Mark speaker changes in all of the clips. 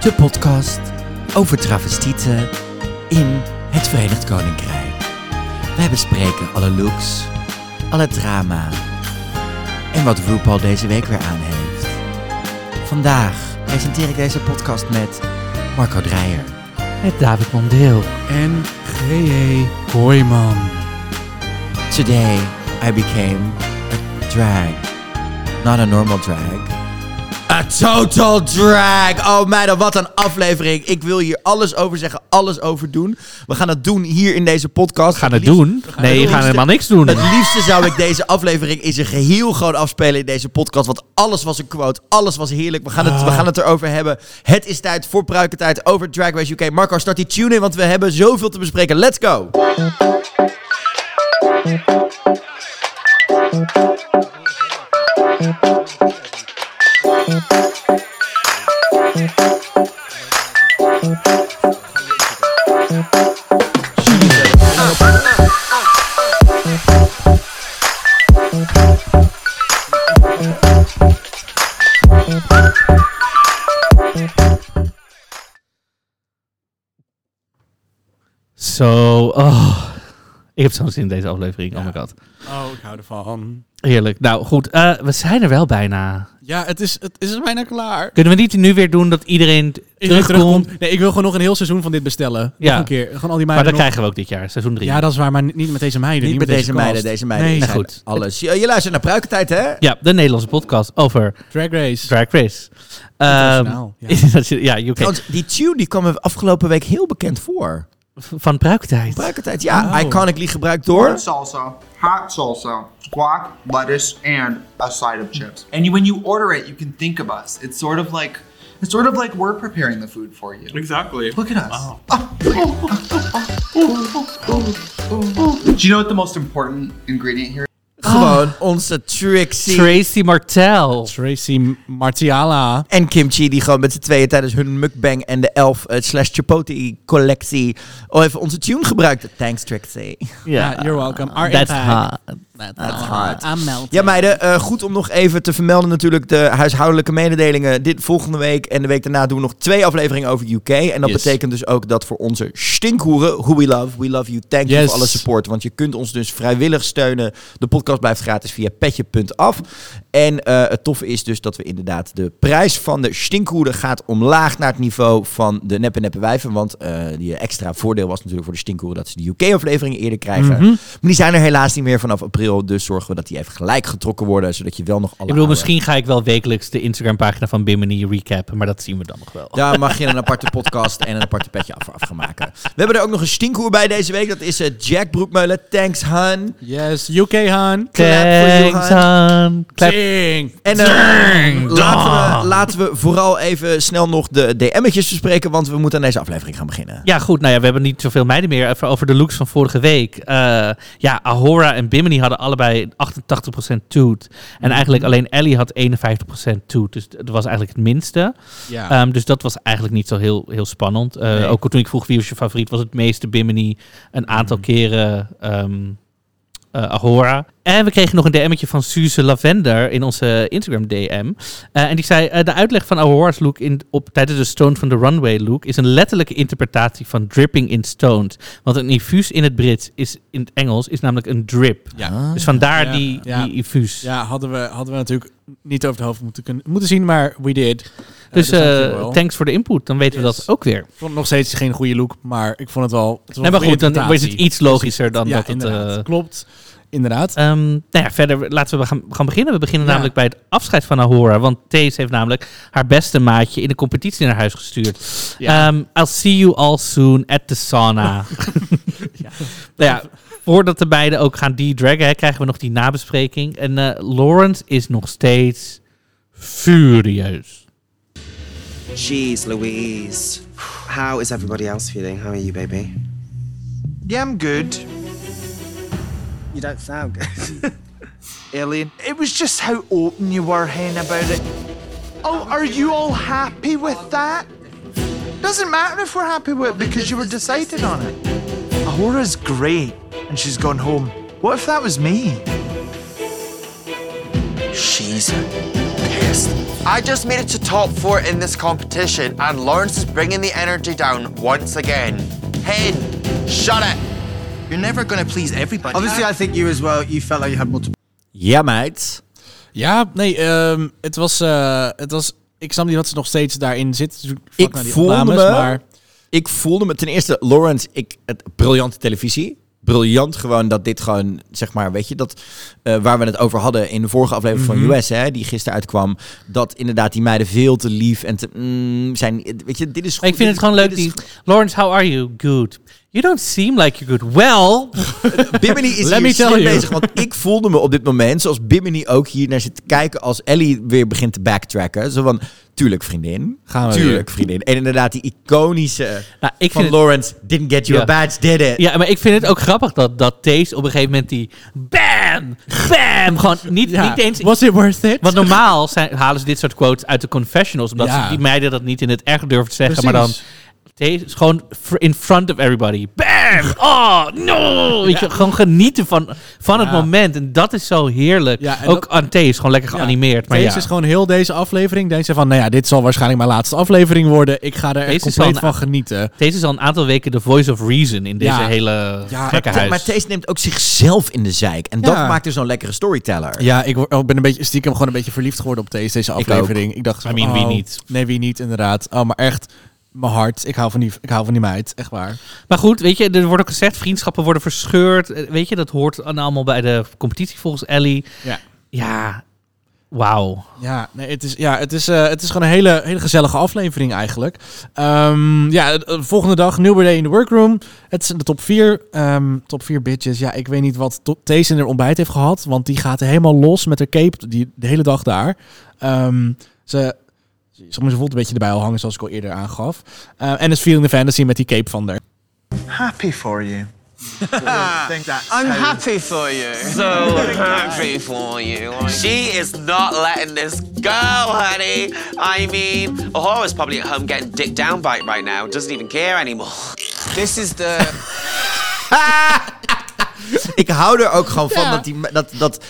Speaker 1: de podcast over travestieten in het Verenigd Koninkrijk. Wij bespreken alle looks, alle drama en wat RuPaul deze week weer aan heeft. Vandaag presenteer ik deze podcast met Marco Dreyer.
Speaker 2: Met David Mondeel.
Speaker 3: en
Speaker 2: E.
Speaker 3: G.E. Kooijman.
Speaker 1: Today I became a drag. Not a normal drag. A total drag. Oh meiden, wat een aflevering. Ik wil hier alles over zeggen, alles over doen. We gaan het doen hier in deze podcast.
Speaker 2: Gaan het
Speaker 1: liefst-
Speaker 2: doen? Nee,
Speaker 1: het
Speaker 2: we gaan
Speaker 1: liefst-
Speaker 2: helemaal niks doen.
Speaker 1: Het liefste zou ik deze aflevering in zijn geheel gewoon afspelen in deze podcast. Want alles was een quote. Alles was heerlijk. We gaan het,
Speaker 2: Ah.
Speaker 1: we gaan het erover hebben. Het is tijd voor pruikentijd over Drag Race UK. Marco, start die tune in, want we hebben zoveel te bespreken. Let's go!
Speaker 2: Zo, oh. Ik heb zo'n zin in deze aflevering. Oh my god.
Speaker 3: Oh, ik hou ervan.
Speaker 2: Heerlijk. Nou goed, eh, we zijn er wel bijna.
Speaker 3: Ja, het is, het is bijna klaar.
Speaker 2: Kunnen we niet nu weer doen dat iedereen t- terugkomt?
Speaker 3: Nee, ik wil gewoon nog een heel seizoen van dit bestellen. Nog
Speaker 2: Ja.
Speaker 3: een keer. Gewoon al die
Speaker 2: Maar
Speaker 3: meiden
Speaker 2: dat
Speaker 3: nog-
Speaker 2: krijgen we ook dit jaar, seizoen 3.
Speaker 3: Ja, dat is waar, maar ni- niet met deze meiden.
Speaker 1: Niet,
Speaker 3: Niet,
Speaker 1: met deze
Speaker 3: cast.
Speaker 1: meiden. Deze meiden
Speaker 3: Nee.
Speaker 1: zijn
Speaker 2: Nou goed.
Speaker 1: alles. Je, je luistert naar pruikentijd, hè?
Speaker 2: Ja, de Nederlandse podcast over
Speaker 3: Drag Race.
Speaker 2: Drag Race.
Speaker 3: Internationaal, ja.
Speaker 2: Ehm, ja. UK.
Speaker 1: Trouwens, die tune die kwam me afgelopen week heel bekend voor.
Speaker 2: Van Pruiktijd.
Speaker 1: Pruikentijd, ja.
Speaker 3: Oh.
Speaker 1: Iconically gebruikt door...
Speaker 4: Hot salsa, hot salsa, guac, lettuce, and a side of chips. And you, when you order it, you can think of us. It's sort of like, it's sort of like we're preparing the food for you. Exactly. Look at us. Do you know what the most important ingredient here?
Speaker 1: Gewoon
Speaker 3: Ah.
Speaker 1: onze Trixie.
Speaker 2: Tracy Martel.
Speaker 3: Tracy Martiala.
Speaker 1: en Kimchi, die gewoon met z'n tweeën tijdens hun mukbang en de elf eh, slash chipotle collectie al even onze tune gebruikt. Thanks Trixie.
Speaker 3: Ja, you're welcome. Our
Speaker 2: That's
Speaker 3: impact.
Speaker 2: hot.
Speaker 1: That's hard.
Speaker 3: I'm melting.
Speaker 1: Ja meiden, eh, goed om nog even te vermelden natuurlijk de huishoudelijke mededelingen. Dit volgende week en de week daarna doen we nog twee afleveringen over UK. En dat
Speaker 3: Yes.
Speaker 1: betekent dus ook dat voor onze stinkhoeren, who we love, we love you, thank you
Speaker 3: Yes.
Speaker 1: voor alle support. Want je kunt ons dus vrijwillig steunen. De podcast blijft gratis via petje.af. En eh, het toffe is dus dat we inderdaad de prijs van de stinkhoeren gaat omlaag naar het niveau van de neppe neppe wijven. Want eh, die extra voordeel was natuurlijk voor de stinkhoeren dat ze de UK-afleveringen eerder krijgen.
Speaker 2: Mhm.
Speaker 1: Maar die zijn er helaas niet meer vanaf april. Dus zorgen we dat die even gelijk getrokken worden, zodat je wel nog alle
Speaker 2: Ik bedoel,
Speaker 1: oude-
Speaker 2: misschien ga ik wel wekelijks de Instagram-pagina van Bimini recappen, maar dat zien we dan nog wel.
Speaker 1: Daar mag je een aparte podcast en een aparte petje af, af gaan maken. We hebben er ook nog een stinkhoer bij deze week. Dat is eh, Jack Broekmeulen. Thanks, Han.
Speaker 3: Yes, UK Han.
Speaker 1: Clap for you,
Speaker 2: Thanks,
Speaker 1: Han.
Speaker 2: Han. Clap.
Speaker 3: Ching.
Speaker 1: En eh, laten, we, laten we vooral even snel nog de DM'tjes bespreken, want we moeten aan deze aflevering gaan beginnen.
Speaker 2: Ja, goed. Nou ja, we hebben niet zoveel meiden meer. Even over de looks van vorige week. Eh, ja, Ahora en Bimini hadden allebei 88% toot. En eigenlijk alleen Ellie had 51% toot. Dus dat was eigenlijk het minste.
Speaker 3: Ja.
Speaker 2: Ehm, dus dat was eigenlijk niet zo heel, heel spannend. Eh,
Speaker 3: Nee.
Speaker 2: Ook toen ik vroeg wie was je favoriet, was het meeste Bimini. Een aantal
Speaker 3: Hmm.
Speaker 2: keren ehm, eh, Ahora. En we kregen nog een DM'tje van Suze Lavender in onze Instagram DM. Eh, en die zei, eh, de uitleg van Ahora's look in, op, tijdens de Stone from the Runway look is een letterlijke interpretatie van dripping in stones. Want een infuus in het Brits is in het Engels is namelijk een drip.
Speaker 3: ja.
Speaker 2: Dus vandaar
Speaker 3: Oh, Ja,
Speaker 2: die,
Speaker 3: ja.
Speaker 2: die infuus.
Speaker 3: ja, hadden we, hadden we natuurlijk niet over het hoofd moeten, kunnen, moeten zien, maar we did. Eh,
Speaker 2: Dus eh,
Speaker 3: dankjewel.
Speaker 2: thanks voor de input, dan weten we
Speaker 3: Yes.
Speaker 2: dat ook weer.
Speaker 3: Ik vond het nog steeds geen goede look, maar ik vond het wel. Het was
Speaker 2: Nee,
Speaker 3: een
Speaker 2: maar
Speaker 3: goede
Speaker 2: goed, dan is
Speaker 3: interpretatie.
Speaker 2: het iets logischer dan
Speaker 3: ja,
Speaker 2: dat het...
Speaker 3: inderdaad.
Speaker 2: eh,
Speaker 3: Klopt, inderdaad.
Speaker 2: Ehm, nou ja, verder laten we gaan, gaan beginnen. We beginnen
Speaker 3: Ja.
Speaker 2: namelijk bij het afscheid van Ahora. Want Thees heeft namelijk haar beste maatje in de competitie naar huis gestuurd.
Speaker 3: Ja.
Speaker 2: Ehm, I'll see you all soon at the sauna. Nou ja, voordat de beiden ook gaan de-draggen, hè, krijgen we nog die nabespreking. En eh, Lawrence is nog steeds furieus.
Speaker 5: Jeez Louise. How is everybody else feeling? How are you, baby?
Speaker 4: Yeah, I'm good.
Speaker 5: You don't sound good.
Speaker 4: Alien. It was just how open you were, Hen, about it. Oh, are you all happy with that? Doesn't matter if we're happy with it because you were decided on it. Ahora's great and she's gone home. What if that was me?
Speaker 5: She's a pissed.
Speaker 6: I just made it to top four in this competition, and Lawrence is bringing the energy down once again. Hen, shut it. You're never gonna please everybody.
Speaker 7: Obviously, I think you as well. You felt like you had multiple.
Speaker 1: Ja, meid.
Speaker 3: Ja, nee, ehm, het, was, eh, het was... Ik snap niet wat ze nog steeds daarin zit. Natuurlijk vlak
Speaker 1: Ik
Speaker 3: na die
Speaker 1: voelde
Speaker 3: opnames,
Speaker 1: me-
Speaker 3: Maar
Speaker 1: Ik voelde me ten eerste, Lawrence, ik, het, briljante televisie. Briljant gewoon dat dit gewoon, zeg maar, weet je, dat eh, waar we het over hadden in de vorige aflevering
Speaker 2: Mhm.
Speaker 1: van US, hè, die gisteren uitkwam, dat inderdaad die meiden veel te lief en te, mm, zijn, weet je, dit is goed.
Speaker 2: Ik
Speaker 1: dit
Speaker 2: vind het gewoon
Speaker 1: is-
Speaker 2: leuk.
Speaker 1: dit is
Speaker 2: Die, Lawrence, how are you? Good. You don't seem like you're good. Well, nou,
Speaker 1: Bimini is
Speaker 3: Let me
Speaker 1: hier
Speaker 3: tell
Speaker 1: slim
Speaker 3: you.
Speaker 1: bezig, want ik voelde me op dit moment, zoals Bimini ook hier naar zit te kijken, als Ellie weer begint te backtracken. Zo van, tuurlijk vriendin,
Speaker 3: Gaan we
Speaker 1: tuurlijk vriendin. En inderdaad die iconische
Speaker 2: nou, ik
Speaker 1: van
Speaker 2: vind het,
Speaker 1: Lawrence, didn't get you
Speaker 2: Ja.
Speaker 1: a badge, did it?
Speaker 2: ja, maar ik vind het ook grappig dat, dat Taze op een gegeven moment die bam, bam, gewoon niet,
Speaker 3: ja,
Speaker 2: niet eens...
Speaker 3: was it worth it?
Speaker 2: Want normaal zijn, halen ze dit soort quotes uit de confessionals, omdat
Speaker 3: Ja.
Speaker 2: ze die meiden dat niet in het echt durven te zeggen, maar dan
Speaker 3: Precies.
Speaker 2: Deze is gewoon fr- in front of everybody. Bam! Oh, no! Weet je, gewoon genieten van, van het
Speaker 3: Ja.
Speaker 2: moment. En dat is zo heerlijk.
Speaker 3: Ja, en
Speaker 2: Ook aan Thee is gewoon lekker
Speaker 3: Ja.
Speaker 2: geanimeerd. Maar
Speaker 3: Deze
Speaker 2: ja.
Speaker 3: is gewoon heel deze aflevering. Denkt ze van, nou ja, dit zal waarschijnlijk mijn laatste aflevering worden. Ik ga er echt
Speaker 2: Deze is
Speaker 3: compleet
Speaker 2: wel
Speaker 3: van
Speaker 2: een-
Speaker 3: genieten.
Speaker 2: Deze is al een aantal weken de voice of reason in deze
Speaker 3: Ja.
Speaker 2: hele
Speaker 3: Ja,
Speaker 2: gekke
Speaker 1: Te-
Speaker 2: huis.
Speaker 1: Maar Thees neemt ook zichzelf in de zeik. En dat
Speaker 3: Ja.
Speaker 1: maakt er zo'n lekkere storyteller.
Speaker 3: Ja, ik, wor- oh, ik ben een beetje stiekem gewoon een beetje verliefd geworden op deze, deze aflevering. Ik, dacht,
Speaker 2: I mean,
Speaker 3: oh,
Speaker 2: wie niet?
Speaker 3: Nee, wie niet, inderdaad. Oh, maar echt, mijn hart. Ik hou van die, ik hou van die meid, echt waar.
Speaker 2: Maar goed, weet je, er wordt ook gezegd, vriendschappen worden verscheurd. Eh, Weet je, dat hoort aan- allemaal bij de competitie volgens Ellie.
Speaker 3: Ja.
Speaker 2: Ja, wauw. Nou,
Speaker 3: Ja, nee, het is, ja, het is, eh, het is gewoon een hele, hele gezellige aflevering eigenlijk. Ehm, ja, de volgende dag, New Day in de workroom. Het zijn de top 4. top 4 bitches. Ja, ik weet niet wat to- Thees in haar ontbijt heeft gehad. Want die gaat helemaal los met haar cape die, de hele dag daar. Ehm, ze, ze ze voelt een beetje erbij al hangen, zoals ik al eerder aangaf. Eh, en is Feeling the Fantasy met die cape van haar. Nou,
Speaker 4: Happy for you. I think that's
Speaker 6: I'm
Speaker 4: how-
Speaker 6: happy for you. So happy for you. She is not letting this go, honey. I mean, Ahora's probably at home getting dick down by it right now. Doesn't even care anymore. This is the.
Speaker 1: Ik hou er ook gewoon van dat die... me- Dat, dat,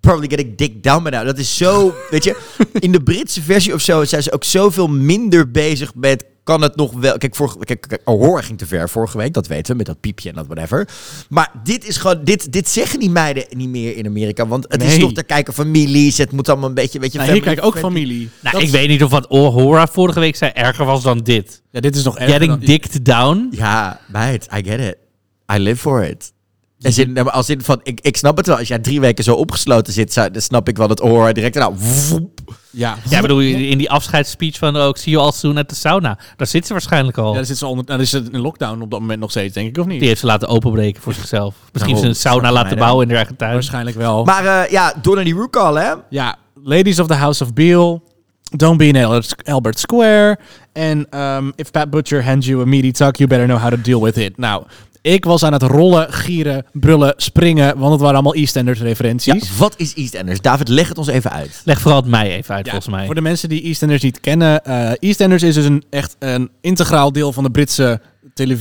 Speaker 1: probably get ik dick down by now. Dat is zo... weet je, in de Britse versie of zo zijn ze ook zoveel minder bezig met... Kan het nog wel... Kijk, vorige, kijk, kijk Aurora ging te ver vorige week, dat weten we. Met dat piepje en dat whatever. Maar dit is gewoon... Dit, dit zeggen die meiden niet meer in Amerika. Want het is
Speaker 3: Nee.
Speaker 1: toch te kijken families. Het moet allemaal een beetje... Weet je,
Speaker 3: Nou, hier
Speaker 1: family
Speaker 3: kijk ook
Speaker 1: friendly.
Speaker 3: familie.
Speaker 2: Nou,
Speaker 3: Dat
Speaker 2: ik
Speaker 3: is-
Speaker 2: weet niet of wat Ohora vorige week zei erger was dan dit.
Speaker 3: Ja, dit is nog erger
Speaker 2: Getting
Speaker 3: dan-
Speaker 2: dicked down.
Speaker 1: Ja, meid, I get it. I live for it. Als in, nou, maar als in van, ik, ik snap het wel. Als jij drie weken zo opgesloten zit, zou- dan snap ik wel dat oor direct. Nou, woep.
Speaker 3: Ja,
Speaker 2: Ja, ik bedoel, in die afscheidsspeech van ook, zie je al soon uit de sauna. Daar zit ze waarschijnlijk al.
Speaker 3: Ja, daar zit ze onder, nou, daar zit ze in lockdown op dat moment nog steeds, denk ik, of niet?
Speaker 2: Die heeft ze laten openbreken voor zichzelf. Misschien ze
Speaker 1: Daarom,
Speaker 2: een sauna
Speaker 1: snap je
Speaker 2: laten
Speaker 1: mij
Speaker 2: bouwen in haar eigen tuin.
Speaker 3: Waarschijnlijk wel.
Speaker 1: Maar eh, ja, Donnelly Rookall, hè?
Speaker 3: Ja, Ladies of the House of Beale. Don't be in Albert- Albert Square. En ehm, if Pat Butcher hands you a meaty tuck, you better know how to deal with it. Nou, ik was aan het rollen, gieren, brullen, springen. Want het waren allemaal EastEnders
Speaker 1: Ja,
Speaker 3: referenties.
Speaker 1: wat is EastEnders? David, leg het ons even uit.
Speaker 2: Leg vooral het mij even uit, volgens mij.
Speaker 3: Voor de mensen die EastEnders niet kennen. eh, EastEnders is dus een, echt een integraal deel van de Britse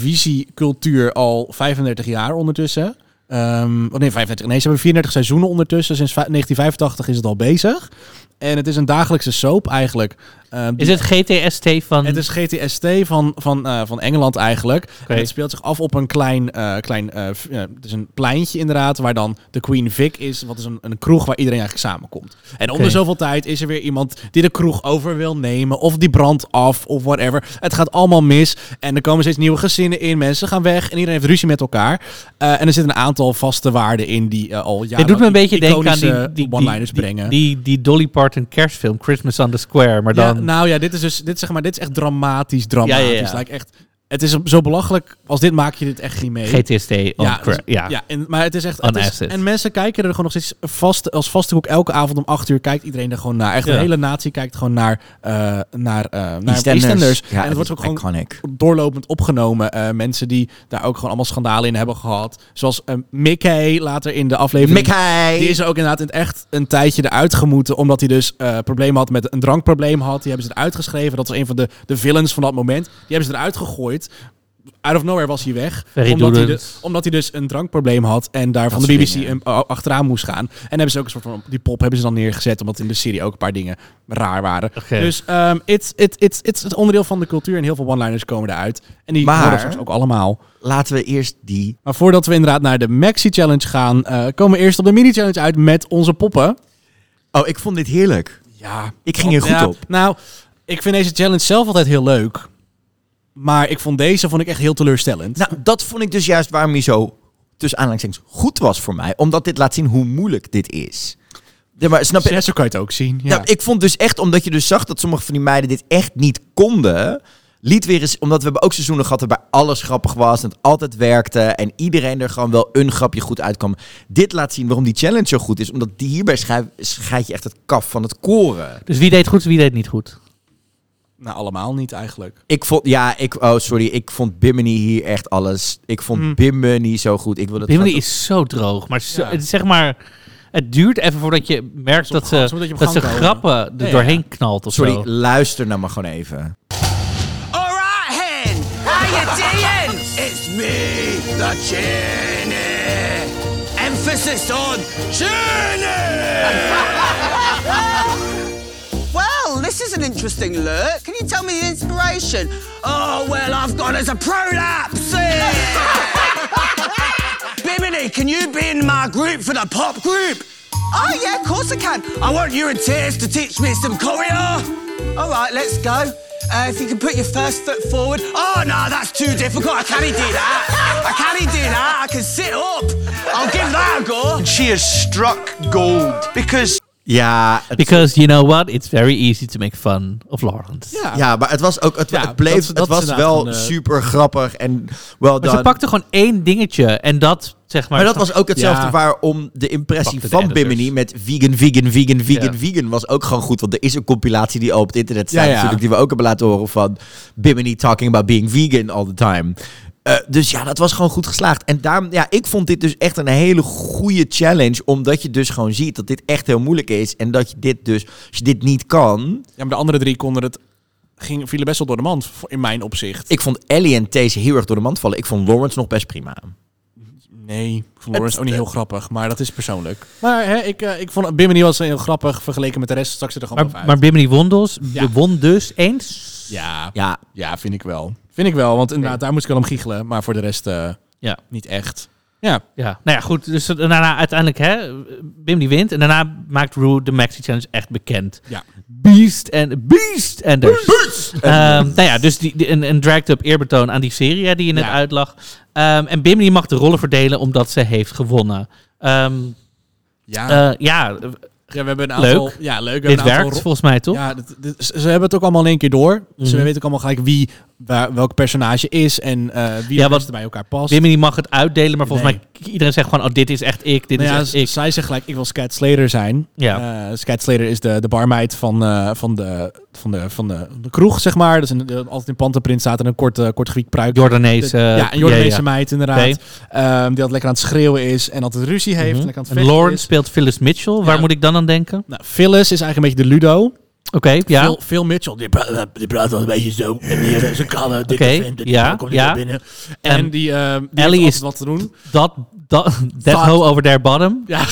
Speaker 3: televisiecultuur al 35 jaar ondertussen. Ehm, oh nee, 35. Nee, ze hebben 34 seizoenen ondertussen. Sinds va- 1985 is het al bezig. En het is een dagelijkse soap eigenlijk. ehm, die
Speaker 2: Is het GTST van...
Speaker 3: Het is GTST van, van, eh, van Engeland eigenlijk. En het speelt zich af op een klein, eh, klein eh, v- eh, het is een pleintje inderdaad, waar dan de Queen Vic is. Wat is een, een kroeg waar iedereen eigenlijk samenkomt. En om
Speaker 2: Oké.
Speaker 3: de zoveel tijd is er weer iemand die de kroeg over wil nemen. Of die brandt af, of whatever. Het gaat allemaal mis. En er komen steeds nieuwe gezinnen in. Mensen gaan weg en iedereen heeft ruzie met elkaar. Eh, en er zitten een aantal vaste waarden in die eh, al jaren
Speaker 2: het doet me een beetje denken aan die,
Speaker 3: iconische
Speaker 2: die, die,
Speaker 3: one-liners
Speaker 2: die-
Speaker 3: brengen.
Speaker 2: Die, die, Dolly Parton kerstfilm, Christmas on the Square. Maar dan...
Speaker 3: Ja, nou ja, dit is dus dit zeg maar, dit is echt dramatisch,
Speaker 2: ja,
Speaker 3: dramatisch.
Speaker 2: ja.
Speaker 3: Like echt, het is zo belachelijk. Als dit maak je dit echt niet mee.
Speaker 2: GTST on
Speaker 3: ja,
Speaker 2: cra-
Speaker 3: dus-
Speaker 2: oh, ja.
Speaker 3: ja en, maar het is echt.
Speaker 2: On
Speaker 3: het is-
Speaker 2: acid.
Speaker 3: en mensen kijken er gewoon nog steeds vast als vaste hoek. Elke avond om 8 uur kijkt iedereen er gewoon naar. Echt
Speaker 2: Ja.
Speaker 3: de hele natie kijkt gewoon naar eh naar eh naar
Speaker 1: EastEnders.
Speaker 3: EastEnders.
Speaker 1: Ja,
Speaker 3: en het
Speaker 1: dat
Speaker 3: wordt
Speaker 1: is
Speaker 3: ook gewoon
Speaker 1: iconic.
Speaker 3: doorlopend opgenomen. Eh, mensen die daar ook gewoon allemaal schandalen in hebben gehad. Zoals eh, Mickey later in de aflevering.
Speaker 1: Mickey!
Speaker 3: Die is ook inderdaad in het echt een tijdje eruit gemoeten. Omdat hij dus eh, problemen had met een drankprobleem had. Die hebben ze eruit geschreven. Dat was een van de, de villains van dat moment. Die hebben ze eruit gegooid. out of nowhere was hij weg.
Speaker 2: Ferry
Speaker 3: Omdat hij,
Speaker 2: Doedens.
Speaker 3: de- omdat hij dus een drankprobleem had en daar van
Speaker 1: Dat
Speaker 3: de BBC
Speaker 1: soort dingen.
Speaker 3: een- a- achteraan moest gaan. En hebben ze ook een soort van, die pop hebben ze dan neergezet, omdat in de serie ook een paar dingen raar waren.
Speaker 2: Oké.
Speaker 3: Dus ehm it's, it's, it's, it's het onderdeel van de cultuur en heel veel one-liners komen eruit. En die
Speaker 1: Maar-
Speaker 3: horen we straks ook allemaal.
Speaker 1: Laten we eerst die...
Speaker 3: Maar voordat we inderdaad naar de Maxi Challenge gaan, eh, komen we eerst op de Mini Challenge uit met onze poppen.
Speaker 1: Oh, ik vond dit heerlijk.
Speaker 3: Ja,
Speaker 1: Ik ging hier goed
Speaker 3: Ja,
Speaker 1: op.
Speaker 3: Nou, ik vind deze challenge zelf altijd heel leuk. Maar ik vond deze vond ik echt heel teleurstellend.
Speaker 1: Nou, dat vond ik dus juist waarom hij zo tussen aanhalingstekens goed was voor mij. Omdat dit laat zien hoe moeilijk dit is. Ja, maar snap je?
Speaker 3: Zes, zo kan je het ook zien. Ja.
Speaker 1: Nou, ik vond dus echt, omdat je dus zag dat sommige van die meiden dit echt niet konden... Liet weer eens, omdat we hebben ook seizoenen gehad waarbij alles grappig was en het altijd werkte en iedereen er gewoon wel een grapje goed uitkwam. Dit laat zien waarom die challenge zo goed is, omdat die hierbij schei- scheid je echt het kaf van het koren.
Speaker 2: Dus wie deed goed, wie deed niet goed?
Speaker 3: Nou, allemaal niet eigenlijk.
Speaker 1: Ik vond, ja, ik, oh sorry, ik vond Bimini hier echt alles. Ik vond
Speaker 3: Hmm.
Speaker 1: Bimini zo goed. Ik wil dat
Speaker 2: Bimini
Speaker 1: gaat-
Speaker 2: is zo droog, maar zo-
Speaker 3: Ja.
Speaker 2: het is zeg maar... Het duurt even voordat je merkt
Speaker 3: op
Speaker 2: dat
Speaker 3: gang-
Speaker 2: ze,
Speaker 3: zo moet je op
Speaker 2: dat ze
Speaker 3: gang komen.
Speaker 2: grappen er
Speaker 3: Ja, ja.
Speaker 2: doorheen knalt of
Speaker 1: Sorry,
Speaker 2: zo.
Speaker 1: luister nou maar gewoon even.
Speaker 6: All right, hen. How you doing? It's me, the Genie. Emphasis on Genie. well, this is an interesting look. Can you tell me the inspiration? Oh, well, I've got as a prolapse. Bimini, can you be in my group for the pop group? Oh, yeah, of course I can. I want you and Tears to teach me some choreo. All right, let's go. Uh, if you can put your first foot forward. Oh, no, that's too difficult. I can't do that. I can't do that. I can sit up. I'll give that a go.
Speaker 4: She has struck gold because
Speaker 1: Ja, het-
Speaker 2: Because you know what? It's very easy to make fun of Lawrence.
Speaker 1: ja, maar het was ook, het,
Speaker 3: Ja,
Speaker 1: het bleef,
Speaker 3: dat- dat
Speaker 1: het
Speaker 3: is
Speaker 1: was
Speaker 3: inderdaad
Speaker 1: wel
Speaker 3: een, eh,
Speaker 1: super grappig en wel
Speaker 2: Maar
Speaker 1: dan.
Speaker 2: ze pakte gewoon één dingetje en dat zeg maar...
Speaker 1: Maar dat was ook hetzelfde
Speaker 3: Ja.
Speaker 1: waarom de impressie
Speaker 2: Pakte de
Speaker 1: van
Speaker 2: editors.
Speaker 3: dus.
Speaker 1: Bimini met vegan, vegan, vegan, vegan,
Speaker 2: Ja.
Speaker 1: vegan was ook gewoon goed. Want er is een compilatie die op het internet staat
Speaker 3: Ja, ja.
Speaker 1: natuurlijk, die we ook hebben laten horen van Bimini talking about being vegan all the time. Eh, dus ja, dat was gewoon goed geslaagd. En daarom, ja, ik vond dit dus echt een hele goede challenge. Omdat je dus gewoon ziet dat dit echt heel moeilijk is. En dat je dit dus, als je dit niet kan,
Speaker 3: Ja, maar de andere drie konden het... Ging, vielen best wel door de mand, voor- in mijn opzicht.
Speaker 1: Ik vond Ellie en Taze heel erg door de mand vallen. Ik vond Lawrence nog best prima.
Speaker 3: Nee, ik vond Lawrence ook niet heel grappig, maar dat is persoonlijk. Maar hè, ik, eh, ik vond Bimini was heel grappig vergeleken met de rest. Straks er gewoon
Speaker 2: Maar,
Speaker 3: bovenuit.
Speaker 2: maar Bimini won dus,
Speaker 3: Ja.
Speaker 2: won dus eens.
Speaker 3: ja, ja.
Speaker 1: Ja,
Speaker 3: vind ik wel. Vind ik wel, want inderdaad, daar moest ik wel om giechelen. Maar voor de rest eh,
Speaker 2: Ja.
Speaker 3: niet echt. Ja,
Speaker 2: Ja, nou ja, goed. Dus daarna uiteindelijk, hè, Bim die wint. En daarna maakt Rue de Maxi Challenge echt bekend.
Speaker 3: ja.
Speaker 2: Beast en Beast en Beast! nou ja, dus die, die- een, een dragged up eerbetoon aan die serie hè, die je net
Speaker 3: Ja.
Speaker 2: uitlag. Ehm, en Bim die mag de rollen verdelen omdat ze heeft gewonnen. Ehm,
Speaker 3: Ah. Ja.
Speaker 2: eh, ja, eh,
Speaker 3: Ja, we hebben een aantal.
Speaker 2: Leuk.
Speaker 3: Ja, leuk. We
Speaker 2: dit
Speaker 3: hebben een aantal
Speaker 2: werkt
Speaker 3: ro-
Speaker 2: volgens mij toch? Mhm.
Speaker 3: Ja, dit- dit- ze ze hebben het ook allemaal in één keer door. Ze weten ook allemaal gelijk wie waar- welk personage is en eh wie
Speaker 2: Ja,
Speaker 3: er
Speaker 2: want
Speaker 3: best bij elkaar past.
Speaker 2: Bimini mag het uitdelen, maar volgens
Speaker 3: Nee.
Speaker 2: mij k- iedereen zegt gewoon, oh, dit is echt ik, dit
Speaker 3: Nou ja,
Speaker 2: is echt
Speaker 3: z-
Speaker 2: ik.
Speaker 3: zij zegt gelijk, ik wil Scat Slater zijn.
Speaker 2: Ja.
Speaker 3: Eh, Scat Slater is de, de barmeid van, eh, van, de, van, de, van de, de kroeg, zeg maar. Dat is een, altijd in pantenprint staat en een kort, eh, kort gewiekt pruik.
Speaker 2: Jordanees.
Speaker 3: De-
Speaker 2: eh,
Speaker 3: ja, een Jordaanese
Speaker 2: ja, ja.
Speaker 3: meid inderdaad.
Speaker 2: Oké.
Speaker 3: Ehm, die altijd lekker aan het schreeuwen is en altijd ruzie heeft. en lekker aan het
Speaker 2: Mhm. Hm? En
Speaker 3: vechten
Speaker 2: Lauren
Speaker 3: is.
Speaker 2: speelt Phyllis Mitchell. Waar
Speaker 3: Ja.
Speaker 2: moet ik dan aan denken?
Speaker 3: Nou, Phyllis is eigenlijk een beetje de Ludo.
Speaker 2: Oké, ja.
Speaker 3: Phil, Phil Mitchell, die praat, die praat wel een beetje zo. En hier is een kalle, dit
Speaker 2: Oké,
Speaker 3: is dit
Speaker 2: ja,
Speaker 3: ja, komt
Speaker 2: ja.
Speaker 3: ja. binnen. En
Speaker 2: Ehm,
Speaker 3: die, ehm, die
Speaker 2: Ellie
Speaker 3: heeft
Speaker 2: is-
Speaker 3: wat te doen.
Speaker 2: Dat, dat, that
Speaker 3: Fuck.
Speaker 2: hoe over there bottom.
Speaker 3: Ja,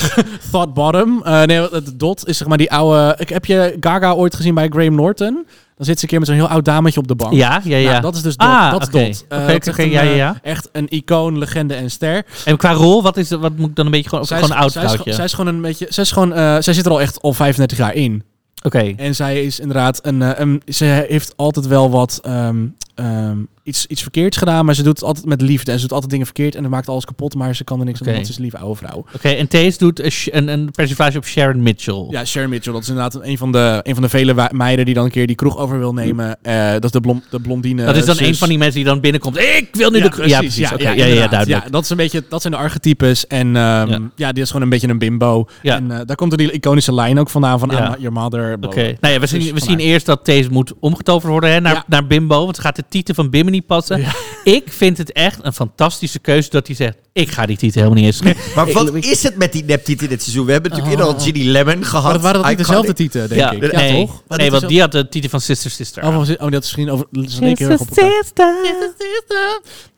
Speaker 3: Thought Bottom. Eh, nee, het Dot is zeg maar die oude... Ik, heb je Gaga ooit gezien bij Graham Norton? Dan zit ze een keer met zo'n heel oud dametje op de bank.
Speaker 2: Ja, ja, ja.
Speaker 3: Nou, dat is dus Dot.
Speaker 2: Ah,
Speaker 3: dat is
Speaker 2: oké.
Speaker 3: Dot. Eh,
Speaker 2: Oké,
Speaker 3: dat is echt
Speaker 2: oké, oké,
Speaker 3: een,
Speaker 2: ja, ja,
Speaker 3: eh,
Speaker 2: ja.
Speaker 3: Echt een icoon, legende en ster.
Speaker 2: En qua rol, wat, is, wat moet ik dan een beetje gewoon, of gewoon een oud
Speaker 3: zij, is,
Speaker 2: vrouwtje?
Speaker 3: gewoon- zij is gewoon een beetje... Zij, is gewoon, eh, zij zit er al echt al 35 jaar in.
Speaker 2: Oké,
Speaker 3: En zij is inderdaad een. eh, een- ze heeft altijd wel wat. ehm, ehm, iets, iets verkeerds gedaan, maar ze doet het altijd met liefde. En ze doet altijd dingen verkeerd en het maakt alles kapot, maar ze kan er niks aan
Speaker 2: Oké.
Speaker 3: doen, want ze is een lieve oude vrouw.
Speaker 2: oké. en Thees doet een, sh- een, een persiflage op Sharon Mitchell.
Speaker 3: Ja, Sharon Mitchell, dat is inderdaad een van de, een van de vele wa- meiden die dan een keer die kroeg over wil nemen. Eh, dat is de, blond, de blondine.
Speaker 2: dat is dan
Speaker 3: zus.
Speaker 2: een van die mensen die dan binnenkomt. Ik wil nu
Speaker 3: eh, Ja,
Speaker 2: de...
Speaker 3: precies.
Speaker 2: Ja, precies. oké, Ja, ja,
Speaker 3: inderdaad.
Speaker 2: duidelijk.
Speaker 3: Ja, dat, is een beetje, dat zijn de archetypes. En ehm,
Speaker 2: Ja.
Speaker 3: ja. die is gewoon een beetje een bimbo.
Speaker 2: Ja.
Speaker 3: En eh, daar komt er die iconische lijn ook vandaan van
Speaker 2: Ja.
Speaker 3: I'm not your mother. bla, bla,
Speaker 2: Oké,
Speaker 3: bla.
Speaker 2: nou ja, we
Speaker 3: Dus
Speaker 2: zien, we zien
Speaker 3: vandaar.
Speaker 2: eerst dat Thees moet omgetoverd worden hè, naar,
Speaker 3: Ja.
Speaker 2: naar Bimbo. Want ze gaat de titel van Bimini niet passen. Ik vind het echt een fantastische keuze dat hij zegt... ik ga die titel helemaal niet eens schrijven.
Speaker 1: Maar wat is het met die neptieten dit seizoen? We hebben natuurlijk eerder al Ginny Lemon gehad.
Speaker 3: Oh. Maar dat waren dat niet
Speaker 1: Iconic.
Speaker 3: dezelfde titel, denk ik. Ja,
Speaker 2: nee,
Speaker 3: toch?
Speaker 2: Nee,
Speaker 3: dat
Speaker 2: want
Speaker 3: is
Speaker 2: die had de titel van Sister Sister.
Speaker 3: Oh, van- oh, dat is misschien over. dat is in één keer erg op elkaar.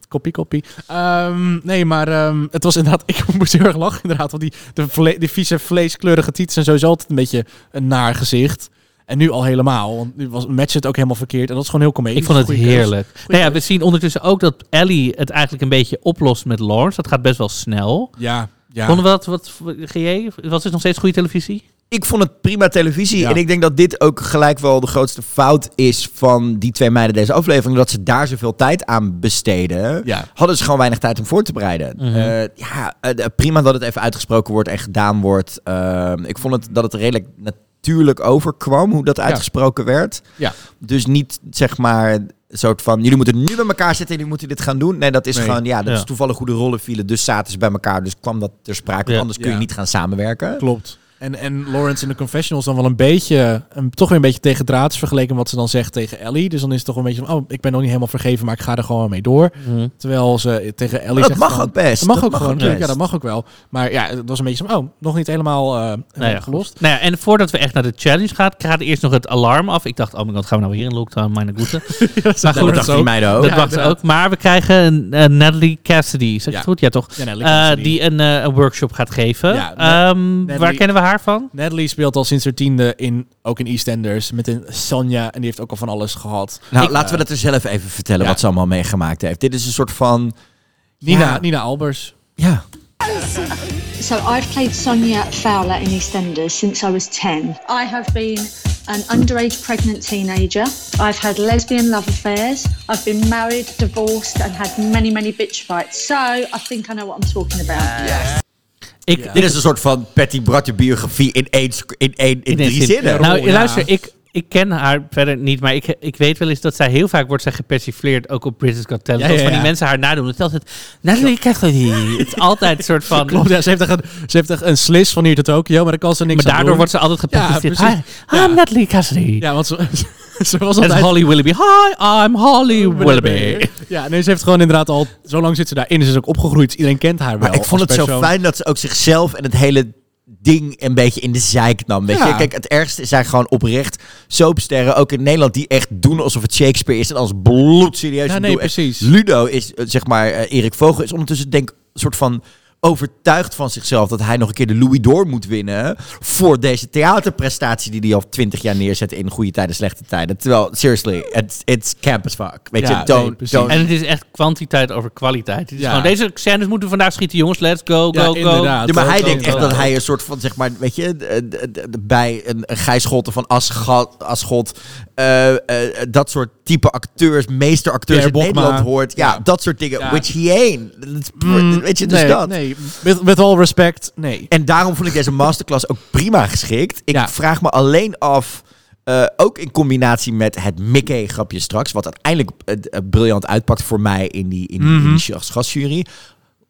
Speaker 3: Koppie, koppie. Ehm, nee, maar ehm, het was inderdaad... Ik moest heel erg lachen, inderdaad. Want die, de vle- die vieze vleeskleurige titels zijn sowieso altijd een beetje een naar gezicht. En nu al helemaal. Want nu was match het ook helemaal verkeerd. En dat is gewoon heel comedie.
Speaker 2: Ik vond het
Speaker 3: Goeie keus.
Speaker 2: heerlijk. Nou ja, we zien ondertussen ook dat Ellie het eigenlijk een beetje oplost met Lawrence. Dat gaat best wel snel.
Speaker 3: Ja, ja.
Speaker 2: Vonden we dat, wat, GJ, was dit nog steeds goede televisie?
Speaker 1: Ik vond het prima televisie.
Speaker 3: Ja.
Speaker 1: En ik denk dat dit ook gelijk wel de grootste fout is van die twee meiden deze aflevering. Dat ze daar zoveel tijd aan besteden.
Speaker 3: Ja. Mhm.
Speaker 1: Hadden ze gewoon weinig tijd om voor te bereiden. Eh, ja, eh, prima dat het even uitgesproken wordt en gedaan wordt. Eh, ik vond het dat het redelijk natuurlijk overkwam hoe dat uitgesproken werd.
Speaker 3: Ja.
Speaker 1: Dus niet zeg maar een soort van jullie moeten nu bij elkaar zitten en jullie moeten dit gaan doen. Nee, dat is
Speaker 3: Nee.
Speaker 1: gewoon ja, dat
Speaker 2: Ja.
Speaker 1: is toevallig hoe de rollen vielen. Dus zaten ze bij elkaar, dus kwam dat ter sprake.
Speaker 2: Ja.
Speaker 1: Anders kun je
Speaker 3: Ja.
Speaker 1: niet gaan samenwerken.
Speaker 3: Klopt. En, en Lawrence in de confessionals dan wel een beetje, een, toch weer een beetje tegen draads vergeleken met wat ze dan zegt tegen Ellie. Dus dan is het toch een beetje van, oh, ik ben nog niet helemaal vergeven, maar ik ga er gewoon mee door.
Speaker 2: Mhm.
Speaker 3: Terwijl ze tegen Ellie
Speaker 1: Maar dat
Speaker 3: zegt
Speaker 1: mag
Speaker 3: van,
Speaker 1: ook best.
Speaker 3: Dat mag
Speaker 1: Dat
Speaker 3: ook
Speaker 1: mag
Speaker 3: gewoon,
Speaker 1: ook
Speaker 3: natuurlijk. ja,
Speaker 1: best.
Speaker 3: dat mag ook wel. Maar ja, het was een beetje zo, oh, nog niet helemaal eh, helemaal
Speaker 2: ja,
Speaker 3: gelost.
Speaker 2: Nou ja, en voordat we echt naar de challenge gaan, gaat eerst nog het alarm af. Ik dacht, oh my god, gaan we nou weer in lockdown? Mijn goede. maar
Speaker 1: dat dachten die meiden ook.
Speaker 2: Dat
Speaker 1: Ja,
Speaker 2: dachten ook. Maar we krijgen een, eh, Natalie Cassidy, zeg ik
Speaker 3: Ja.
Speaker 2: het goed? Ja, toch?
Speaker 3: Ja, Natalie
Speaker 2: Eh,
Speaker 3: Cassidy.
Speaker 2: die een, eh, een workshop gaat geven.
Speaker 3: Ja, Nat-
Speaker 2: Ehm, waar
Speaker 3: Natalie-
Speaker 2: kennen we haar van?
Speaker 3: Natalie speelt al sinds haar tiende in, ook in EastEnders, met een Sonja. En die heeft ook al van alles gehad.
Speaker 1: Nou, laten we dat er zelf even vertellen
Speaker 3: ja.
Speaker 1: wat ze allemaal meegemaakt heeft. Dit is een soort van.
Speaker 3: Nina,
Speaker 1: Ja.
Speaker 3: Nina Albers.
Speaker 1: Ja.
Speaker 8: So I've played Sonia Fowler in EastEnders since I was 10. I have been an underage pregnant teenager. I've had lesbian love affairs. I've been married, divorced, and had many, many bitch fights. So I think I know what I'm talking about.
Speaker 2: Ik,
Speaker 1: Dit is een soort van Patty Bratje biografie in één, sc- in één, in
Speaker 2: Nee,
Speaker 1: drie
Speaker 2: zin-
Speaker 1: zinnen.
Speaker 2: Nou,
Speaker 3: Oh, Ja.
Speaker 2: luister, ik, ik ken haar verder niet, maar ik, ik weet wel eens dat zij heel vaak wordt zij gepersifleerd, ook op British Got Talent.
Speaker 3: Ja,
Speaker 2: Als
Speaker 3: ja,
Speaker 2: van die
Speaker 3: ja.
Speaker 2: mensen haar nadoen. Het is altijd, Natalie Cassidy. Het is altijd een soort van...
Speaker 3: Klopt, ja, ze heeft echt een, ze heeft echt een slis van hier tot Tokio, maar daar kan ze niks
Speaker 2: Maar
Speaker 3: aan
Speaker 2: daardoor
Speaker 3: doen.
Speaker 2: wordt ze altijd gepersifleerd.
Speaker 3: Ja,
Speaker 2: hi,
Speaker 3: precies. Ja.
Speaker 2: I'm Natalie Cassidy.
Speaker 3: Ja, want ze, ze was
Speaker 2: En
Speaker 3: altijd...
Speaker 2: Holly Willoughby. Hi, I'm Holly Willoughby.
Speaker 3: Ja, nee, ze heeft gewoon inderdaad al... Zo lang zit ze daarin, dus ze is ook opgegroeid. Iedereen kent haar wel.
Speaker 1: maar ik vond
Speaker 3: als
Speaker 1: het zo
Speaker 3: persoon.
Speaker 1: fijn dat ze ook zichzelf en het hele ding een beetje in de zeik nam. Weet
Speaker 3: Ja.
Speaker 1: je? Kijk, het ergste zijn gewoon oprecht soapsterren, ook in Nederland, die echt doen alsof het Shakespeare is en als bloedserieus.
Speaker 3: Ja,
Speaker 1: Ik
Speaker 3: nee,
Speaker 1: bedoel, echt,
Speaker 3: precies.
Speaker 1: Ludo is, eh, zeg maar, eh, Erik Vogel is ondertussen denk ik een soort van overtuigd van zichzelf dat hij nog een keer de Louis d'Or moet winnen voor deze theaterprestatie die hij al twintig jaar neerzet in goede tijden, slechte tijden. Terwijl, seriously, it's, it's camp as fuck. Weet
Speaker 3: Ja,
Speaker 1: je, don't,
Speaker 3: nee, precies.
Speaker 1: don't
Speaker 2: En het is echt kwantiteit over kwaliteit. Het is
Speaker 3: Ja.
Speaker 2: gewoon, deze scènes moeten we vandaag schieten, jongens. Let's go, go,
Speaker 3: Ja,
Speaker 2: go.
Speaker 3: inderdaad.
Speaker 1: Ja, maar hij
Speaker 2: Zo,
Speaker 1: denkt
Speaker 2: zo,
Speaker 1: echt
Speaker 2: zo.
Speaker 1: dat hij een soort van, zeg maar, weet je, d- d- d- bij een, een Gijs Scholten van Asga- Aschot, eh, eh, dat soort type acteurs, meesteracteurs
Speaker 3: Pierre
Speaker 1: in
Speaker 3: Bokma.
Speaker 1: Nederland hoort. Ja, dat soort dingen.
Speaker 3: Ja.
Speaker 1: Which he ain't. Dat is pure- weet je, dus
Speaker 3: Mm. nee,
Speaker 1: dat.
Speaker 3: Nee, with, with all respect, nee.
Speaker 1: En daarom vond ik deze masterclass ook prima geschikt. Ik
Speaker 3: Ja.
Speaker 1: vraag me alleen af, eh, ook in combinatie met het Mickey-grapje straks, wat uiteindelijk eh, eh, briljant uitpakt voor mij in die, in, die-
Speaker 3: Mhm.
Speaker 1: in die gas- gasjury.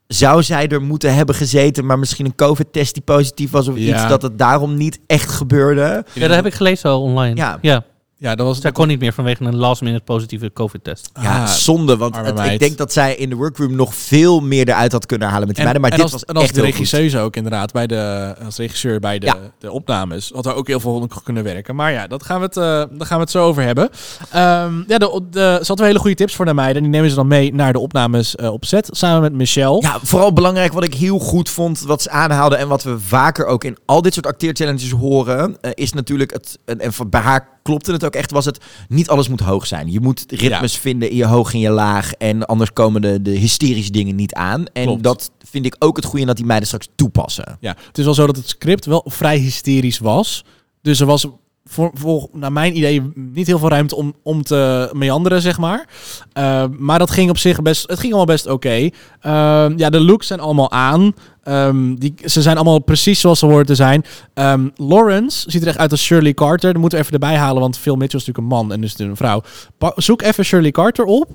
Speaker 1: Zou zij er moeten hebben gezeten, maar misschien een COVID-test die positief was of
Speaker 3: Ja.
Speaker 1: iets, dat het daarom niet echt gebeurde?
Speaker 2: Ja, dat heb ik gelezen al online.
Speaker 1: Ja.
Speaker 2: ja.
Speaker 3: Ja, dat was...
Speaker 2: Zij kon niet meer vanwege een last minute positieve covid-test.
Speaker 1: Ja,
Speaker 3: Ah,
Speaker 1: zonde, want
Speaker 3: arme
Speaker 1: het- ik
Speaker 3: meid.
Speaker 1: denk dat zij in de workroom nog veel meer eruit had kunnen halen met die meiden. Maar
Speaker 3: en
Speaker 1: dit
Speaker 3: als,
Speaker 1: was
Speaker 3: en als
Speaker 1: echt
Speaker 3: de
Speaker 1: heel goed.
Speaker 3: regisseuse ook inderdaad, bij de, als regisseur bij de,
Speaker 1: Ja.
Speaker 3: de opnames, had er ook heel veel op kunnen werken. Maar ja, dat gaan we het, eh, daar gaan we het zo over hebben. Ehm, ja, de, de, ze had wel hele goede tips voor de meiden. Die nemen ze dan mee naar de opnames eh, op set, samen met Michelle.
Speaker 1: Ja, vooral belangrijk wat ik heel goed vond, wat ze aanhaalden en wat we vaker ook in al dit soort acteerchallenges horen, eh, is natuurlijk het, en, en van- bij haar klopte het ook echt, was het niet alles moet hoog zijn. Je moet ritmes vinden in je hoog en je laag en anders komen de, de hysterische dingen niet aan. En
Speaker 3: Klopt.
Speaker 1: dat vind ik ook het goede en dat die meiden straks toepassen.
Speaker 3: Ja, het is wel zo dat het script wel vrij hysterisch was. Dus er was voor, voor, naar mijn idee niet heel veel ruimte om, om te meanderen, zeg maar. Eh, maar dat ging op zich best, het ging allemaal best oké. Ehm, ja, de looks zijn allemaal aan. Ehm, die, ze zijn allemaal precies zoals ze horen te zijn. Ehm, Lawrence ziet er echt uit als Shirley Carter. Dat moeten we even erbij halen, want Phil Mitchell is natuurlijk een man en dus natuurlijk een vrouw. Pa- zoek even Shirley Carter op.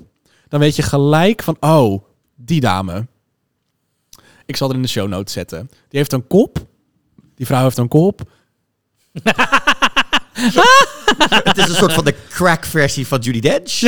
Speaker 3: Dan weet je gelijk van, oh, die dame. Ik zal er in de show notes zetten. Die heeft een kop. Die vrouw heeft een kop.
Speaker 1: het is een soort van de crack versie van Judy Dench.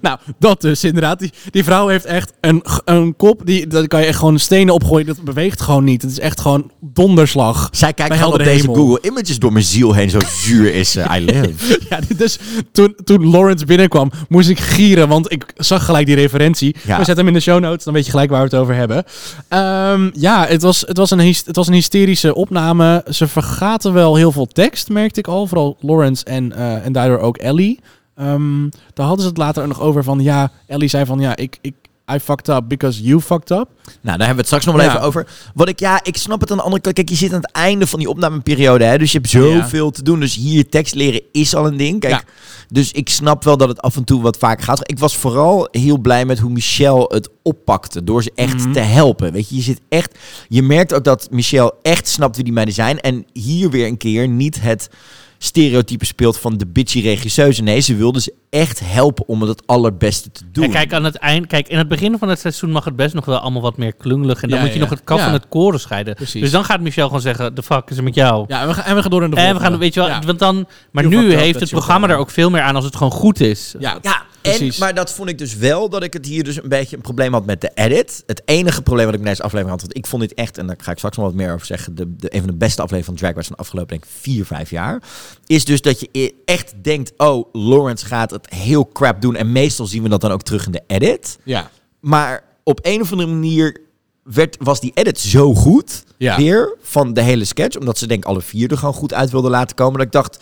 Speaker 3: Nou, dat dus inderdaad. Die, die vrouw heeft echt een, g- een kop. Die, daar kan je echt gewoon stenen opgooien. Dat beweegt gewoon niet. Het is echt gewoon donderslag.
Speaker 1: Zij kijkt
Speaker 3: Bij
Speaker 1: gewoon op
Speaker 3: heldere
Speaker 1: deze
Speaker 3: hemel.
Speaker 1: Google Images door mijn ziel heen. Zo zuur is ze. I live.
Speaker 3: Ja, dus toen, toen Lawrence binnenkwam, moest ik gieren, want ik zag gelijk die referentie.
Speaker 1: Ja.
Speaker 3: We zetten hem in de show notes, dan weet je gelijk waar we het over hebben. Ehm, ja, het was, het, was een hys- het was een hysterische opname. Ze vergaten wel heel veel tekst, merkte ik al. Vooral Lawrence en, eh, en daardoor ook Ellie. Ehm, daar hadden ze het later nog over van, ja, Ellie zei van, ja, ik... ik I fucked up because you fucked up.
Speaker 1: Nou, daar hebben we het straks nog wel
Speaker 3: Ja.
Speaker 1: even over. Wat ik, ja, ik snap het aan de andere kant. Kijk, je zit aan het einde van die opnameperiode, hè. Dus je hebt zoveel te doen. Dus hier tekst leren is al een ding. Kijk,
Speaker 3: Ja.
Speaker 1: dus ik snap wel dat het af en toe wat vaak gaat. Ik was vooral heel blij met hoe Michelle het oppakte. Door ze echt
Speaker 3: Mhm.
Speaker 1: te helpen. Weet je, je zit echt... Je merkt ook dat Michelle echt snapt wie die meiden zijn. En hier weer een keer niet het stereotype speelt van de bitchy regisseuse. Nee, ze wilde ze echt helpen om het het allerbeste te doen.
Speaker 2: En kijk, aan het eind, kijk, in het begin van het seizoen mag het best nog wel allemaal wat meer klungelig. En dan
Speaker 3: Ja,
Speaker 2: moet je
Speaker 3: ja.
Speaker 2: nog het kaf
Speaker 3: Ja.
Speaker 2: van het koren scheiden.
Speaker 3: Precies.
Speaker 2: Dus dan gaat Michel gewoon zeggen, de fuck is er met jou?
Speaker 3: Ja, en we gaan, en we gaan door in de
Speaker 2: en we
Speaker 3: volgende.
Speaker 2: gaan, weet je wel,
Speaker 3: Ja.
Speaker 2: want dan, maar
Speaker 3: You
Speaker 2: nu
Speaker 3: fucked up,
Speaker 2: heeft
Speaker 3: that's
Speaker 2: het
Speaker 3: your
Speaker 2: programma er
Speaker 3: problem.
Speaker 2: ook veel meer aan als het gewoon goed is.
Speaker 3: Ja,
Speaker 1: Ja, en,
Speaker 3: precies.
Speaker 1: maar dat vond ik dus wel dat ik het hier dus een beetje een probleem had met de edit. Het enige probleem wat ik met deze aflevering had, want ik vond dit echt, en daar ga ik straks nog wat meer over zeggen, de, de, een van de beste afleveringen van Drag Race van de afgelopen denk ik, vier, vijf jaar, is dus dat je e- echt denkt, oh, Lawrence gaat het heel crap doen. En meestal zien we dat dan ook terug in de edit.
Speaker 3: ja.
Speaker 1: Maar op een of andere manier werd, was die edit zo goed
Speaker 3: Ja.
Speaker 1: weer van de hele sketch. Omdat ze denk ik alle vier er gewoon goed uit wilden laten komen. Dat ik dacht,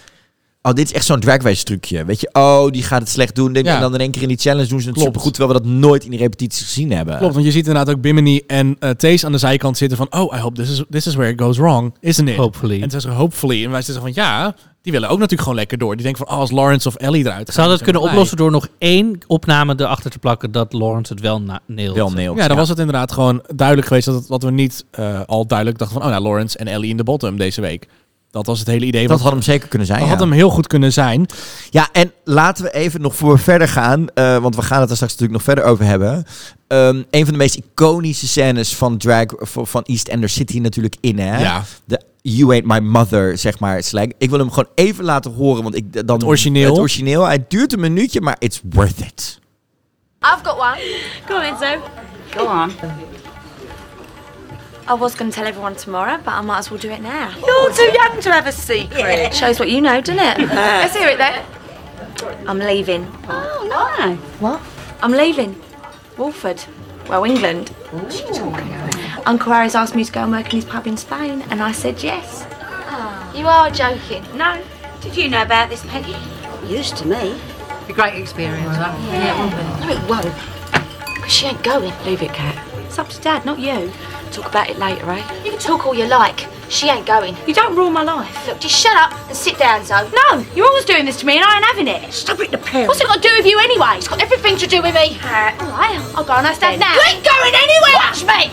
Speaker 1: oh, dit is echt zo'n drag race trucje. Weet je, oh, die gaat het slecht doen. Denk,
Speaker 3: Ja.
Speaker 1: En dan in één keer in die challenge doen ze het
Speaker 3: Klopt.
Speaker 1: supergoed. Terwijl we dat nooit in die repetitie gezien hebben.
Speaker 3: Klopt, want je ziet inderdaad ook Bimini en eh Thees aan de zijkant zitten van... Oh, I hope this is, this is where it goes wrong, isn't it?
Speaker 2: Hopefully.
Speaker 3: En ze zeggen hopefully. En wij zeggen van ja, die willen ook natuurlijk gewoon lekker door. Die denken van oh, als Lawrence of Ellie eruit gaan,
Speaker 2: Ze hadden het
Speaker 3: dan
Speaker 2: kunnen
Speaker 3: zijn we
Speaker 2: oplossen door nog één opname erachter te plakken dat Lawrence het wel na- nailt.
Speaker 1: Wel nailed.
Speaker 3: blij. Ja, dan was het inderdaad gewoon duidelijk geweest dat, het- dat we niet eh, al duidelijk dachten van... Oh, nou, Lawrence en Ellie in de bottom deze week. Dat was het hele idee.
Speaker 1: Dat
Speaker 3: want
Speaker 1: had hem zeker kunnen zijn.
Speaker 3: dat
Speaker 1: ja.
Speaker 3: had hem heel goed kunnen zijn.
Speaker 1: Ja, en laten we even nog voor verder gaan. eh, want we gaan het er straks natuurlijk nog verder over hebben. Ehm, een van de meest iconische scènes van drag van van EastEnders zit hier natuurlijk in. Hè?
Speaker 3: Ja.
Speaker 1: De You Ain't My Mother, zeg maar. Slang. Ik wil hem gewoon even laten horen. Want ik, dan, het
Speaker 3: origineel.
Speaker 1: Het origineel. Hij duurt een minuutje, maar it's worth it.
Speaker 9: I've got one. Go on, Enzo. Go on. I was going to tell everyone tomorrow, but I might as well do it now. You're too young to have a secret. Shows what you know, doesn't it? Let's hear it then. I'm leaving. Oh, no. What? I'm leaving. Walford. Well, England. Uncle Harry's asked me to go and work in his pub in Spain, and I said yes. You are joking. No. Did you know about this, Peggy? Used to me.
Speaker 10: A great experience, huh?
Speaker 9: No, it won't. 'Cause she ain't going. Leave it, Cat. It's up to Dad, not you. Talk about it later, eh? You can talk all you like. She ain't going. You don't rule my life. Look, just shut up and sit down, Zoe. No, you're always doing this to me and I ain't having it. Stop it, the parents. What's it got to do with you anyway? It's got everything to do with me. Cat. Uh, All right, I'll go and I stand now. You ain't going anywhere! Watch me!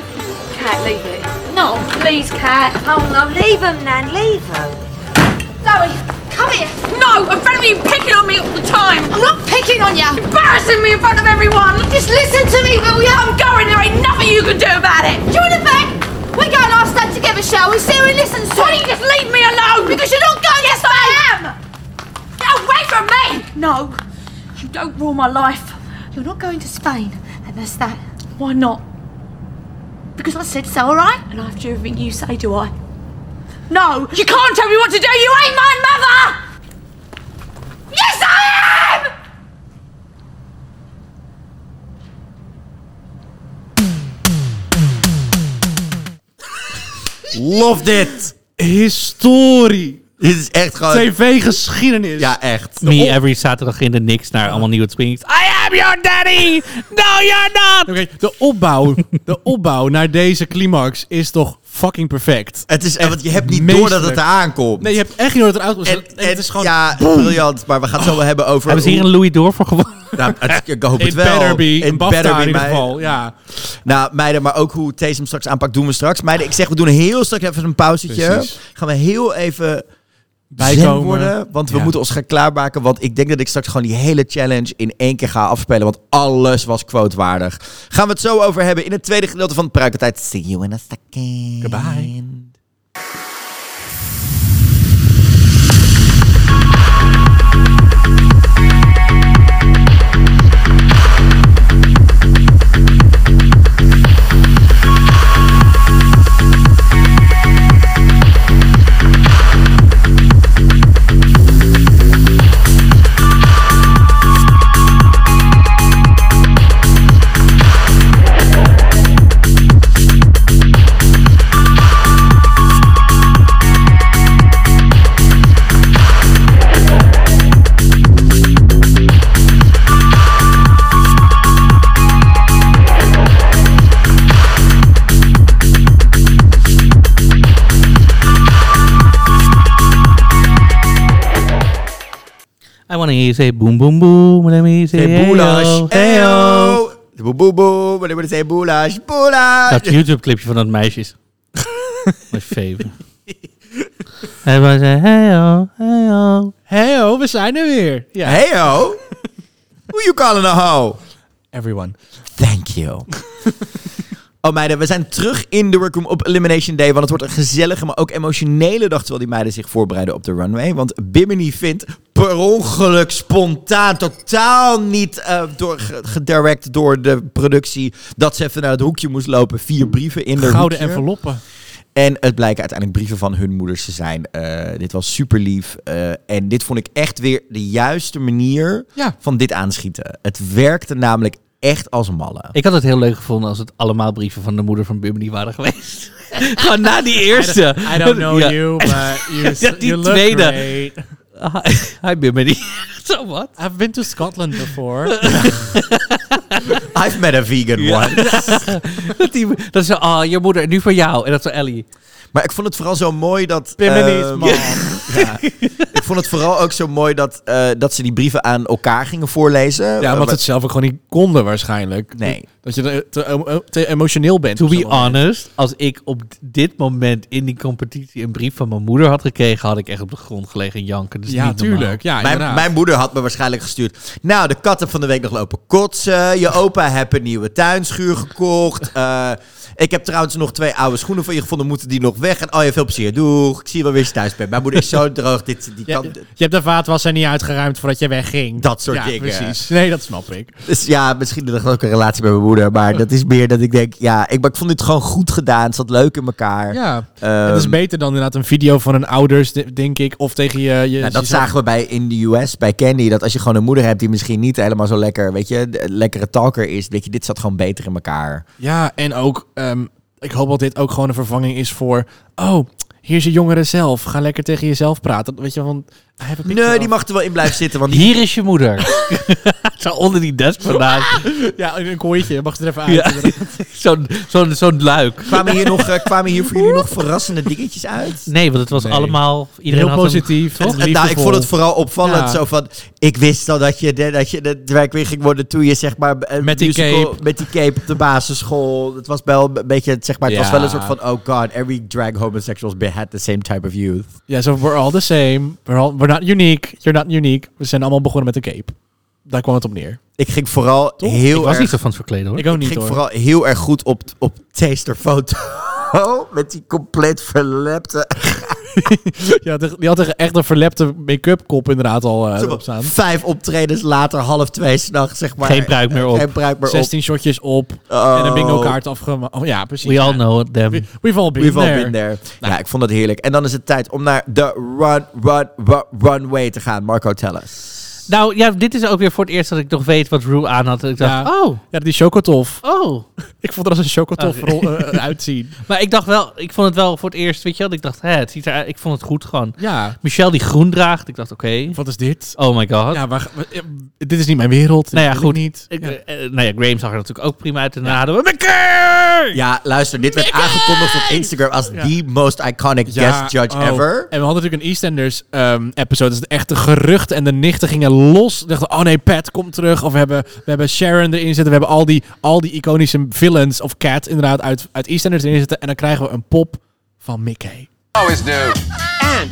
Speaker 9: Cat, leave it. No, please, Cat. Oh, no, leave him, Nan, leave him. Zoe, come here. No, in front of you, picking on me all the time. I'm not picking on you. Embarrassing me in front of everyone. Just listen to me, will you? I'm going. There ain't nothing you can do about it. Do you want to beg? We go and our stand together, shall we? See who listens to. Why don't you just leave me alone? Because you're not going. Yes, I am. Get away from me. No, you don't rule my life. You're not going to Spain, and that's that. Why not? Because I said so, all right? And after everything you say, do I? No! You can't tell me what to do! You ain't my mother! Yes, I am!
Speaker 1: Love dit!
Speaker 3: Historie.
Speaker 1: Dit is echt gewoon...
Speaker 3: TV-geschiedenis.
Speaker 1: Ja, echt. Oh,
Speaker 2: Me
Speaker 3: Oh.
Speaker 2: every zaterdag in de niks naar allemaal nieuwe twinks.
Speaker 3: Ah,
Speaker 2: I am your daddy! No, you're not!
Speaker 3: Oké, de opbouw, de opbouw naar deze climax is toch fucking perfect.
Speaker 1: Het is, en want je hebt niet door dat het
Speaker 3: meesterlijk.
Speaker 1: eraan komt.
Speaker 3: Nee, je hebt echt niet nooit eruit
Speaker 1: en,
Speaker 3: gezet.
Speaker 1: en-
Speaker 3: Het is gewoon...
Speaker 1: Ja, briljant. Maar we gaan het zo wel hebben over...
Speaker 2: Hebben ze hier
Speaker 1: hoe-
Speaker 2: een Louis door voor gewonnen?
Speaker 1: Nou, het- ik hoop
Speaker 3: It
Speaker 1: het wel.
Speaker 3: better be.
Speaker 1: It
Speaker 3: Een BAFTA
Speaker 1: better be,
Speaker 3: in ieder
Speaker 1: maar-
Speaker 3: geval. Ja.
Speaker 1: Nou, meiden, maar ook hoe Thees hem straks aanpakt, doen we straks. Meiden, ik zeg, we doen heel straks even een pauzetje.
Speaker 3: Precies.
Speaker 1: Gaan we heel even bijkomen
Speaker 3: Bijkomen.
Speaker 1: worden. Want we
Speaker 3: Ja.
Speaker 1: moeten ons gaan klaarmaken. Want ik denk dat ik straks gewoon die hele challenge in één keer ga afspelen. Want alles was quotewaardig. Gaan we het zo over hebben in het tweede gedeelte van de Pruikertijd. See you in a second.
Speaker 3: Goodbye.
Speaker 2: want to hear you say boom, boom, boom. Let me say
Speaker 1: Hey,
Speaker 2: hey,
Speaker 1: boulash.
Speaker 2: yo, hey, yo.
Speaker 1: Heyo. Boe, boe, boe. Wanneer we zeggen boulash, boulash.
Speaker 2: Dat YouTube-clipje van dat meisje is mijn favorite. Hij was een heyo, heyo.
Speaker 3: Heyo, we zijn er weer. Ja.
Speaker 1: Heyo. Who you calling a hoe?
Speaker 3: Everyone.
Speaker 1: Thank you. Oh meiden, we zijn terug in de workroom op Elimination Day. Want het wordt een gezellige, maar ook emotionele dag... terwijl die meiden zich voorbereiden op de runway. Want Bimini vindt per ongeluk, spontaan... totaal niet eh, door, ge- gedirect door de productie... dat ze even naar het hoekje moest lopen. Vier brieven in de
Speaker 3: Gouden
Speaker 1: hoekje.
Speaker 3: enveloppen.
Speaker 1: En het blijken uiteindelijk brieven van hun moeders te zijn. Eh, dit was super lief. eh, en dit vond ik echt weer de juiste manier
Speaker 3: Ja.
Speaker 1: van dit aanschieten. Het werkte namelijk echt als een malle.
Speaker 2: Ik had het heel leuk gevonden als het allemaal brieven van de moeder van Bimini waren geweest. Gewoon na die eerste.
Speaker 3: I don't know
Speaker 2: Ja.
Speaker 3: you, but you, s-
Speaker 2: Ja, die
Speaker 3: you look
Speaker 2: tweede.
Speaker 3: great.
Speaker 2: Hi, hi Bimini. Zo wat?
Speaker 3: I've been to Scotland before.
Speaker 1: I've met a vegan one.
Speaker 2: Dat, die, dat is zo, ah, je moeder, en nu voor jou. En dat is zo Ellie.
Speaker 1: Maar ik vond het vooral zo mooi dat...
Speaker 3: Bimini's
Speaker 1: ehm,
Speaker 3: mom.
Speaker 1: ik vond het vooral ook zo mooi dat, eh, dat ze die brieven aan elkaar gingen voorlezen.
Speaker 3: Ja,
Speaker 1: Eh,
Speaker 3: want ze het zelf ook gewoon niet konden waarschijnlijk.
Speaker 1: Nee.
Speaker 3: Dat je er te, emo- eh, te emotioneel bent.
Speaker 2: To
Speaker 3: op
Speaker 2: be
Speaker 3: zo'n moment.
Speaker 2: honest, als ik op dit moment in die competitie een brief van mijn moeder had gekregen, had ik echt op de grond gelegen en janken. Dus
Speaker 3: Ja,
Speaker 2: niet normaal.
Speaker 3: tuurlijk. Ja,
Speaker 1: Mijn,
Speaker 3: inderdaad.
Speaker 1: mijn moeder had me waarschijnlijk gestuurd. Nou, de katten van de week nog lopen kotsen. Je opa heeft een nieuwe tuinschuur gekocht. Eh, ik heb trouwens nog twee oude schoenen van je gevonden. Moeten die nog weg? En oh, je veel plezier. Doeg. Ik zie je wel weer als je thuis bent. Mijn moeder is zo droog. Dit, die
Speaker 3: Ja,
Speaker 1: kan,
Speaker 3: je hebt de vaatwasser niet uitgeruimd voordat je wegging.
Speaker 1: Dat soort
Speaker 3: ja,
Speaker 1: dingen.
Speaker 3: precies. Nee, dat snap ik.
Speaker 1: Dus ja, misschien nog ook een relatie met mijn moeder. Maar dat is meer dat ik denk... Ja, ik, maar ik vond dit gewoon goed gedaan. Het zat leuk in elkaar.
Speaker 3: Ja.
Speaker 1: Ehm,
Speaker 3: het is beter dan inderdaad een video van een ouders, de- denk ik. Of tegen je... je
Speaker 1: Nou, dat
Speaker 3: jezelf.
Speaker 1: zagen we bij in de US, bij Candy. Dat als je gewoon een moeder hebt die misschien niet helemaal zo lekker, weet je, de- lekkere talker is. Weet je, dit zat gewoon beter in elkaar.
Speaker 3: Ja, en ook... ehm, ik hoop dat dit ook gewoon een vervanging is voor... Oh, hier is je jongere zelf. Ga lekker tegen jezelf praten. Weet je, want... hij heeft een picture
Speaker 1: Nee, die
Speaker 3: af.
Speaker 1: mag er wel in blijven zitten. Want die...
Speaker 2: Hier is je moeder. zo onder die desk vandaan.
Speaker 3: Ja, in een kooitje. Mag er even uit.
Speaker 2: Ja. Zo'n zo'n zo'n luik.
Speaker 1: kwamen, hier nog, eh, kwamen hier voor jullie nog verrassende dingetjes uit?
Speaker 2: Nee, want het was
Speaker 3: Nee.
Speaker 2: allemaal... Iedereen
Speaker 3: Heel
Speaker 2: had een-
Speaker 3: positief.
Speaker 1: En-
Speaker 3: toch?
Speaker 1: en nou, ik vond het
Speaker 3: Liefdevol.
Speaker 1: vooral opvallend.
Speaker 3: Ja.
Speaker 1: Zo van, ik wist al dat je, de- dat je de werk weer ging worden toen je zeg maar... eh,
Speaker 3: Met die
Speaker 1: musical-
Speaker 3: cape.
Speaker 1: Met die cape op de basisschool. Het was wel een beetje, zeg maar, het was
Speaker 3: Ja.
Speaker 1: wel een soort van... Oh god, every drag homosexuals had the same type of youth.
Speaker 3: Ja, zo we're all the same. We're, all, we're not unique. You're not unique. We zijn allemaal begonnen met de cape. Daar kwam het op neer.
Speaker 1: Ik ging vooral
Speaker 3: Toch?
Speaker 1: heel
Speaker 2: Ik was
Speaker 1: erg...
Speaker 2: niet zo van het verkleden hoor.
Speaker 3: Ik ook niet
Speaker 1: ging
Speaker 3: hoor.
Speaker 1: vooral heel erg goed op, op tasterfoto. Met die compleet verlepte.
Speaker 3: Die had, echt- die had echt een verlepte make-up kop inderdaad al eh, op staan.
Speaker 1: Vijf optredens later, half twee s'nachts, zeg maar.
Speaker 2: Geen pruik meer op.
Speaker 1: Geen pruik meer
Speaker 3: 16 shotjes op.
Speaker 1: Oh.
Speaker 3: En een bingo kaart afgemaakt. Oh ja, precies.
Speaker 2: We all
Speaker 3: Ja.
Speaker 2: know them.
Speaker 3: We, we've all
Speaker 1: op.
Speaker 3: been
Speaker 1: We've all
Speaker 3: there.
Speaker 1: been there. Nou. Ja, ik vond dat heerlijk. En dan is het tijd om naar de run, run, run, runway te gaan. Marco, tell us.
Speaker 2: Nou ja, dit is ook weer voor het eerst dat ik nog weet wat Rue aan had. Ik dacht,
Speaker 3: Ja.
Speaker 2: oh,
Speaker 3: Ja, die chocotof.
Speaker 2: oh.
Speaker 3: Ik vond er als een chocotof
Speaker 2: Ah,
Speaker 3: rol- eh, uitzien.
Speaker 2: Maar ik dacht wel, ik vond het wel voor het eerst, weet je wel. Ik dacht, hè, het ziet er, ik vond het goed gewoon.
Speaker 3: Ja.
Speaker 2: Michelle die groen draagt, ik dacht, oké.
Speaker 3: Wat is dit?
Speaker 2: Oh my god.
Speaker 3: Ja, waar, eh, dit is niet mijn wereld.
Speaker 2: nou ja,
Speaker 3: Dit wil
Speaker 2: goed.
Speaker 3: ik Niet.
Speaker 2: Ik,
Speaker 3: Ja.
Speaker 2: eh, eh, nou ja, Graham zag er natuurlijk ook prima uit. En daarna hadden we McKay!
Speaker 1: Ja, luister, dit werd aangekondigd op Instagram als the most iconic guest judge
Speaker 3: oh.
Speaker 1: ever.
Speaker 3: En we hadden natuurlijk een EastEnders ehm episode. Dus de echte geruchten en de nichten gingen los. Ze Dachten, oh nee, Pat komt terug. Of we hebben, we hebben Sharon erin zitten. We hebben al die, al die iconische villains of Cat inderdaad uit, uit EastEnders erin zitten. En dan krijgen we een pop van Mickey.
Speaker 4: And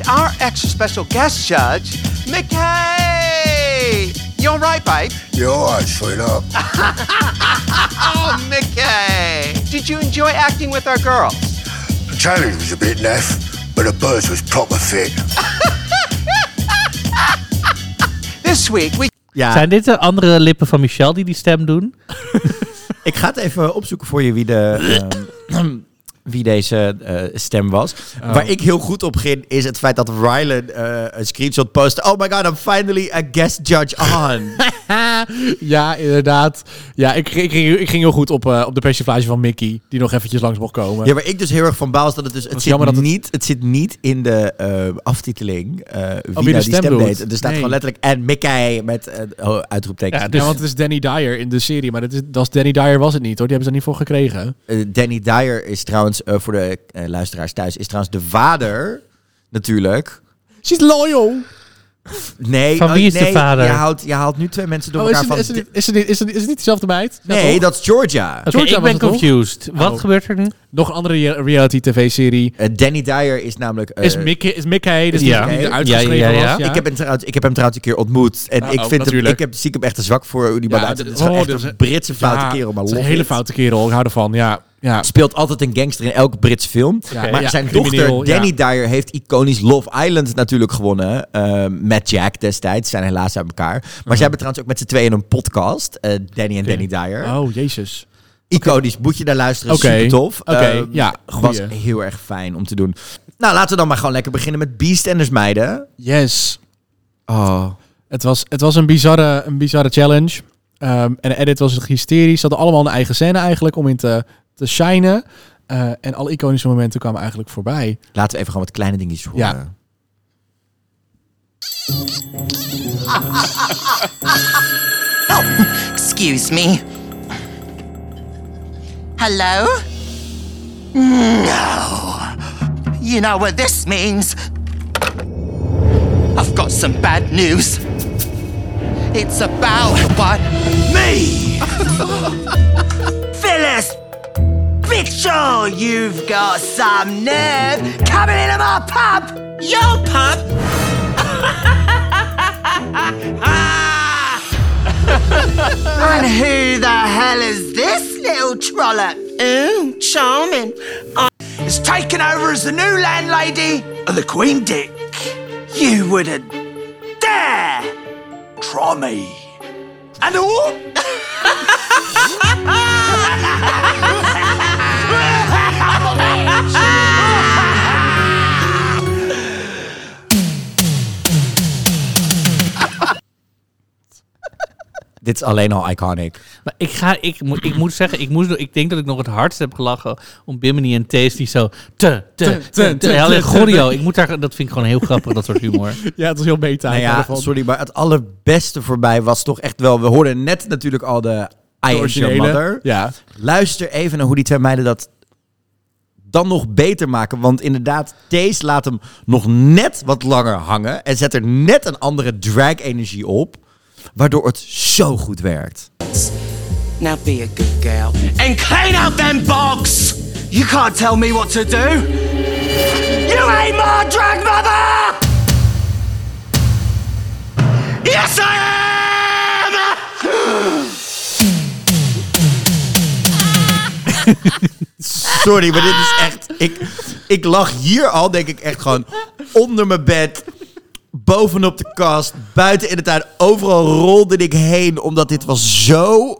Speaker 4: our extra special guest judge, Mickey! You alright, babe?
Speaker 11: You're alright, sweetheart.
Speaker 4: Oh, Mickey! Did you enjoy acting with our girls?
Speaker 11: The challenge was a bit naff, but the birds was proper fit.
Speaker 4: This week we
Speaker 1: Ja,
Speaker 2: Zijn dit de andere lippen van Michelle die die stem doen?
Speaker 1: Ik ga het even opzoeken voor je wie, de, ehm, wie deze eh, stem was. Waar ik heel goed op ging, is het feit dat Rylan eh, een screenshot postte. Oh my god, I'm finally a guest judge on.
Speaker 3: ja, inderdaad. Ja, ik, ik, ging, ik ging heel goed op, eh, op de persiflage van Mickey. Die nog eventjes langs mocht komen.
Speaker 1: ja, waar ik dus heel erg van baal is dat het dus... Het,
Speaker 3: is
Speaker 1: zit,
Speaker 3: jammer dat het-
Speaker 1: Niet, het zit niet in de eh, aftiteling eh, wie,
Speaker 3: Oh, de
Speaker 1: nou die
Speaker 3: stem
Speaker 1: stem
Speaker 3: doet.
Speaker 1: deed. Er staat
Speaker 3: Nee.
Speaker 1: gewoon letterlijk en Mickey met eh, oh, uitroepteken.
Speaker 2: Ja, dus-
Speaker 3: Ja, want het is Danny Dyer in de serie. Maar dat is, dat is Danny Dyer was het niet hoor. Die hebben ze er niet voor gekregen.
Speaker 1: Eh, Danny Dyer is trouwens, eh, voor de eh, luisteraars thuis, is trouwens de vader natuurlijk...
Speaker 3: She's loyal.
Speaker 1: Nee,
Speaker 2: Van
Speaker 1: oh,
Speaker 2: wie is de
Speaker 1: nee,
Speaker 2: vader?
Speaker 1: Je haalt, je haalt nu twee mensen door
Speaker 3: Oh, is,
Speaker 1: elkaar
Speaker 3: het,
Speaker 1: van...
Speaker 3: is, het, niet- is, het niet, is, het, is het niet dezelfde meid? Ja,
Speaker 1: nee,
Speaker 3: toch?
Speaker 1: dat is Georgia.
Speaker 2: Oké,
Speaker 3: Georgia
Speaker 2: ik
Speaker 3: was
Speaker 2: ben
Speaker 3: het toch?
Speaker 2: confused. Wat
Speaker 3: Oh.
Speaker 2: gebeurt er nu?
Speaker 3: Nog een andere rea- reality tv-serie.
Speaker 1: Eh, Danny Dyer is namelijk... eh,
Speaker 3: is Mickey, is Mickey dus
Speaker 2: ja.
Speaker 3: die, die
Speaker 1: Ja,
Speaker 3: eruit geschreven
Speaker 2: ja, ja.
Speaker 3: was? Ja.
Speaker 1: Ik, heb hem trouwens, ik heb hem trouwens een keer ontmoet. En
Speaker 3: Ah,
Speaker 1: ik
Speaker 3: oh,
Speaker 1: vind hem,
Speaker 3: natuurlijk.
Speaker 1: ik heb, zie ik hem echt een zwak voor. hoe Die man
Speaker 3: Ja,
Speaker 1: uit-
Speaker 3: dit-
Speaker 1: het is gewoon
Speaker 3: oh,
Speaker 1: echt
Speaker 3: dit is
Speaker 1: een Britse foute
Speaker 3: Ja,
Speaker 1: kerel, maar
Speaker 3: het is
Speaker 1: love
Speaker 3: een hele
Speaker 1: it.
Speaker 3: foute kerel, ik hou ervan. Ja, ja.
Speaker 1: Speelt altijd een gangster in elke Brits film.
Speaker 3: Ja,
Speaker 1: maar
Speaker 3: ja,
Speaker 1: zijn
Speaker 3: crimineel,
Speaker 1: dochter,
Speaker 3: ja.
Speaker 1: Danny Dyer, heeft iconisch Love Island natuurlijk gewonnen. eh, met Jack destijds. Zijn helaas uit elkaar. Maar
Speaker 3: Mhm.
Speaker 1: zij hebben trouwens ook met z'n tweeën een podcast. eh, Danny en Danny Dyer.
Speaker 3: Oh, jezus.
Speaker 1: Iconisch, moet je daar luisteren.
Speaker 3: Oké.
Speaker 1: Super tof.
Speaker 3: Oké,
Speaker 1: Eh,
Speaker 3: ja,
Speaker 1: was
Speaker 3: goeie.
Speaker 1: heel erg fijn om te doen. Nou, laten we dan maar gewoon lekker beginnen met Beastenders, meiden.
Speaker 3: Yes.
Speaker 1: Oh.
Speaker 3: Het was, het was een, bizarre, een bizarre challenge. Ehm, en de edit was hysterisch. Ze hadden allemaal een eigen scène eigenlijk om in te, te shinen. Eh, en alle iconische momenten kwamen eigenlijk voorbij.
Speaker 1: Laten we even gewoon wat kleine dingetjes horen.
Speaker 3: Ja.
Speaker 12: Oh, excuse me. Hello? No. You know what this means? I've got some bad news. It's about what? Me! Phyllis! Big Show, you've got some nerve coming into my pub! Your pub? and who the hell is this little trollop? Ooh, charming.
Speaker 4: It's taken over as the new landlady of the Queen Dick. You wouldn't dare try me. And all.
Speaker 1: Dit is alleen al iconic.
Speaker 2: Maar ik, ga, ik, moet- ik moet zeggen, ik, moest, nog- ik denk dat ik nog het hardst heb gelachen om Bimini en Thees die zo... Te, te, te, te.
Speaker 3: te,
Speaker 2: Alleen
Speaker 3: te,
Speaker 2: Gorio,
Speaker 3: te.
Speaker 2: ik moet daar, dat vind ik gewoon heel grappig, dat soort humor.
Speaker 3: Ja, het was heel meta.
Speaker 1: Nou
Speaker 3: Ik hou
Speaker 1: ja,
Speaker 3: ervan.
Speaker 1: sorry, maar het allerbeste voorbij was toch echt wel... We hoorden net natuurlijk al de I Am Your
Speaker 3: originele.
Speaker 1: Mother.
Speaker 3: Ja.
Speaker 1: Luister even naar hoe die twee meiden dat dan nog beter maken. Want inderdaad, Thees laat hem nog net wat langer hangen... en zet er net een andere drag-energie op... waardoor het zo goed werkt.
Speaker 12: Now be a good girl and clean out them bogs. You can't tell me what to do. You ain't my drag mother. Yes, I am.
Speaker 1: Sorry, maar dit is echt... Ik, ik lag hier al, denk ik, echt gewoon onder mijn bed... Bovenop de kast, buiten in de tuin. Overal rolde ik heen, omdat dit was zo,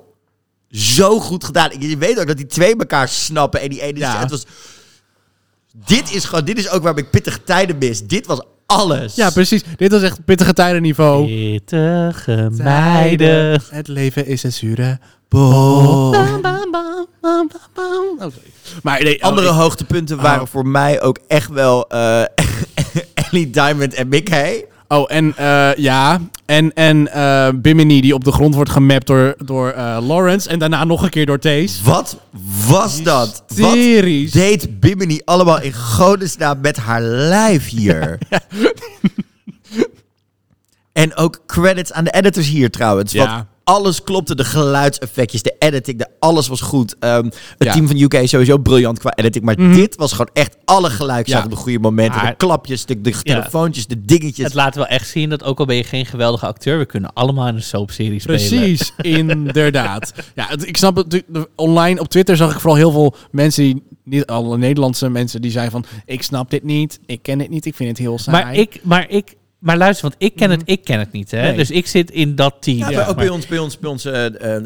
Speaker 1: zo goed gedaan. Je weet ook dat die twee elkaar snappen. En die ene,
Speaker 3: Ja.
Speaker 1: het was... Dit is gewoon, dit is ook waarom ik pittige tijden mis. Dit was alles.
Speaker 3: Ja, precies. Dit was echt pittige tijdenniveau.
Speaker 2: Pittige Oh. meiden.
Speaker 3: Het leven is een zure
Speaker 1: Oh.
Speaker 3: bom. Oké. Maar nee, oh,
Speaker 1: Andere
Speaker 3: ik-
Speaker 1: hoogtepunten waren
Speaker 3: Oh.
Speaker 1: voor mij ook echt wel eh, Ellie Diamond en Mickey.
Speaker 3: Oh, en eh, ja. En, en eh, Bimini die op de grond wordt gemapt door, door eh, Lawrence. En daarna nog een keer door Thees.
Speaker 1: Wat was dat? Wat
Speaker 3: Hysterisch.
Speaker 1: deed Bimini allemaal in godesnaam met haar lijf hier? en ook credits aan de editors hier trouwens.
Speaker 3: Ja.
Speaker 1: Want alles klopte. De geluidseffectjes, de editing, de, alles was goed. Ehm, het
Speaker 3: Ja. Mhm.
Speaker 1: team van UK is sowieso briljant qua editing. Maar dit was gewoon echt alle geluid
Speaker 3: Ja.
Speaker 1: op de goede momenten.
Speaker 2: Maar-
Speaker 1: de klapjes, de, de telefoontjes, de dingetjes.
Speaker 2: Het laat wel echt zien dat ook al ben je geen geweldige acteur, we kunnen allemaal in een soapserie spelen.
Speaker 3: Precies, inderdaad. Ja, het- ik snap het. de- de- Online op Twitter zag ik vooral heel veel mensen, die, niet alle Nederlandse mensen, die zeiden van: Ik snap dit niet, ik ken dit niet, ik vind het heel saai.
Speaker 2: Maar ik, maar ik, maar luister, want ik ken het, ik ken het niet, hè?
Speaker 3: Mhm. Nee.
Speaker 2: Dus ik zit in dat team.
Speaker 1: Ja,
Speaker 2: zeg
Speaker 1: maar ook
Speaker 2: maar.
Speaker 1: bij ons, bij ons, bij onze eh, eh,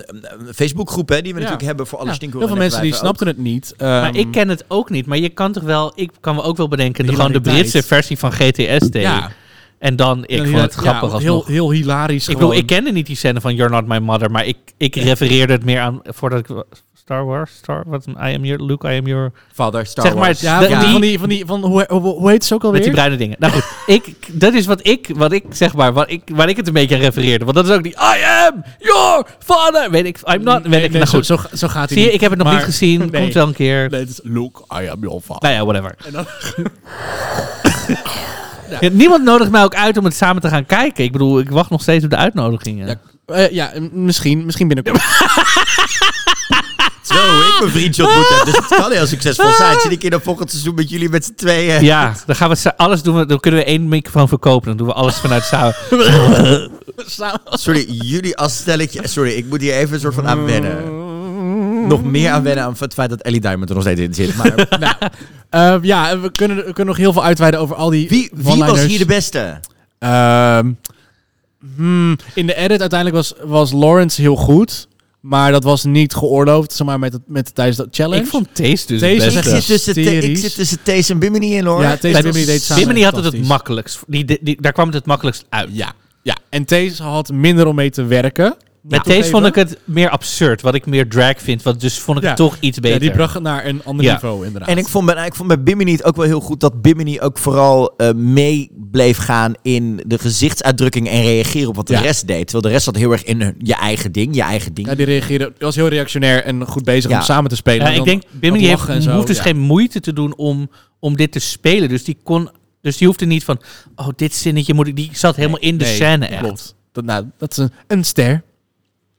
Speaker 1: Facebookgroep, hè, die we
Speaker 3: Ja.
Speaker 1: natuurlijk hebben voor alle
Speaker 3: Ja,
Speaker 1: stinkel.
Speaker 3: Heel veel mensen die snapten het niet. ehm,
Speaker 2: Maar ik ken het ook niet. Maar je kan toch wel, ik kan me ook wel bedenken, de, gewoon de
Speaker 3: hilariteit.
Speaker 2: Britse versie van GTSD.
Speaker 3: Ja.
Speaker 2: En dan, ik vond het grappig
Speaker 3: als heel,
Speaker 2: alsnog.
Speaker 3: heel hilarisch.
Speaker 2: ik,
Speaker 3: gewoon.
Speaker 2: bedoel, ik kende niet die scène van You're Not My Mother, maar ik, ik refereerde het meer aan, voordat ik... Star Wars? Star, wat een I am your... Luke, I am your...
Speaker 1: Vader, Star
Speaker 2: Zeg maar,
Speaker 1: Wars.
Speaker 3: ja,
Speaker 2: de-
Speaker 3: van
Speaker 2: die-
Speaker 3: die, van die, van die, van hoe, hoe, hoe heet ze ook alweer?
Speaker 2: Met die bruine dingen. Nou goed, ik, dat is wat ik, wat ik zeg maar, wat ik, waar ik het een beetje aan refereerde. Want dat is ook die I am your father. Weet ik, I'm not. Weet
Speaker 3: Nee,
Speaker 2: ik,
Speaker 3: nee,
Speaker 2: nou goed.
Speaker 3: zo, zo, zo gaat hij.
Speaker 2: Zie je, ik heb het nog niet gezien.
Speaker 3: Nee.
Speaker 2: Komt wel een keer.
Speaker 3: Nee, het is Luke, I am your father.
Speaker 2: Nou ja, whatever. Ja, niemand nodigt mij ook uit om het samen te gaan kijken. Ik bedoel, ik wacht nog steeds op de uitnodigingen.
Speaker 3: Eh, ja, m- misschien, misschien binnenkort.
Speaker 1: Zo, hoe ik mijn vriendje ontmoet heb. Dus het kan heel succesvol zijn. Zit ik in dat volgend seizoen met jullie met z'n tweeën.
Speaker 2: Ja, dan gaan we sa- alles doen. We, dan kunnen we één microfoon verkopen. Dan doen we alles vanuit samen.
Speaker 1: Sorry, jullie als stelletje... Sorry, ik moet hier even een soort van aan wennen. Nog meer aan wennen aan het feit dat Ellie Diamond er nog steeds in zit. Maar
Speaker 3: Eh, ja, we kunnen, we kunnen nog heel veel uitweiden over al die
Speaker 1: wie, wie was hier de beste?
Speaker 3: Ehm, hmm, in de edit uiteindelijk was, was Lawrence heel goed. Maar dat was niet geoorloofd, zeg maar, met, het, met tijdens dat challenge.
Speaker 2: Ik vond Taste dus
Speaker 3: Taste
Speaker 2: het
Speaker 3: is
Speaker 1: Ik
Speaker 2: beste.
Speaker 1: zit,
Speaker 3: echt
Speaker 1: tussen T- ik
Speaker 3: hysterisch.
Speaker 1: zit tussen Thees en Bimini in hoor.
Speaker 3: Ja, Thees en Bimini deed samen.
Speaker 2: Bimini had het het
Speaker 3: Fantastisch.
Speaker 2: makkelijkst. Die, die, die- daar kwam het het makkelijkst uit.
Speaker 3: Ja, ja. En Thees had minder om mee te werken.
Speaker 2: Met deze
Speaker 3: Toegeven.
Speaker 2: vond ik het meer absurd. Wat ik meer drag vind. Wat, dus vond ik
Speaker 3: Ja.
Speaker 2: het toch iets beter.
Speaker 3: Ja, die bracht het naar een ander
Speaker 2: Ja.
Speaker 3: niveau, inderdaad.
Speaker 1: En ik vond, bij, ik vond bij Bimini het ook wel heel goed dat Bimini ook vooral eh, mee bleef gaan in de gezichtsuitdrukking en reageren op wat de
Speaker 3: Ja.
Speaker 1: rest deed. Terwijl de rest zat heel erg in hun- je eigen ding, je eigen ding.
Speaker 3: ja, die reageerde, die was heel reactionair en goed bezig
Speaker 1: Ja.
Speaker 3: om samen te spelen.
Speaker 2: Ja,
Speaker 3: En
Speaker 2: ik
Speaker 3: dan
Speaker 2: denk, Bimini
Speaker 3: dat
Speaker 2: heeft,
Speaker 3: lachen en zo,
Speaker 2: hoeft dus
Speaker 3: ja.
Speaker 2: geen moeite te doen om, om dit te spelen. Dus die, kon, dus die hoefde niet van, oh, dit zinnetje moet ik... Die zat helemaal in de
Speaker 3: Nee,
Speaker 2: scène echt.
Speaker 3: Klopt. Dat, nou, dat is een, een ster.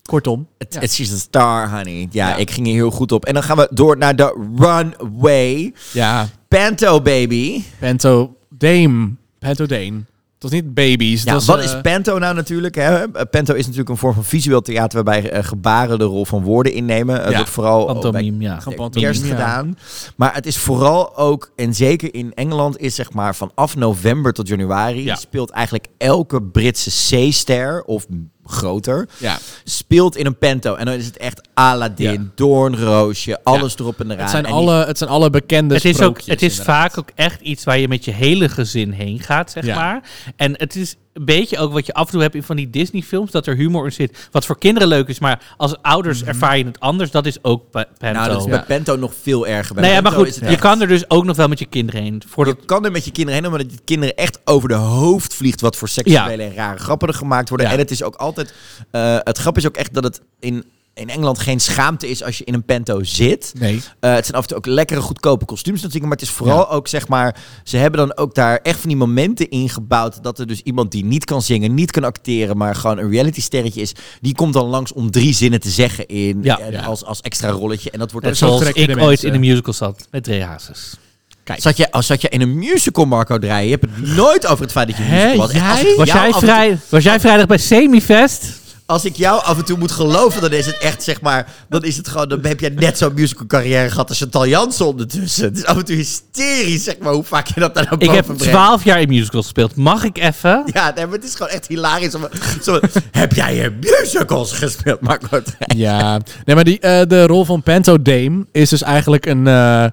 Speaker 3: Kortom.
Speaker 1: Het It's she's a star, honey. Ja, ik ging hier heel goed op. En dan gaan we door naar de runway.
Speaker 3: Ja,
Speaker 1: Panto, baby.
Speaker 3: Panto Dame. Panto Dane. Dat was niet baby's.
Speaker 1: Ja,
Speaker 3: dat was,
Speaker 1: wat
Speaker 3: eh,
Speaker 1: is panto nou natuurlijk? Hè? Panto is natuurlijk een vorm van visueel theater waarbij eh, gebaren de rol van woorden innemen. Het
Speaker 3: Ja,
Speaker 1: wordt vooral bij
Speaker 2: Pantomime, ja.
Speaker 1: de
Speaker 3: pantomime,
Speaker 1: kerst
Speaker 3: ja.
Speaker 1: gedaan. Maar het is vooral ook, en zeker in Engeland, is zeg maar vanaf november tot januari
Speaker 3: Ja.
Speaker 1: speelt eigenlijk elke Britse C-ster of groter,
Speaker 3: Ja.
Speaker 1: speelt in een panto. En dan is het echt Aladdin,
Speaker 3: Ja.
Speaker 1: Doornroosje, alles erop en eraan.
Speaker 3: Het zijn,
Speaker 1: En die-
Speaker 3: alle, het zijn alle bekende
Speaker 2: Het is, ook,
Speaker 3: sprookjes,
Speaker 2: het is
Speaker 3: inderdaad.
Speaker 2: vaak ook echt iets waar je met je hele gezin heen gaat, zeg
Speaker 3: Ja.
Speaker 2: maar. En het is een beetje ook wat je af en toe hebt in van die Disney-films, dat er humor in zit. Wat voor kinderen leuk is, maar als ouders
Speaker 3: Mhm.
Speaker 2: ervaar je het anders. Dat is ook pa- Panto.
Speaker 1: Nou, dat is bij
Speaker 2: Ja.
Speaker 1: panto nog veel erger. Bij
Speaker 2: Nee, ja, maar
Speaker 1: panto is
Speaker 2: goed,
Speaker 1: het
Speaker 2: je
Speaker 1: echt-
Speaker 2: kan er dus ook nog wel met je kinderen heen. Voordat,
Speaker 1: Je kan er met je kinderen heen, omdat het kinderen echt over de hoofd vliegt wat voor seksuele en rare grappen er gemaakt worden.
Speaker 2: Ja.
Speaker 1: En het is ook altijd. eh, het grap is ook echt dat het in, in Engeland geen schaamte is als je in een panto zit.
Speaker 3: Nee.
Speaker 1: Eh, het zijn af en toe ook lekkere, goedkope kostuums natuurlijk. Maar het is vooral ook, zeg maar... Ze hebben dan ook daar echt van die momenten ingebouwd... dat er dus iemand die niet kan zingen, niet kan acteren... maar gewoon een reality-sterretje is... die komt dan langs om drie zinnen te zeggen in...
Speaker 2: Ja.
Speaker 1: eh, Als, als extra rolletje. En dat wordt
Speaker 2: net
Speaker 1: ook
Speaker 2: zoals
Speaker 3: trek je eh. de
Speaker 2: ik ooit
Speaker 3: mensen.
Speaker 2: in een musical zat, met Dre Hazes.
Speaker 1: Zat je, als zat je in een musical, Marco Draaien? Je hebt het nooit over het feit dat je een
Speaker 3: Hè,
Speaker 1: musical was. Echt, als ik
Speaker 3: jij?
Speaker 2: Was,
Speaker 1: jou
Speaker 2: jij,
Speaker 1: af en toe-
Speaker 2: vrij, was jij vrijdag bij Semifest?
Speaker 1: Als ik jou af en toe moet geloven, dan is het echt, zeg maar... Dan, is het gewoon, dan heb jij net zo'n musical carrière gehad als Chantal Jansen ondertussen. Het is af en toe hysterisch, zeg maar, hoe vaak je dat daar naar
Speaker 2: Ik
Speaker 1: boven
Speaker 2: heb
Speaker 1: brengt.
Speaker 2: 12 jaar in musicals gespeeld. Mag ik even?
Speaker 1: Ja, nee, maar het is gewoon echt hilarisch. om- zo- heb jij je musicals gespeeld, Marco?
Speaker 3: Ja, nee, maar die, eh, de rol van Panto Dame is dus eigenlijk een, eh, eh,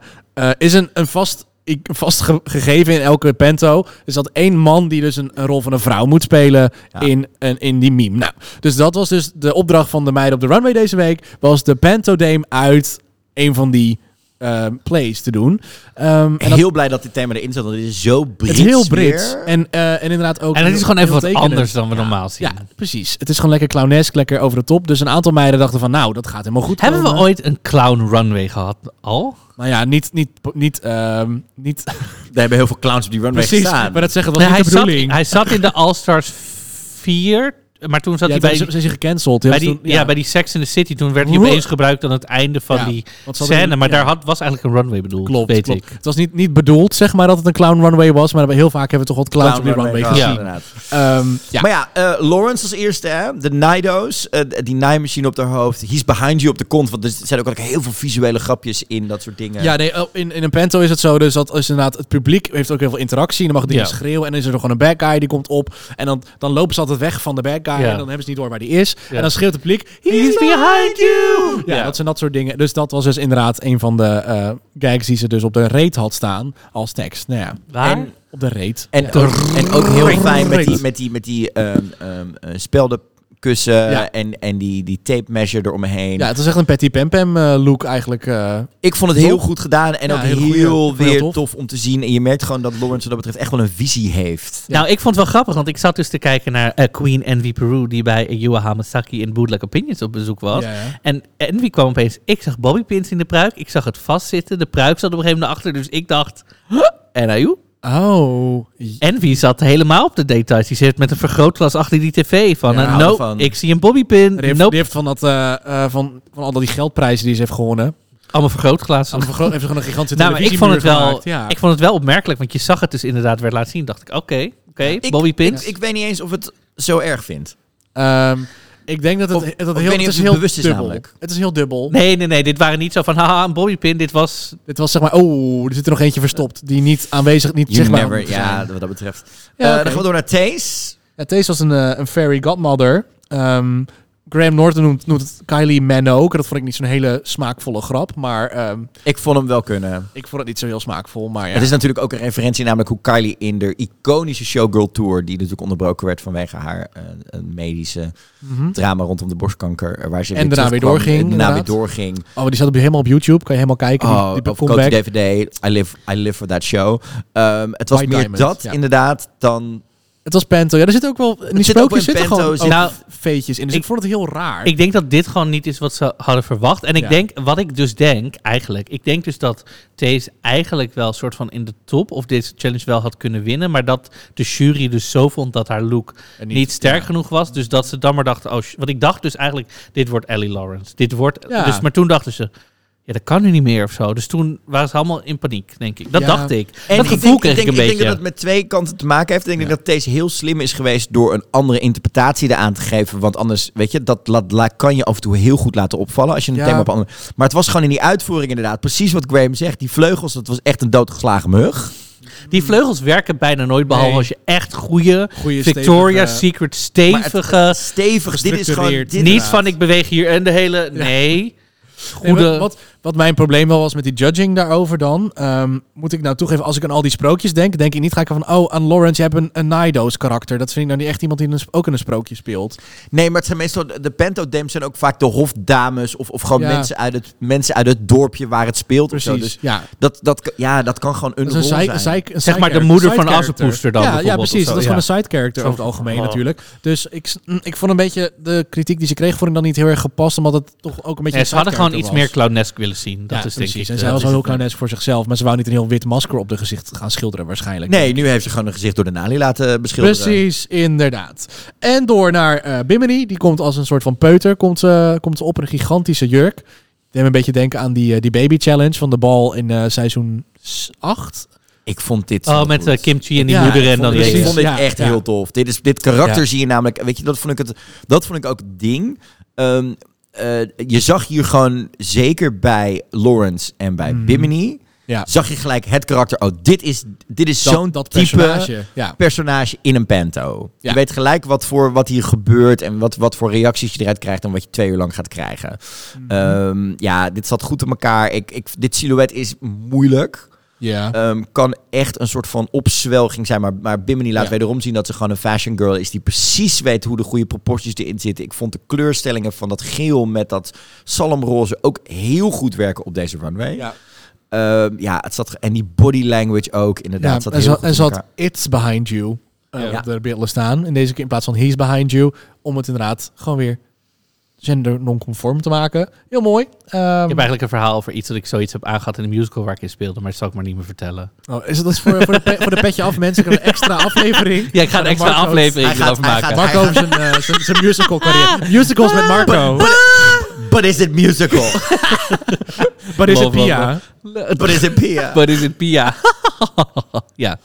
Speaker 3: is een, een vast, ik, vast ge- gegeven in elke Panto. Is dat één man die dus een, een rol van een vrouw moet spelen in, een, in die meme. Nou, dus dat was dus de opdracht van de meiden op de runway deze week. Was de Panto Dame uit een van die eh, plays te doen. Ehm, en dat-
Speaker 1: Heel blij dat dit thema erin zat, want dit is zo
Speaker 3: het
Speaker 1: Brits
Speaker 3: is heel
Speaker 1: weer.
Speaker 3: Brits. En, eh, en inderdaad ook.
Speaker 2: En het is
Speaker 3: heel-
Speaker 2: gewoon even
Speaker 3: heel
Speaker 2: wat
Speaker 3: tekenend.
Speaker 2: anders dan we normaal zien.
Speaker 3: Ja, precies. Het is gewoon lekker clownesk, lekker over de top. Dus een aantal meiden dachten van, nou, dat gaat helemaal goed.
Speaker 2: Hebben we
Speaker 3: komen.
Speaker 2: ooit een clown runway gehad al?
Speaker 3: Nou ja, niet, niet, niet, ehm, niet
Speaker 1: Daar hebben heel veel clowns op die runway
Speaker 3: precies.
Speaker 1: gestaan.
Speaker 3: Maar dat zeggen was
Speaker 2: Nee,
Speaker 3: niet
Speaker 2: hij,
Speaker 3: de
Speaker 2: zat,
Speaker 3: bedoeling.
Speaker 2: hij zat in de All Stars 4, maar toen zat
Speaker 3: ja,
Speaker 2: hij
Speaker 3: bij,
Speaker 2: bij,
Speaker 3: ze,
Speaker 2: die-
Speaker 3: ze zijn gecanceld.
Speaker 2: bij, die, ja. bij die Sex in the City. Toen werd hij
Speaker 3: Oeh.
Speaker 2: opeens gebruikt aan het einde van
Speaker 3: Ja,
Speaker 2: die
Speaker 3: want ze hadden
Speaker 2: scène.
Speaker 3: die-
Speaker 2: Maar
Speaker 3: ja.
Speaker 2: daar had, was eigenlijk een runway bedoeld,
Speaker 3: klopt,
Speaker 2: weet
Speaker 3: klopt.
Speaker 2: ik.
Speaker 3: Het was niet, niet bedoeld, zeg maar, dat het een clown runway was. Maar heel vaak hebben we toch wat clowns
Speaker 1: Clown
Speaker 3: op die runway,
Speaker 1: runway, ja,
Speaker 3: gezien.
Speaker 1: inderdaad.
Speaker 3: Ehm, ja.
Speaker 1: Maar ja, eh, Lawrence als eerste, hè? de Nido's, eh, d- die naaimachine op haar hoofd. He's behind you op de kont, want er zijn ook heel veel visuele grapjes in, dat soort dingen.
Speaker 3: Ja, nee, oh, in, in een panto is het zo. Dus dat is inderdaad, het publiek heeft ook heel veel interactie. En dan mag dingen
Speaker 2: Ja.
Speaker 3: schreeuwen. En dan is er gewoon een bad guy die komt op. En dan, dan lopen ze altijd weg van de bad guy. En dan hebben ze niet door waar die is. En dan schreeuwt het publiek, he's behind you! Ja,
Speaker 2: Ja.
Speaker 3: dat zijn dat soort dingen. Dus dat was dus inderdaad een van de eh gags die ze dus op de reet had staan als tekst. Nou ja,
Speaker 2: Waar?
Speaker 3: En op de reet.
Speaker 1: En, ook, en ook heel fijn met die, met die, met die ehm, ehm, eh, speldenkussen
Speaker 3: Ja.
Speaker 1: en, en die, die tape measure eromheen.
Speaker 3: Ja, het is echt een Patty Pam Pam eh, look eigenlijk. eh.
Speaker 1: Ik vond het heel
Speaker 3: Tof.
Speaker 1: goed gedaan en
Speaker 3: Ja,
Speaker 1: ook
Speaker 3: hele
Speaker 1: heel,
Speaker 3: goeie. Vond je dat
Speaker 1: weer
Speaker 3: tof?
Speaker 1: tof. om te zien. En je merkt gewoon dat Lawrence wat dat betreft echt wel een visie heeft.
Speaker 2: Nou, ik vond het wel grappig, want ik zat dus te kijken naar eh, Queen Envy Peru, die bij eh, Yua Hamasaki in Bootleg Opinions op bezoek was.
Speaker 3: Ja, ja.
Speaker 2: En Envy kwam opeens, ik zag Bobby Pins in de pruik, ik zag het vastzitten, de pruik zat op een gegeven moment achter, dus ik dacht, huh? en ajoe.
Speaker 3: Oh.
Speaker 2: Envy zat helemaal op de details. Die zit met een vergrootglas achter die tv van...
Speaker 3: Ja,
Speaker 2: eh,
Speaker 3: houden
Speaker 2: no,
Speaker 3: van.
Speaker 2: ik zie een bobbypin.
Speaker 3: Die heeft,
Speaker 2: Nope.
Speaker 3: die heeft van, dat, eh, eh, van, van al die geldprijzen die ze heeft
Speaker 1: Nou,
Speaker 3: gewonnen.
Speaker 2: Allemaal vergrootglas.
Speaker 3: Allemaal vergroot, heeft ze gewoon een gigantische
Speaker 2: Nou, maar ik vond, het
Speaker 3: televisiemuur
Speaker 2: wel,
Speaker 3: gemaakt, ja.
Speaker 2: ik vond het wel opmerkelijk, want je zag het dus inderdaad werd laten zien. Dacht ik, oké, oké,
Speaker 1: Ik-
Speaker 2: Bobby Pins.
Speaker 1: Ik, ik weet niet eens of het zo erg vindt.
Speaker 3: Ehm, ik denk dat het,
Speaker 1: Of-
Speaker 3: dat
Speaker 1: of
Speaker 3: het
Speaker 1: ik
Speaker 3: heel,
Speaker 1: weet niet
Speaker 3: het
Speaker 1: of
Speaker 3: is
Speaker 1: het
Speaker 3: heel
Speaker 1: bewust is
Speaker 3: dubbel.
Speaker 1: namelijk.
Speaker 3: Het is heel dubbel.
Speaker 2: nee, nee, nee, dit waren niet zo van, haha, een Bobby Pin. Dit was
Speaker 3: Dit was zeg maar, oh, er zit er nog eentje verstopt. Die niet aanwezig, niet
Speaker 1: You
Speaker 3: zichtbaar
Speaker 1: never,
Speaker 3: hoeft te
Speaker 1: ja,
Speaker 3: zijn.
Speaker 1: wat dat betreft.
Speaker 3: Ja,
Speaker 1: Eh,
Speaker 3: oké.
Speaker 1: Dan gaan we door naar Thees.
Speaker 3: Ja, Thees was een, eh, een fairy godmother. Ehm, Graham Norton noemt, noemt het Kylie Minogue. Dat vond ik niet zo'n hele smaakvolle grap. Maar ehm,
Speaker 1: Ik vond hem wel kunnen.
Speaker 3: ik vond het niet zo heel smaakvol. Maar ja.
Speaker 1: Het is natuurlijk ook een referentie, namelijk hoe Kylie in de iconische Showgirl Tour, die natuurlijk onderbroken werd vanwege haar eh, een medische
Speaker 3: Mhm.
Speaker 1: drama rondom de borstkanker, eh, waar ze
Speaker 3: En daarna weer
Speaker 1: terugkwam
Speaker 3: doorging,
Speaker 1: en daarna weer
Speaker 3: inderdaad.
Speaker 1: doorging.
Speaker 3: Oh, die staat op, helemaal op YouTube. Kan je helemaal kijken. die-
Speaker 1: Oh,
Speaker 3: die,
Speaker 1: of
Speaker 3: comeback.
Speaker 1: Coty DVD, I live, I live for that show. Ehm, het was
Speaker 3: White
Speaker 1: meer
Speaker 3: Diamond,
Speaker 1: dat
Speaker 3: ja.
Speaker 1: inderdaad dan...
Speaker 3: Het was Pento. Ja, er zitten ook wel... In die
Speaker 1: zit ook
Speaker 3: sprookjes
Speaker 1: wel in
Speaker 3: zitten
Speaker 1: Panto,
Speaker 3: gewoon
Speaker 1: zit-
Speaker 3: nou,
Speaker 2: Nou,
Speaker 3: veetjes in. Dus ik,
Speaker 2: ik-
Speaker 3: vond het heel raar.
Speaker 2: Ik denk dat dit gewoon niet is wat ze hadden verwacht. En ik
Speaker 3: Ja.
Speaker 2: denk, wat ik dus denk eigenlijk. Ik denk dus dat Thees eigenlijk wel soort van in de top of deze challenge wel had kunnen winnen. Maar dat de jury dus zo vond dat haar look
Speaker 3: En
Speaker 2: niet, sterk genoeg was. Dus dat ze dan maar dachten, oh, sh- want ik dacht dus eigenlijk, dit wordt Ellie Lawrence. Dit wordt,
Speaker 3: Ja.
Speaker 2: dus, maar toen dachten ze... Ja, dat kan nu niet meer of zo. Dus toen waren ze allemaal in paniek, denk ik. Dat
Speaker 3: Ja.
Speaker 2: dacht ik.
Speaker 1: En
Speaker 2: dat
Speaker 1: ik
Speaker 2: gevoel
Speaker 1: denk,
Speaker 2: kreeg
Speaker 1: ik, denk,
Speaker 2: ik een
Speaker 1: ik denk
Speaker 2: beetje.
Speaker 1: dat het met twee kanten te maken heeft. Ik denk dat Thees heel slim is geweest door een andere interpretatie eraan te geven. Want anders, weet je, dat la- la- kan je af en toe heel goed laten opvallen als je een
Speaker 3: Ja.
Speaker 1: thema op een andere... Maar het was gewoon in die uitvoering inderdaad. Precies wat Graham zegt. Die vleugels, dat was echt een doodgeslagen mug.
Speaker 2: Die vleugels werken bijna nooit, behalve
Speaker 3: Nee.
Speaker 2: als je echt goede
Speaker 3: Goeie,
Speaker 2: Victoria's
Speaker 3: stevige-
Speaker 2: Secret
Speaker 1: Maar het-
Speaker 2: stevige...
Speaker 1: Stevig, Dus dit is gewoon...
Speaker 3: Gestructureerd.
Speaker 1: Dit
Speaker 2: Niet
Speaker 3: Inderdaad.
Speaker 2: van ik beweeg hier en de hele. Nee.
Speaker 3: Nee,
Speaker 2: Goede.
Speaker 3: wat- wat, wat mijn probleem wel was met die judging daarover dan. ehm, moet ik nou toegeven, als ik aan al die sprookjes denk, denk ik niet ga ik van, oh, aan Lawrence, je hebt een, een Nido's karakter. Dat vind ik nou niet echt iemand die in een sp- ook in een sprookje speelt.
Speaker 1: Nee, maar het zijn meestal de pentodames zijn ook vaak de hofdames of, of gewoon
Speaker 3: Ja.
Speaker 1: mensen, uit het, mensen uit het dorpje waar het speelt. of zo.
Speaker 3: Precies,
Speaker 1: Dus
Speaker 3: ja.
Speaker 1: dat, dat, ja, dat kan gewoon een
Speaker 3: Dat is een,
Speaker 1: rol
Speaker 3: zij-
Speaker 1: zijn.
Speaker 3: zij- een
Speaker 2: Zeg maar de
Speaker 3: side-
Speaker 2: moeder
Speaker 3: side
Speaker 2: van
Speaker 3: character.
Speaker 2: Assepoester dan
Speaker 3: Ja, ja
Speaker 2: bijvoorbeeld,
Speaker 3: precies.
Speaker 2: of zo,
Speaker 3: dat is gewoon
Speaker 2: ja.
Speaker 3: een side character
Speaker 2: Zo
Speaker 3: over het algemeen
Speaker 2: van, oh.
Speaker 3: natuurlijk. Dus ik, s- mm, ik vond een beetje de kritiek die ze kreeg, vond ik dan niet heel erg gepast, omdat het toch ook een beetje.
Speaker 2: Nee,
Speaker 3: een
Speaker 2: ze hadden
Speaker 3: side
Speaker 2: gewoon iets
Speaker 3: character
Speaker 2: meer
Speaker 3: was.
Speaker 2: clownesk willen zien. Dat
Speaker 3: Ja,
Speaker 2: is denk
Speaker 3: precies.
Speaker 2: ik.
Speaker 3: En zij
Speaker 2: eh,
Speaker 3: was
Speaker 2: dat
Speaker 3: wel
Speaker 2: is
Speaker 3: heel
Speaker 2: het.
Speaker 3: clownesk voor zichzelf, maar ze wou niet een heel wit masker op de gezicht gaan schilderen waarschijnlijk.
Speaker 1: Nee, nu heeft ze gewoon een gezicht door de nalie laten beschilderen.
Speaker 3: Precies, inderdaad. En door naar eh Bimini. Die komt als een soort van peuter. Komt, ze- komt ze op in een gigantische jurk. Deed me een beetje denken aan die, eh, die baby challenge van de bal in eh, seizoen 8.
Speaker 1: Ik vond dit zo
Speaker 2: Oh, met
Speaker 1: goed.
Speaker 2: eh, Kim Chi en die
Speaker 3: Ja,
Speaker 2: moeder en
Speaker 3: vond
Speaker 2: dan
Speaker 3: ik
Speaker 1: Ik
Speaker 2: die.
Speaker 3: precies.
Speaker 1: vond dit
Speaker 3: Ja,
Speaker 1: echt
Speaker 3: ja.
Speaker 1: heel tof. Dit, is, dit karakter
Speaker 3: Ja.
Speaker 1: zie je namelijk... Weet je, dat vond ik, het, dat vond ik ook het ding. Ehm, eh, je zag hier gewoon, zeker bij Lawrence en bij
Speaker 3: Mhm.
Speaker 1: Bimini...
Speaker 3: Ja.
Speaker 1: zag je gelijk het karakter... Oh, dit is, dit is
Speaker 3: Dat-
Speaker 1: zo'n
Speaker 3: dat
Speaker 1: type
Speaker 3: personage, ja.
Speaker 1: personage in een panto.
Speaker 3: Ja.
Speaker 1: Je weet gelijk wat, voor, wat hier gebeurt... en wat, wat voor reacties je eruit krijgt... en wat je twee uur lang gaat krijgen.
Speaker 3: Mhm.
Speaker 1: Ehm, ja, dit zat goed in elkaar. Ik, ik, dit silhouet is moeilijk...
Speaker 3: Ja.
Speaker 1: Ehm, kan echt een soort van opzwelging zijn. Maar, maar Bimini laat
Speaker 3: Ja.
Speaker 1: wederom zien dat ze gewoon een fashion girl is. Die precies weet hoe de goede proporties erin zitten. Ik vond de kleurstellingen van dat geel met dat salmroze ook heel goed werken op deze runway.
Speaker 3: Ja.
Speaker 1: Ja, ja het zat, ge- en die body language ook inderdaad.
Speaker 3: Ja,
Speaker 1: zat
Speaker 3: en
Speaker 1: heel
Speaker 3: ze
Speaker 1: goed
Speaker 3: had- en
Speaker 1: in
Speaker 3: ze had
Speaker 1: elkaar.
Speaker 3: It's Behind You eh,
Speaker 1: Ja.
Speaker 3: op de beelden staan. In deze keer in plaats van He's Behind You. Om het inderdaad gewoon weer gender non-conform te maken. Heel mooi. Ehm,
Speaker 2: Ik heb eigenlijk een verhaal over iets dat ik zoiets heb aangehad in de musical waar ik in speelde, maar dat zal ik maar niet meer vertellen.
Speaker 3: oh, is dat dus voor, voor, de pe- voor de petje af mensen? Ik heb een extra aflevering.
Speaker 2: Ja, ik ga een extra
Speaker 3: Marco-
Speaker 2: aflevering
Speaker 1: Hij gaat-
Speaker 2: hierover
Speaker 1: hij
Speaker 2: maken.
Speaker 1: gaat-
Speaker 3: Marco zijn, eh, zijn, zijn musical
Speaker 1: Ah.
Speaker 3: carrière. Musicals met Marco.
Speaker 1: But is it musical?
Speaker 3: Maar is het
Speaker 2: Love,
Speaker 3: Pia?
Speaker 2: love,
Speaker 1: But is it Pia?
Speaker 2: Wat is het, Pia? ja.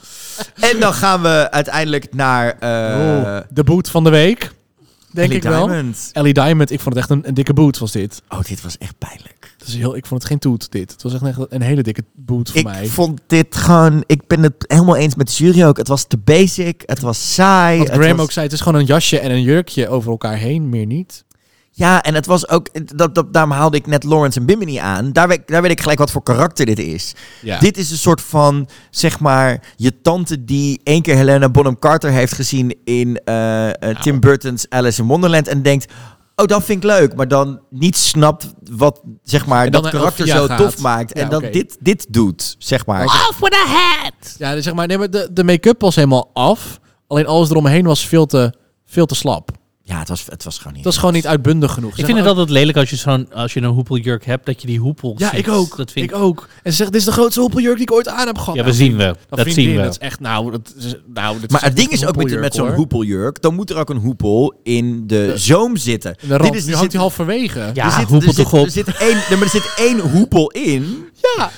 Speaker 1: En dan gaan we uiteindelijk naar... eh,
Speaker 3: Oh, de boot van de week. Denk
Speaker 1: Ellie
Speaker 3: ik wel.
Speaker 1: Diamond.
Speaker 3: Ellie Diamond. Ik vond het echt een, een dikke boot was dit.
Speaker 1: Oh, dit was echt pijnlijk.
Speaker 3: Het is heel, ik vond het geen toet dit. Het was echt een, een hele dikke boot voor
Speaker 1: Ik
Speaker 3: mij.
Speaker 1: vond dit gewoon... Ik ben het helemaal eens met de jury ook. Het was te basic. Het was saai.
Speaker 3: Wat
Speaker 1: het
Speaker 3: Graham
Speaker 1: was-
Speaker 3: ook zei, het is gewoon een jasje en een jurkje over elkaar heen, meer niet.
Speaker 1: Ja, en het was ook... Dat, dat, daarom haalde ik net Lawrence en Bimini aan. Daar weet, daar weet ik gelijk wat voor karakter dit is.
Speaker 3: Ja.
Speaker 1: Dit is een soort van, zeg maar... Je tante die één keer Helena Bonham Carter heeft gezien... in eh, eh,
Speaker 3: Nou.
Speaker 1: Tim Burton's Alice in Wonderland. En denkt... Oh, dat vind ik leuk. Maar dan niet snapt wat, zeg maar,
Speaker 3: En dan
Speaker 1: dat
Speaker 3: naar
Speaker 1: karakter zo
Speaker 3: Elfia gaat.
Speaker 1: tof maakt. En
Speaker 3: Ja,
Speaker 1: dat
Speaker 3: oké.
Speaker 1: dit, dit doet, zeg maar.
Speaker 2: Off with a hat!
Speaker 3: Ja, dus zeg maar, nee, maar de, de make-up was helemaal af. Alleen alles eromheen was veel te, veel te slap.
Speaker 1: Ja, het was, het was gewoon niet.
Speaker 3: Dat is gewoon niet uitbundig genoeg.
Speaker 2: Ik vind het altijd lelijk als je zo'n als je een hoepeljurk hebt, dat je die hoepel
Speaker 3: Ja,
Speaker 2: ziet.
Speaker 3: ik ook.
Speaker 2: Dat vind
Speaker 3: ik ook. En ze zegt, dit is de grootste hoepeljurk die ik ooit aan heb gehad.
Speaker 2: Ja,
Speaker 3: Nou,
Speaker 2: we zien we.
Speaker 3: dat
Speaker 2: Dat zien
Speaker 3: vriendin,
Speaker 2: we.
Speaker 3: Dat is echt, nou, dat is, nou, dat
Speaker 1: Maar
Speaker 3: is
Speaker 1: het ding
Speaker 3: echt
Speaker 1: is ook met, met zo'n
Speaker 3: hoor.
Speaker 1: hoepeljurk, dan moet er ook een hoepel in de, zoom zitten.
Speaker 3: De rand,
Speaker 1: Dit is,
Speaker 3: nu
Speaker 1: er
Speaker 3: hangt
Speaker 1: zit,
Speaker 3: hij halverwege.
Speaker 1: er zit, er zit, er zit één, nee, maar er zit één hoepel in.
Speaker 3: Ja.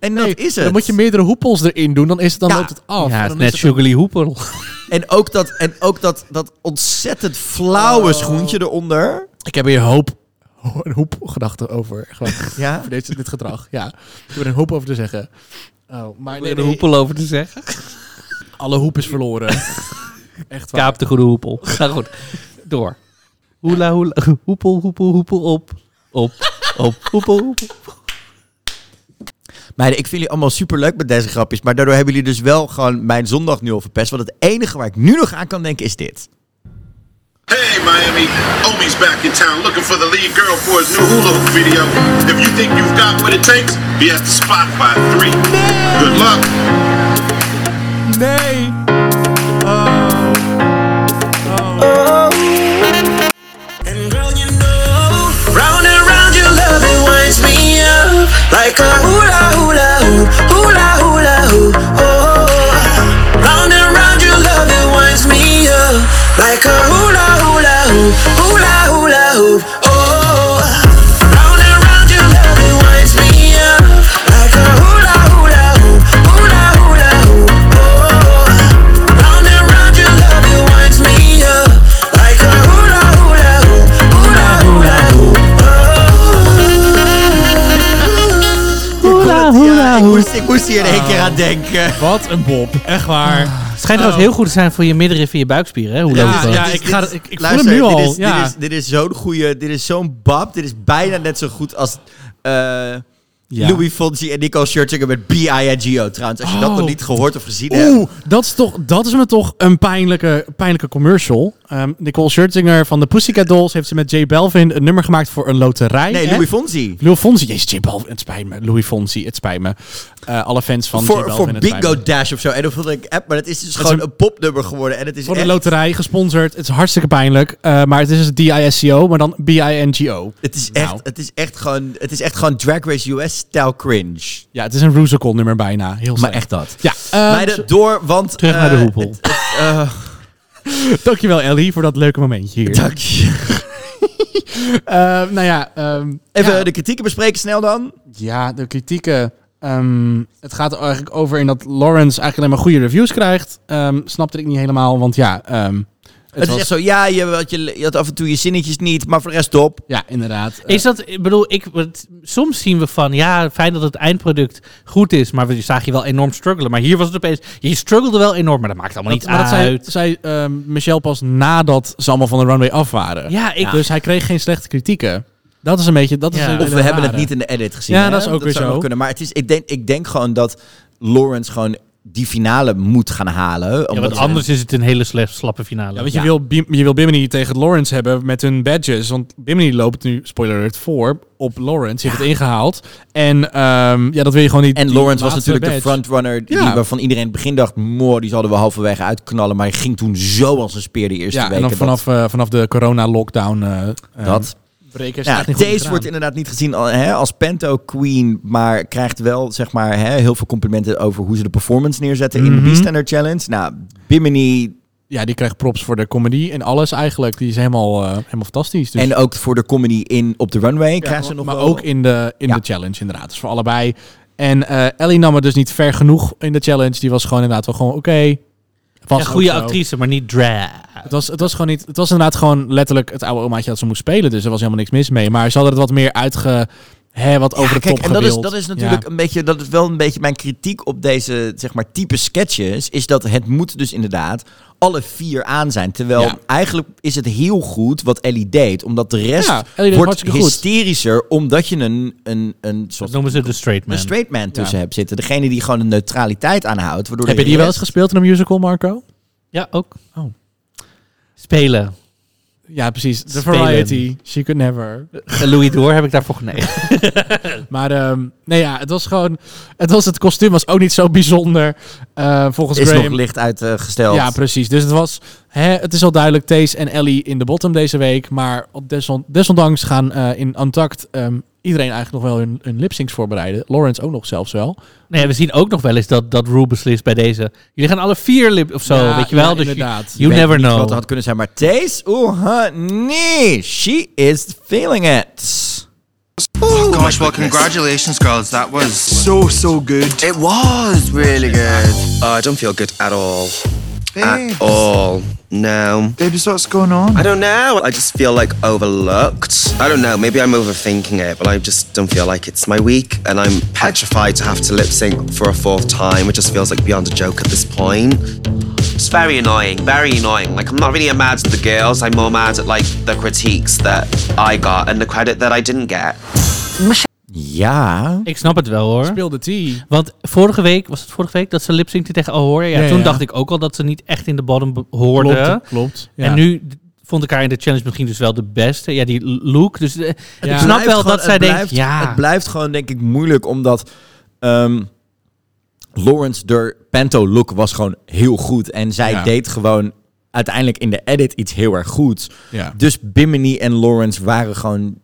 Speaker 1: En dat is het.
Speaker 3: Dan moet je meerdere hoepels erin doen, dan, is het, dan
Speaker 1: Ja.
Speaker 3: loopt het af.
Speaker 1: Ja,
Speaker 3: En
Speaker 1: het
Speaker 3: dan
Speaker 1: is net
Speaker 3: het-
Speaker 2: Juggly hoepel.
Speaker 1: En ook dat, en ook dat, dat ontzettend flauwe
Speaker 3: Oh.
Speaker 1: schoentje eronder.
Speaker 3: Ik heb hier hoop, ho- een hoop gedachten over. Gewoon,
Speaker 1: Ja?
Speaker 3: Over deze, dit gedrag, ja. Ik heb er een hoop over te zeggen. Oh, maar
Speaker 2: er een hoepel over te zeggen.
Speaker 3: Alle hoep is verloren. Echt waar.
Speaker 2: Kaap de goede hoepel. Ga goed. Door. Hoela, hoela, hoepel, hoepel, hoepel, op. Op, op, hoepel, hoepel.
Speaker 1: Meiden, ik vind jullie allemaal super leuk met deze grapjes. Maar daardoor hebben jullie dus wel gewoon mijn zondag nu al verpest. Want het enige waar ik nu nog aan kan denken is dit.
Speaker 13: Hey, Miami. Omi's back in town looking for the lead girl for his new hula hoop video. If you think you've got what it takes, be at the spot by three. Good luck.
Speaker 3: Nee.
Speaker 12: Round and round your love, it winds me up like a hula hula hoo, hula hula hoo. Oh, round and round your love, it winds me up like a hula hula hoo, hula hula hoo. Oh, round and round your love, it winds me up like a hula hula hoo, hula hula hoo. Oh, round and round your love, it winds me up like a hula hula hoo, hula hula hoo.
Speaker 2: Hoela, hoela,
Speaker 1: Ik moest, ik moest hier in één keer
Speaker 3: Ah.
Speaker 1: aan denken.
Speaker 3: Wat een bob. Echt waar.
Speaker 2: Ah.
Speaker 3: Oh.
Speaker 2: Het schijnt trouwens heel goed te zijn voor je middenrif en je buikspieren. Hè? Hoe
Speaker 1: Ja,
Speaker 2: loopt dat?
Speaker 1: ja,
Speaker 3: ik
Speaker 1: dit-
Speaker 3: ga- ik- ik voel
Speaker 1: luister,
Speaker 3: hem nu
Speaker 1: Dit
Speaker 3: al,
Speaker 1: is,
Speaker 3: ja.
Speaker 1: dit is, dit is zo'n goede, dit is zo'n bab. Dit is bijna net zo goed als eh, Louis Fonsi en Nico Scherzinger met B.I.N.G.O. Trouwens, als je dat
Speaker 3: Oh.
Speaker 1: nog niet gehoord of gezien hebt.
Speaker 3: Oeh, dat is, toch, dat is me toch een pijnlijke, pijnlijke commercial. Ehm, Nicole Scherzinger van de Pussycat Dolls heeft ze met J Belvin een nummer gemaakt voor een loterij.
Speaker 1: Nee,
Speaker 3: hè?
Speaker 1: Louis Fonsi.
Speaker 3: Louis Fonsi. Jezus, J Balvin, het spijt me. Louis Fonsi, het spijt me. Eh, alle fans van J
Speaker 1: voor
Speaker 3: Balvin,
Speaker 1: voor
Speaker 3: het spijt me.
Speaker 1: Bingo Dash of zo. En dan vond ik app, maar het is dus
Speaker 3: is
Speaker 1: gewoon
Speaker 3: een-
Speaker 1: een popnummer geworden. En het is
Speaker 3: Voor de
Speaker 1: echt-
Speaker 3: loterij, gesponsord. Het is hartstikke pijnlijk. eh, maar het is dus DISCO, maar dan B-I-N-G-O.
Speaker 1: Het is
Speaker 3: Nou.
Speaker 1: echt, het is echt gewoon, het is echt gewoon Drag Race US style cringe.
Speaker 3: Ja, het is een Rusical nummer bijna. Heel
Speaker 1: Maar
Speaker 3: slecht.
Speaker 1: echt dat.
Speaker 3: Ja, eh,
Speaker 1: Meiden, door, want...
Speaker 2: Terug naar de
Speaker 1: eh,
Speaker 2: hoepel.
Speaker 1: het- het, eh,
Speaker 3: Dankjewel Ellie voor dat leuke momentje hier.
Speaker 1: dank je.
Speaker 3: Eh, nou ja, ehm,
Speaker 1: Even
Speaker 3: ja.
Speaker 1: de kritieken bespreken snel dan.
Speaker 3: Ja, de kritieken. ehm, het gaat er eigenlijk over in dat Lawrence eigenlijk alleen maar goede reviews krijgt. Ehm snapte ik niet helemaal, want ja. ehm, het
Speaker 1: Het,
Speaker 3: was-
Speaker 1: is echt zo, ja, je, wat je, je had af en toe je zinnetjes niet, maar voor de rest top.
Speaker 3: Ja, inderdaad. Eh,
Speaker 2: Is dat, ik bedoel, ik, want soms zien we van, ja, fijn dat het eindproduct goed is, maar we zagen je wel enorm struggelen. Maar hier was het opeens, je struggelde wel enorm, maar dat maakt allemaal
Speaker 3: dat,
Speaker 2: niet
Speaker 3: Eh, maar dat zei,
Speaker 2: uit.
Speaker 3: zei ehm, Michelle pas nadat ze allemaal van de runway af waren.
Speaker 2: Ja, ik-
Speaker 3: Dus hij kreeg geen slechte kritieken. Dat is een beetje. Dat is
Speaker 2: Ja.
Speaker 3: een
Speaker 1: Of
Speaker 3: hele
Speaker 1: we hebben
Speaker 3: rare.
Speaker 1: het niet in de edit gezien.
Speaker 3: Ja,
Speaker 1: hè?
Speaker 3: dat is ook weer
Speaker 1: zou
Speaker 3: zo.
Speaker 1: nog Kunnen. Maar het is, ik, denk, ik denk gewoon dat Lawrence gewoon die finale moet gaan halen.
Speaker 2: ja,
Speaker 1: omdat
Speaker 2: want
Speaker 1: ze-
Speaker 2: anders is het een hele slecht, slappe finale.
Speaker 3: Ja, want je, Wil, Bim- je wil Bimini tegen Lawrence hebben met hun badges. Want Bimini loopt nu, spoiler alert, voor op Lawrence. heeft het ingehaald. En ehm, ja, dat wil je gewoon niet.
Speaker 1: En
Speaker 3: die
Speaker 1: Lawrence was
Speaker 3: laatste
Speaker 1: natuurlijk de
Speaker 3: badge.
Speaker 1: frontrunner die,
Speaker 3: Ja.
Speaker 1: waarvan iedereen in het begin dacht... Mooi, die zouden we halverwege uitknallen. Maar hij ging toen zo als een speer de eerste
Speaker 3: Ja,
Speaker 1: weken.
Speaker 3: en dan
Speaker 1: dat-
Speaker 3: vanaf, eh, vanaf de corona-lockdown. eh, eh,
Speaker 1: dat.
Speaker 3: breken ze
Speaker 1: Ja,
Speaker 3: echt niet goed in het
Speaker 1: Taze
Speaker 3: raam.
Speaker 1: wordt inderdaad niet gezien al- hè, als Pento Queen, maar krijgt wel zeg maar, hè, heel veel complimenten over hoe ze de performance neerzetten in de
Speaker 3: Mhm.
Speaker 1: Beastender Challenge. Nou, Bimini
Speaker 3: Ja, die krijgt props voor de comedy en alles eigenlijk. Die is helemaal, eh, helemaal fantastisch. Dus,
Speaker 1: en ook voor de comedy in, op de runway
Speaker 3: Ja,
Speaker 1: krijgt ze
Speaker 3: maar-
Speaker 1: nog
Speaker 3: maar
Speaker 1: wel-
Speaker 3: ook in de, in
Speaker 1: Ja.
Speaker 3: de challenge inderdaad. Dus voor allebei. En eh, Ellie nam het dus niet ver genoeg in de challenge. Die was gewoon inderdaad wel gewoon oké. Was
Speaker 2: een
Speaker 3: ook
Speaker 2: goede
Speaker 3: zo.
Speaker 2: actrice, maar niet drag.
Speaker 3: Het was, het was gewoon niet. Het was inderdaad gewoon letterlijk het oude omaatje dat ze moest spelen. Dus er was helemaal niks mis mee. Maar ze hadden het wat meer uitge. Hè, wat over
Speaker 1: Ja,
Speaker 3: de
Speaker 1: kijk,
Speaker 3: top
Speaker 1: en dat is,
Speaker 3: gewild.
Speaker 1: dat is
Speaker 3: Ja.
Speaker 1: natuurlijk een beetje, dat is wel een beetje mijn kritiek op deze, zeg maar, type sketches, is dat het moet dus inderdaad alle vier aan zijn. Terwijl
Speaker 3: Ja.
Speaker 1: eigenlijk is het heel goed wat Ellie deed, omdat de rest
Speaker 3: Ja, Ellie deed het
Speaker 1: wordt
Speaker 3: hartstikke goed.
Speaker 1: hysterischer, omdat je een, een, een soort
Speaker 2: Dat noemen ze de straight man.
Speaker 1: een straight man tussen hebt zitten. Degene die gewoon een neutraliteit aanhoudt. Waardoor
Speaker 3: Heb
Speaker 1: de
Speaker 3: je die wel eens
Speaker 1: rest-
Speaker 3: gespeeld in een musical, Marco?
Speaker 2: Ja, ook.
Speaker 3: Oh.
Speaker 2: Spelen.
Speaker 3: Ja, precies. De
Speaker 2: Spelen.
Speaker 3: variety. She could never.
Speaker 2: Eh, Louis Door heb ik daarvoor genegen.
Speaker 3: maar ehm, nee, ja, het was gewoon... Het, was, het kostuum was ook niet zo bijzonder, eh, volgens
Speaker 1: Is
Speaker 3: Graham.
Speaker 1: nog licht uitgesteld.
Speaker 3: Ja, precies. Dus het was, hè, het is al duidelijk, Thees en Ellie in de bottom deze week. Maar op deson- desondanks gaan eh, in Antact ehm, iedereen eigenlijk nog wel hun, hun lipsyncs voorbereiden. Lawrence ook nog zelfs wel.
Speaker 2: Nee, we zien ook nog wel eens dat, dat Rue beslist bij deze. Jullie gaan alle vier lip of zo,
Speaker 3: Ja,
Speaker 2: weet je wel?
Speaker 3: ja,
Speaker 2: dus je-
Speaker 3: inderdaad.
Speaker 2: You,
Speaker 1: Ik weet
Speaker 2: never
Speaker 1: niet
Speaker 2: know.
Speaker 1: Wat er had kunnen zijn, maar Thees, oeh, honey, she is feeling it.
Speaker 7: Oh gosh, well, congratulations, girls. That was so, so good. It was really good.
Speaker 5: Oh, I don't feel good at all.
Speaker 7: Babes.
Speaker 14: Mm.
Speaker 5: At all. No.
Speaker 7: Babes, what's going on?
Speaker 5: I don't know. I just feel like overlooked. I don't know. Maybe I'm overthinking it, but I just don't feel like it's my week. And I'm petrified to have to lip sync for a fourth time. It just feels like beyond a joke at this point.
Speaker 6: It's very annoying, very annoying. Like, I'm not really mad at the girls, I'm more mad at, like, the critiques that I got and the credit that I didn't get.
Speaker 1: Ja.
Speaker 2: Ik snap het wel hoor.
Speaker 3: Speelde tea.
Speaker 2: Want vorige week, was het vorige week, dat ze lipsynkte tegen Ahoria? Ja,
Speaker 3: Ja,
Speaker 2: toen
Speaker 3: ja.
Speaker 2: dacht ik ook al dat ze niet echt in de bottom be- hoorde.
Speaker 3: Klopt, klopt, ja.
Speaker 2: En nu d- vond ik haar in de challenge misschien dus wel de beste. Ja, die l- look. Dus eh, ik
Speaker 1: Het
Speaker 2: snap
Speaker 1: blijft
Speaker 2: wel
Speaker 1: gewoon-
Speaker 2: dat zij
Speaker 1: het
Speaker 2: denkt,
Speaker 1: blijft-
Speaker 2: ja.
Speaker 1: Het blijft gewoon, denk ik, moeilijk, omdat ehm, Lawrence de panto look was gewoon heel goed. En zij
Speaker 3: Ja.
Speaker 1: deed gewoon uiteindelijk in de edit iets heel erg goeds.
Speaker 3: Ja.
Speaker 1: Dus Bimini en Lawrence waren gewoon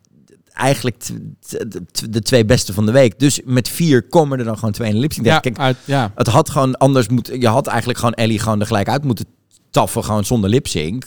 Speaker 1: eigenlijk t- t- t- de twee beste van de week. Dus met vier komen er dan gewoon twee in de lipsync.
Speaker 3: Ja,
Speaker 1: Kijk,
Speaker 3: uit- ja.
Speaker 1: Het had gewoon anders moeten... Je had eigenlijk gewoon Ellie gewoon er gelijk uit moeten taffen, gewoon zonder lipsync.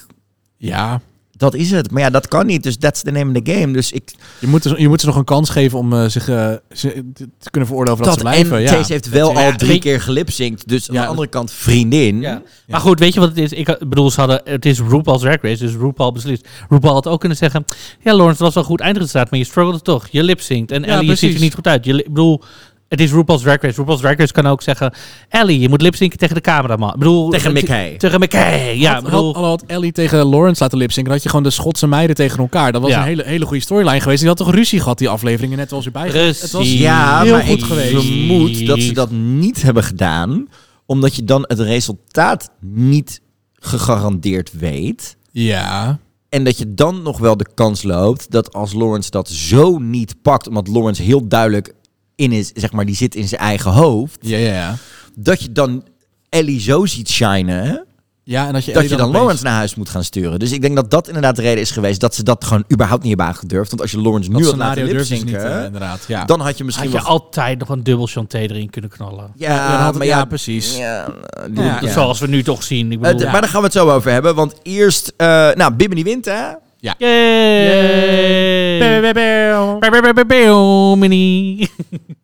Speaker 3: Ja.
Speaker 1: Dat is het. Maar ja, dat kan niet. Dus that's the name of the game. Dus ik,
Speaker 3: Je moet, er- je moet ze nog een kans geven om eh, zich eh, ze- te kunnen veroordelen of dat, ze
Speaker 1: dat,
Speaker 3: blijven.
Speaker 1: en
Speaker 3: ja.
Speaker 1: Chase heeft wel
Speaker 3: Ja,
Speaker 1: al
Speaker 3: ja,
Speaker 1: drie
Speaker 3: weet-
Speaker 1: keer gelipzinkt. Dus aan de andere kant vriendin.
Speaker 2: Ja. Maar goed, weet je wat het is? Ik eh, bedoel, ze hadden, het is RuPaul's Drag Race, dus RuPaul beslist. RuPaul had ook kunnen zeggen, ja Lawrence, het was wel goed eindresultaat, maar je struggelde toch. Je lipzinkt en
Speaker 3: Ja,
Speaker 2: Ellie, je ziet er
Speaker 3: precies.
Speaker 2: niet goed uit. Je, li- ik bedoel, het is RuPaul's Drag Race. RuPaul's Drag Race kan ook zeggen, Ellie, je moet lipzinken tegen de cameraman. Ik bedoel,
Speaker 1: Tegen
Speaker 2: het-
Speaker 1: Mickey.
Speaker 2: Tegen Mickey, ja. ik
Speaker 3: had,
Speaker 2: bedoel,
Speaker 3: had, had Ellie tegen Lawrence laten lipzinken, dan had je gewoon de Schotse meiden tegen elkaar. Dat was
Speaker 2: Ja.
Speaker 3: een hele, hele goede storyline geweest. Die had toch ruzie gehad, die afleveringen, net zoals erbij.
Speaker 2: Precies.
Speaker 3: Het was
Speaker 1: Ja,
Speaker 3: heel
Speaker 1: maar
Speaker 3: goed
Speaker 1: ik
Speaker 3: geweest.
Speaker 1: vermoed dat ze dat niet hebben gedaan. Omdat je dan het resultaat niet gegarandeerd weet.
Speaker 3: Ja.
Speaker 1: En dat je dan nog wel de kans loopt dat als Lawrence dat zo niet pakt. Omdat Lawrence heel duidelijk in is, zeg maar, die zit in zijn eigen hoofd.
Speaker 3: Ja, ja, ja.
Speaker 1: Dat je dan Ellie zo ziet shinen.
Speaker 3: Ja, en dat je,
Speaker 1: dat
Speaker 3: Ellie
Speaker 1: je dan
Speaker 3: opeens-
Speaker 1: Lawrence naar huis moet gaan sturen. Dus ik denk dat dat inderdaad de reden is geweest dat ze dat gewoon überhaupt niet hebben aangedurfd. Want als je Lawrence
Speaker 3: Dat
Speaker 1: nu had
Speaker 3: scenario
Speaker 1: laten
Speaker 3: durfden ze
Speaker 1: lipzinken,
Speaker 3: niet, eh, inderdaad, ja.
Speaker 1: dan had je misschien
Speaker 2: had je
Speaker 1: wel...
Speaker 2: altijd nog een dubbel Chanté erin kunnen knallen.
Speaker 1: ja,
Speaker 3: dan had het-
Speaker 1: maar
Speaker 3: ja,
Speaker 1: ja,
Speaker 3: precies.
Speaker 1: ja, eh,
Speaker 2: Ik bedoel,
Speaker 1: ja.
Speaker 2: Zoals we nu toch zien. Ik
Speaker 1: Eh,
Speaker 2: bedoel,
Speaker 1: d- Maar daar gaan we het zo over hebben. Want eerst, eh nou, Bimini wint, hè?
Speaker 2: Yay! Bimini.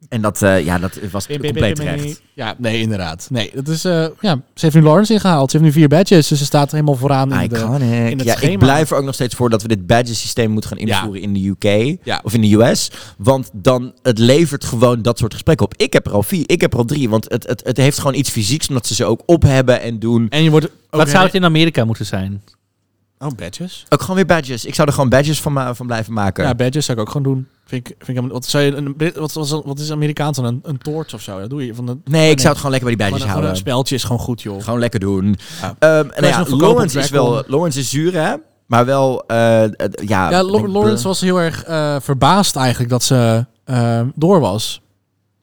Speaker 1: En dat, eh, ja, dat was compleet terecht.
Speaker 3: Ja, nee, inderdaad. Nee, dat is, eh, ja, ze heeft nu Lawrence ingehaald. Ze heeft nu vier badges, dus ze staat helemaal vooraan in, de, in
Speaker 1: Iconic.
Speaker 3: het
Speaker 1: Ja,
Speaker 3: schema.
Speaker 1: ik blijf er ook nog steeds voor dat we dit badges systeem moeten gaan invoeren in de UK
Speaker 3: Ja.
Speaker 1: of in de US. Want dan, het levert gewoon dat soort gesprekken op. Ik heb er al vier, ik heb er al drie. Want het, het, het heeft gewoon iets fysieks, omdat ze ze ook op hebben en doen.
Speaker 3: En je wordt ook...
Speaker 2: Wat zou het in Amerika moeten zijn?
Speaker 3: Oh, badges?
Speaker 1: Ook gewoon weer badges. Ik zou er gewoon badges van, ma- van blijven maken.
Speaker 3: Ja, badges zou ik ook gewoon doen. Vind ik, vind ik helemaal- wat, zou je, een, wat, wat, wat is Amerikaans dan? Een, een toorts of zo? Dat doe je van de...
Speaker 1: nee, ik zou het gewoon lekker bij die badges
Speaker 3: gewoon een-
Speaker 1: houden.
Speaker 3: Een speltje is gewoon goed, joh.
Speaker 1: Gewoon lekker doen.
Speaker 3: Ja.
Speaker 1: Ehm,
Speaker 3: is
Speaker 1: nou ja,
Speaker 3: een verkoop op
Speaker 1: Lawrence is wel...
Speaker 3: Dragon.
Speaker 1: Lawrence is zuur, hè? Maar wel, eh, het- ja...
Speaker 3: Ja,
Speaker 1: ik
Speaker 3: Lo-
Speaker 1: denk-
Speaker 3: Lawrence was heel erg eh, verbaasd eigenlijk dat ze eh, door was.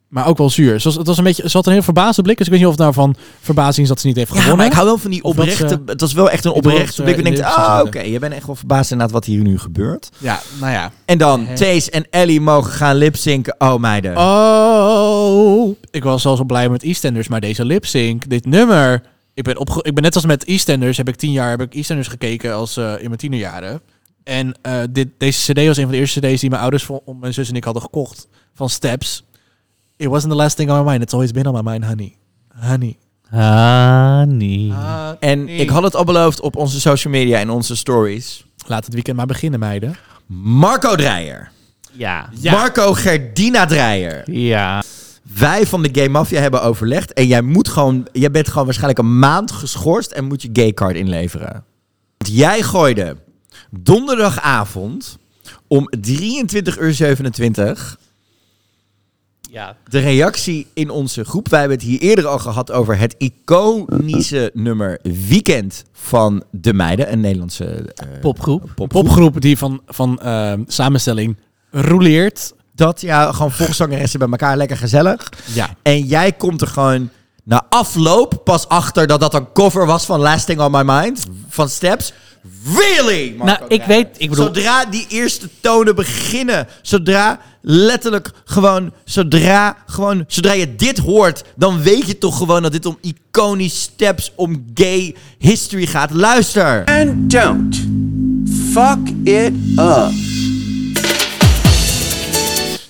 Speaker 3: Maar ook wel zuur. Ze, was, het was een beetje, ze had een heel verbaasde blik. Dus ik weet niet of het nou van verbazing is dat ze niet heeft gewonnen.
Speaker 1: Ja, maar ik hou wel van die
Speaker 3: Of dat
Speaker 1: oprechte...
Speaker 3: ze-
Speaker 1: het was wel echt een
Speaker 3: Ik bedoel,
Speaker 1: oprechte
Speaker 3: dat
Speaker 1: blik.
Speaker 3: ze
Speaker 1: Ik
Speaker 3: in de
Speaker 1: denk,
Speaker 3: lift
Speaker 1: ah,
Speaker 3: zaten.
Speaker 1: oké, je bent echt wel verbaasd inderdaad wat hier nu gebeurt.
Speaker 3: Ja, nou ja.
Speaker 1: En dan Chase en Ellie mogen gaan lipzinken. Oh, meiden.
Speaker 3: Oh, ik was al zo blij met EastEnders, maar deze lip sync, dit nummer. Ik ben, opge ik ben net als met EastEnders, heb ik tien jaar heb ik EastEnders gekeken als eh, in mijn tienerjaren. En eh, dit, deze cd was een van de eerste cd's die mijn ouders, voor, mijn zus en ik hadden gekocht. Van Steps. It wasn't the last thing on my mind, it's always been on my mind, honey. Honey.
Speaker 2: Honey.
Speaker 1: en ik had het al beloofd op onze social media en onze stories.
Speaker 3: Laat het weekend maar beginnen, meiden.
Speaker 1: Marco Dreyer.
Speaker 2: Ja.
Speaker 1: Marco Gerdina Dreyer.
Speaker 2: Ja.
Speaker 1: Wij van de Gay Mafia hebben overlegd. En jij moet gewoon... Jij bent gewoon waarschijnlijk een maand geschorst en moet je gaycard inleveren. Want jij gooide donderdagavond om 23.27 uur
Speaker 2: Ja.
Speaker 1: De reactie in onze groep. Wij hebben het hier eerder al gehad over het iconische nummer Weekend van De Meiden. Een Nederlandse eh,
Speaker 2: Popgroep.
Speaker 3: Popgroep die van, van ehm, samenstelling rouleert.
Speaker 1: Dat, ja, gewoon volkszangeressen bij elkaar, lekker gezellig.
Speaker 3: Ja.
Speaker 1: En jij komt er gewoon na afloop pas achter dat dat een cover was van Lasting on My Mind van Steps. Really? Marco
Speaker 2: Nou, ik
Speaker 1: Dreyer.
Speaker 2: weet- ik bedoel-
Speaker 1: Zodra die eerste tonen beginnen, zodra letterlijk gewoon, zodra gewoon, zodra je dit hoort, dan weet je toch gewoon dat dit om iconisch Steps, om gay history gaat. Luister.
Speaker 14: And don't fuck it up.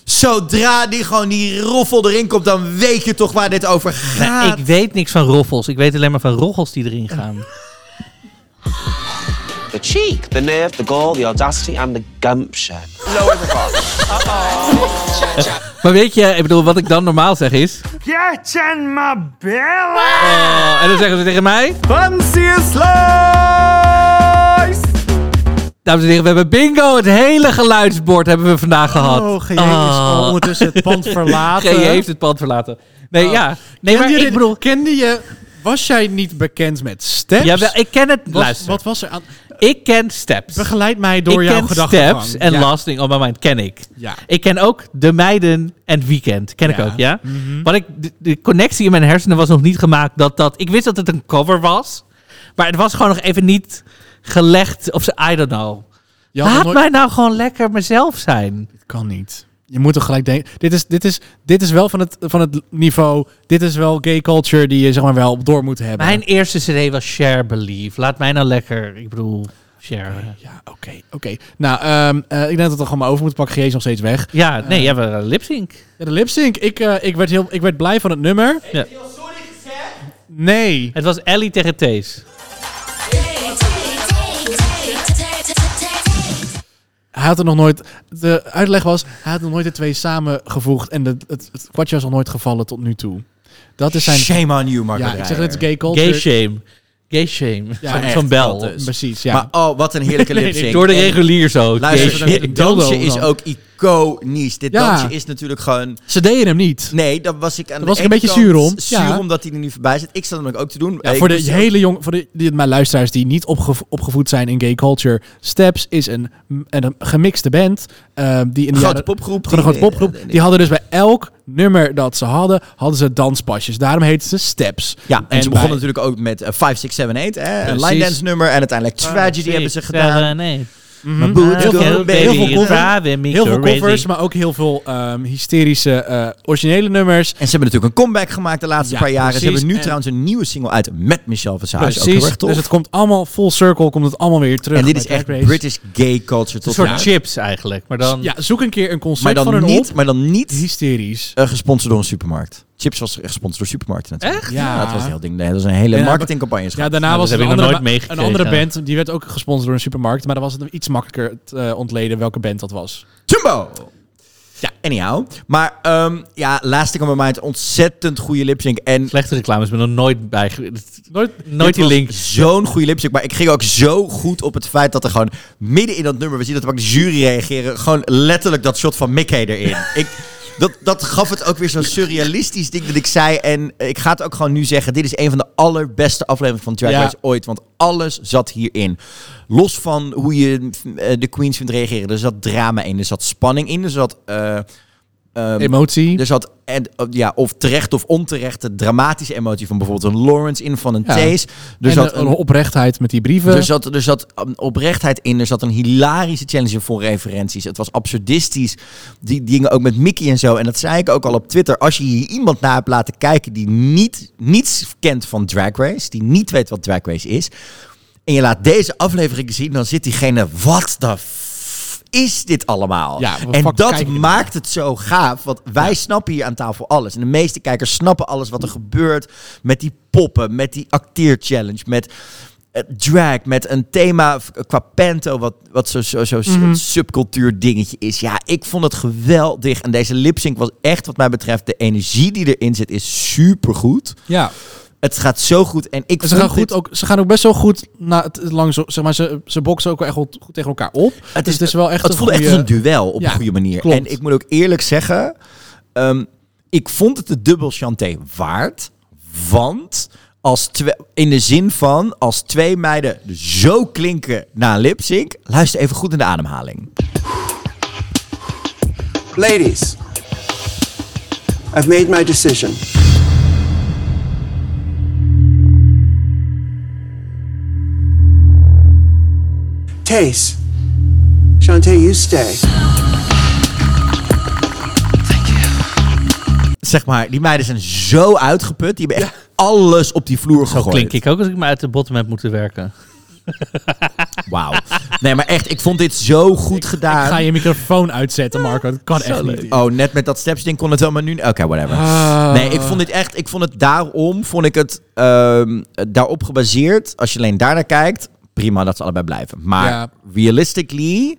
Speaker 1: Zodra die gewoon die roffel erin komt, dan weet je toch waar dit over gaat.
Speaker 3: Ah,
Speaker 2: Nee, Nou, ik weet niks van roffels. Ik weet alleen maar van roggels die erin gaan.
Speaker 6: The cheek, the nerve, the gall, the audacity, and the gumption. Lower the bar.
Speaker 2: Maar weet je, ik bedoel, wat ik dan normaal zeg is...
Speaker 15: Get in my belly!
Speaker 2: Oh, en dan zeggen ze tegen mij...
Speaker 15: Fancy slice!
Speaker 2: Dames en heren, we hebben bingo. Het hele geluidsbord hebben we vandaag gehad.
Speaker 3: Oh, GJ is al ondertussen het pand verlaten.
Speaker 2: GJ heeft het pand verlaten. Nee,
Speaker 3: Oh.
Speaker 2: ja. Nee, maar
Speaker 3: Kende je
Speaker 2: ik
Speaker 3: dit-
Speaker 2: bedoel...
Speaker 3: Kende je... Was jij niet bekend met steps?
Speaker 2: Jawel, ik ken het...
Speaker 3: Wat-
Speaker 2: luister.
Speaker 3: Wat was er aan...
Speaker 2: Ik ken Steps.
Speaker 3: Begeleid mij door
Speaker 2: ik
Speaker 3: jouw
Speaker 2: ken
Speaker 3: gedachtegang.
Speaker 2: Steps en
Speaker 3: Ja.
Speaker 2: Lasting on My Mind ken ik.
Speaker 3: Ja.
Speaker 2: Ik ken ook De Meiden en Weekend. Ken
Speaker 3: Ja.
Speaker 2: ik ook, ja? Wat ik, de, de connectie in mijn hersenen was nog niet gemaakt dat dat... Ik wist dat het een cover was. Maar het was gewoon nog even niet gelegd of ze... I don't know.
Speaker 3: Je had
Speaker 2: Laat
Speaker 3: nog nooit-
Speaker 2: mij nou gewoon lekker mezelf zijn.
Speaker 3: Kan niet. Je moet toch gelijk denken. Dit is, dit is, dit is wel van het, van het niveau. Dit is wel gay culture die je zeg maar wel door moet hebben.
Speaker 2: Mijn eerste cd was Share Believe. Laat mij nou lekker... Ik bedoel, share.
Speaker 3: ja, oké. Oké. Nou, ehm, eh, ik denk dat we het gewoon maar over moeten pakken. GJ is nog steeds weg.
Speaker 2: Ja, nee,
Speaker 3: Eh,
Speaker 2: jij hebt een lipsync.
Speaker 3: ja, de lipsync. Ik, eh, ik, werd heel, ik werd blij van het nummer.
Speaker 2: Ja.
Speaker 3: Nee.
Speaker 2: Het was Ellie tegen Thees.
Speaker 3: Hij had er nog nooit. De uitleg was, hij had nog nooit de twee samengevoegd. En de, het, het kwartje was nog nooit gevallen tot nu toe. Dat is zijn.
Speaker 1: Shame on you, Marco
Speaker 3: Ja, ik zeg
Speaker 1: Dreyer.
Speaker 3: dit is gay culture.
Speaker 2: Gay shame. Gay shame.
Speaker 3: Ja,
Speaker 2: van,
Speaker 3: echt,
Speaker 2: van Bel.
Speaker 3: dat dus. Precies, ja.
Speaker 1: Maar oh, wat een heerlijke
Speaker 2: Nee, nee,
Speaker 1: lipsync.
Speaker 2: door de
Speaker 1: En
Speaker 2: regulier zo. Jezus.
Speaker 1: Luister,
Speaker 2: Een
Speaker 1: dit
Speaker 2: dildo
Speaker 1: dansje is
Speaker 2: dan.
Speaker 1: ook iconisch. Dit
Speaker 3: Ja.
Speaker 1: dansje is natuurlijk gewoon...
Speaker 3: Ze deden hem niet.
Speaker 1: Nee, daar was ik aan de
Speaker 3: was ik een
Speaker 1: ene
Speaker 3: beetje
Speaker 1: kant
Speaker 3: zuur om.
Speaker 1: Zuur
Speaker 3: Ja.
Speaker 1: omdat hij er nu voorbij zit. Ik zat hem ook te doen.
Speaker 3: Ja,
Speaker 1: Ik
Speaker 3: voor de
Speaker 1: moest-
Speaker 3: hele jong, voor de, die, mijn luisteraars die niet opgev- opgevoed zijn in gay culture, Steps is een, een, een gemixte band. eh, die in de
Speaker 1: Grote
Speaker 3: jaren-
Speaker 1: popgroep.
Speaker 3: Gewoon Een grote
Speaker 1: Die-
Speaker 3: popgroep. Die hadden dus bij elk nummer dat ze hadden, hadden ze danspasjes. Daarom heette ze Steps.
Speaker 1: Ja, en, ze
Speaker 3: bij-
Speaker 1: begonnen natuurlijk ook met eh, 5, 6, 7, 8. Hè? Een
Speaker 3: Precies.
Speaker 1: line dance nummer. En uiteindelijk Tragedy
Speaker 2: Six,
Speaker 1: hebben ze
Speaker 2: seven,
Speaker 1: gedaan.
Speaker 2: eight.
Speaker 1: Maar boet,
Speaker 2: Heel
Speaker 1: go,
Speaker 2: veel
Speaker 1: baby,
Speaker 2: baby,
Speaker 1: heel veel covers.
Speaker 2: driving me
Speaker 3: Heel veel
Speaker 2: crazy.
Speaker 3: covers, maar ook heel veel ehm, hysterische eh, originele nummers.
Speaker 1: En ze hebben natuurlijk een comeback gemaakt de laatste
Speaker 3: Ja,
Speaker 1: paar jaren.
Speaker 3: precies.
Speaker 1: Ze hebben nu
Speaker 3: En-
Speaker 1: trouwens een nieuwe single uit met Michelle Versailles. Ook heel
Speaker 3: Precies,
Speaker 1: erg tof.
Speaker 3: dus het komt allemaal full circle, komt het allemaal weer terug.
Speaker 1: en dit
Speaker 3: bij
Speaker 1: is echt
Speaker 3: Drag Race.
Speaker 1: British gay culture
Speaker 2: Een
Speaker 1: tot
Speaker 2: soort
Speaker 1: nu toe.
Speaker 2: chips eigenlijk. Maar dan...
Speaker 3: Ja, zoek een keer een
Speaker 1: maar
Speaker 3: concert van
Speaker 1: dan,
Speaker 3: hun
Speaker 1: niet,
Speaker 3: op.
Speaker 1: maar dan niet
Speaker 3: Hysterisch.
Speaker 1: eh, gesponsord door een supermarkt. Chips was gesponsord door supermarkten natuurlijk.
Speaker 3: Echt?
Speaker 1: Ja.
Speaker 3: Ja.
Speaker 1: dat was een heel ding. Nee, dat was een hele
Speaker 3: Ja,
Speaker 1: marketingcampagne. schat.
Speaker 3: Ja, daarna
Speaker 2: Nou,
Speaker 3: was
Speaker 2: dat
Speaker 3: er
Speaker 2: heb
Speaker 3: een,
Speaker 2: ik nog
Speaker 3: andere,
Speaker 2: nooit
Speaker 3: ba- een
Speaker 2: meegekregen.
Speaker 3: andere band. Die werd ook gesponsord door een supermarkt. Maar dan was het iets makkelijker te eh, ontleden welke band dat was.
Speaker 1: Jumbo! Ja, anyhow. Maar ehm ja, Lasting on My Mind, ontzettend goede lipsync. En
Speaker 2: Slechte reclames ben er nooit bij... ge-
Speaker 3: Nooit,
Speaker 2: Nooit
Speaker 1: Dit
Speaker 2: die
Speaker 1: was
Speaker 2: link.
Speaker 1: Zo'n goede lipstick. Maar ik ging ook zo goed op het feit dat er gewoon midden in dat nummer, we zien dat ook de jury reageren, gewoon letterlijk dat shot van Mickey erin. ik, dat, dat gaf het ook weer zo'n surrealistisch ding dat ik zei. En ik ga het ook gewoon nu zeggen: dit is een van de allerbeste afleveringen van Drag
Speaker 3: Ja.
Speaker 1: Race ooit. Want alles zat hierin. Los van hoe je eh, de queens vindt reageren. Er zat drama in, er zat spanning in, er zat. eh, ehm,
Speaker 3: Emotie.
Speaker 1: er zat en, eh, ja, of terecht of onterechte dramatische emotie van bijvoorbeeld een Lawrence in van een
Speaker 3: Ja.
Speaker 1: Thees. Er
Speaker 3: en
Speaker 1: zat
Speaker 3: een oprechtheid met die brieven.
Speaker 1: er zat, er zat um, oprechtheid in. Er zat een hilarische challenge voor referenties. Het was absurdistisch. Die dingen ook met Mickey en zo. En dat zei ik ook al op Twitter. Als je hier iemand naar hebt laten kijken die niet, niets kent van Drag Race. Die niet weet wat Drag Race is. En je laat deze aflevering zien. Dan zit diegene, wat de f- is dit allemaal?
Speaker 3: Ja,
Speaker 1: en
Speaker 3: we fucking
Speaker 1: dat
Speaker 3: kijken er
Speaker 1: maakt het zo gaaf. Want wij snappen hier aan tafel alles. En de meeste kijkers snappen alles wat er gebeurt. Met die poppen, met die acteerchallenge, met eh, drag, met een thema v- qua panto, wat, wat zo'n zo, zo,
Speaker 3: Mhm.
Speaker 1: subcultuur dingetje is. Ja, ik vond het geweldig. En deze lipsync was echt, wat mij betreft, de energie die erin zit, is supergoed.
Speaker 3: ja.
Speaker 1: Het gaat zo goed. En ik
Speaker 3: En ze
Speaker 1: vond
Speaker 3: gaan, goed
Speaker 1: dit-
Speaker 3: ook, ze gaan ook best wel goed na het, het lang zo, zeg maar, ze, ze boksen ook wel echt goed, goed tegen elkaar op.
Speaker 1: Het,
Speaker 3: Dus
Speaker 1: is,
Speaker 3: het is wel echt
Speaker 1: het
Speaker 3: een
Speaker 1: voelde echt als
Speaker 3: goeie-
Speaker 1: een duel op
Speaker 3: Ja,
Speaker 1: een goede manier.
Speaker 3: klopt.
Speaker 1: En ik moet ook eerlijk zeggen, ehm, Ik vond het de dubbel chanté waard. Want als twee, in de zin van als twee meiden zo klinken na lip sync, luister even goed in de ademhaling.
Speaker 14: Ladies, I've made my decision. Tace, Shantae, you stay.
Speaker 1: Zeg maar, die meiden zijn zo uitgeput. Die hebben echt alles op die vloer gegooid.
Speaker 2: Klink ik ook als ik me uit de bottom heb moeten werken.
Speaker 1: Wauw. Nee, maar echt, ik vond dit zo goed gedaan.
Speaker 3: Ga je microfoon uitzetten, Marco. Dat kan echt niet.
Speaker 1: Oh, net met dat steps ding kon het wel, maar nu... Oké, whatever.
Speaker 3: Ah.
Speaker 1: Nee, ik vond dit echt... Ik vond het daarom, vond ik het ehm, daarop gebaseerd. Als je alleen daarnaar kijkt, prima dat ze allebei blijven. Maar
Speaker 3: Ja.
Speaker 1: realistically...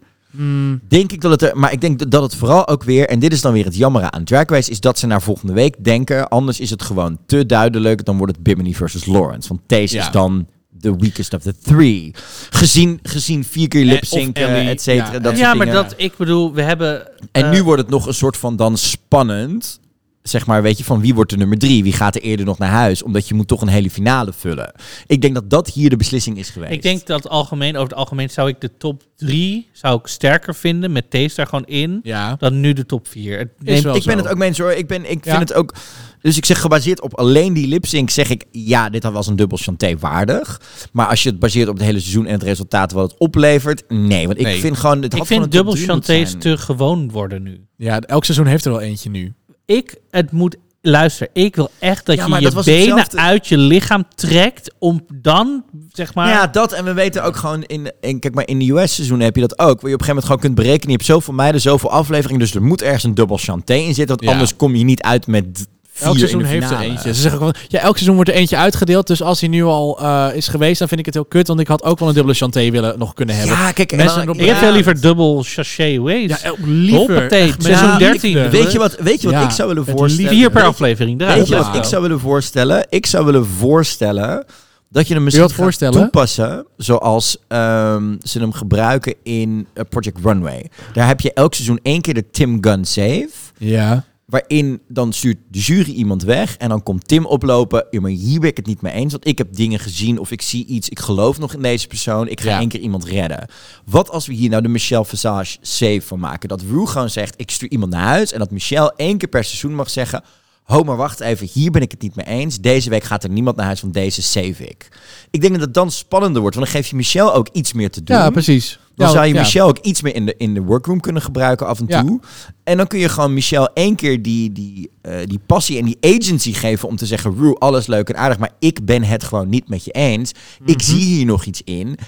Speaker 1: Denk ik dat het er, maar ik denk dat het vooral ook weer, en dit is dan weer het jammere aan Drag Race, is dat ze naar volgende week denken. Anders is het gewoon te duidelijk. Dan wordt het Bimini versus Lawrence. Want deze
Speaker 3: Ja.
Speaker 1: is dan de weakest of the three. Gezien, gezien vier keer lip
Speaker 2: Of Ellie.
Speaker 1: synken, et cetera.
Speaker 2: Ja,
Speaker 1: dat
Speaker 2: ja
Speaker 1: soort
Speaker 2: maar
Speaker 1: dingen.
Speaker 2: dat, ik bedoel, we hebben...
Speaker 1: En
Speaker 2: eh,
Speaker 1: nu wordt het nog een soort van dan spannend. Zeg maar, weet je, van wie wordt de nummer drie? Wie gaat er eerder nog naar huis? Omdat je moet toch een hele finale vullen. Ik denk dat dat hier de beslissing is geweest.
Speaker 2: Ik denk dat algemeen, over het algemeen zou ik de top 3 zou ik sterker vinden met deze daar gewoon in dan nu de top 4.
Speaker 1: Nee, ik ben het ook mee eens hoor. Ik, ben, ik
Speaker 2: Ja.
Speaker 1: vind het ook... Dus ik zeg gebaseerd op alleen die lipsync zeg ik... Ja, dit was een dubbel chanté waardig. Maar als je het baseert op het hele seizoen en het resultaat wat het oplevert... Nee, want ik
Speaker 3: Nee.
Speaker 1: vind gewoon... Het
Speaker 2: Ik
Speaker 1: had gewoon
Speaker 2: vind
Speaker 1: een top
Speaker 2: dubbel
Speaker 1: drie moeten
Speaker 2: chantés
Speaker 1: zijn.
Speaker 2: te gewoon worden nu.
Speaker 3: Ja, elk seizoen heeft er wel eentje nu.
Speaker 2: Ik, het moet, luister, ik wil echt dat
Speaker 1: Ja,
Speaker 2: je
Speaker 1: maar
Speaker 2: je
Speaker 1: dat was
Speaker 2: benen
Speaker 1: hetzelfde.
Speaker 2: uit je lichaam trekt om dan, zeg maar...
Speaker 1: Ja, dat. En we weten ook gewoon in, in kijk maar in de US-seizoen heb je dat ook. Waar je op een gegeven moment gewoon kunt berekenen. Je hebt zoveel meiden, zoveel afleveringen. Dus er moet ergens een dubbel chanté in zitten. Want
Speaker 3: Ja.
Speaker 1: anders kom je niet uit met vier
Speaker 3: Elk seizoen
Speaker 1: in de
Speaker 3: heeft er
Speaker 1: finale.
Speaker 3: eentje. Ze zeggen gewoon, ja, elk seizoen wordt er eentje uitgedeeld. Dus als hij nu al eh, is geweest, dan vind ik het heel kut. Want ik had ook wel een dubbele chanté willen nog kunnen hebben.
Speaker 1: Ja, eh, kijk, en
Speaker 3: mensen
Speaker 1: dan-
Speaker 3: erop-
Speaker 2: Ik heb veel liever dubbel sachet waves.
Speaker 3: Ja, ook liever.
Speaker 2: Hoppatee,
Speaker 3: Echt,
Speaker 2: seizoen
Speaker 3: ja,
Speaker 2: 13.
Speaker 3: ik-
Speaker 1: Weet je wat, weet je wat
Speaker 3: Ja,
Speaker 1: ik zou willen
Speaker 3: het
Speaker 1: voorstellen?
Speaker 2: Vier per
Speaker 1: Weet-
Speaker 2: aflevering. daar
Speaker 1: Weet je
Speaker 2: gaat
Speaker 1: wat
Speaker 2: het.
Speaker 1: ik zou willen voorstellen? Ik zou willen voorstellen dat je hem misschien
Speaker 3: wat
Speaker 1: gaat
Speaker 3: voorstellen?
Speaker 1: toepassen zoals ehm, ze hem gebruiken in eh, Project Runway. Daar heb je elk seizoen één keer de Tim Gunn save.
Speaker 3: Ja.
Speaker 1: Waarin dan stuurt de jury iemand weg en dan komt Tim oplopen. Ja, maar hier ben ik het niet mee eens, want ik heb dingen gezien of ik zie iets. Ik geloof nog in deze persoon. Ik ga
Speaker 3: Ja.
Speaker 1: één keer iemand redden. Wat als we hier nou de Michelle Visage save van maken? Dat Rue gewoon zegt, ik stuur iemand naar huis. En dat Michelle één keer per seizoen mag zeggen... Ho, maar wacht even, hier ben ik het niet mee eens. Deze week gaat er niemand naar huis, want deze save ik. Ik denk dat het dan spannender wordt, want dan geef je Michelle ook iets meer te doen.
Speaker 3: Ja, precies.
Speaker 1: Dan
Speaker 3: Ja,
Speaker 1: zou je
Speaker 3: Nou, ja.
Speaker 1: Michelle ook iets meer in de, in de workroom kunnen gebruiken af en
Speaker 3: Ja.
Speaker 1: toe. En dan kun je gewoon Michelle één keer die, die, eh, die passie en die agency geven om te zeggen... Rue, alles leuk en aardig, maar ik ben het gewoon niet met je eens.
Speaker 3: Mhm.
Speaker 1: Ik zie hier nog iets in.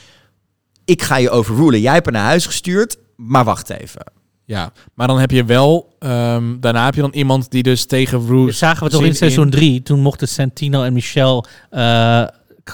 Speaker 1: Ik ga je overrulen. Jij hebt haar naar huis gestuurd, maar wacht even.
Speaker 3: Ja, maar dan heb je wel... ehm, daarna heb je dan iemand die dus tegen Roos...
Speaker 2: Dat zagen we toch in seizoen 3. Toen mochten Santino en Michel eh,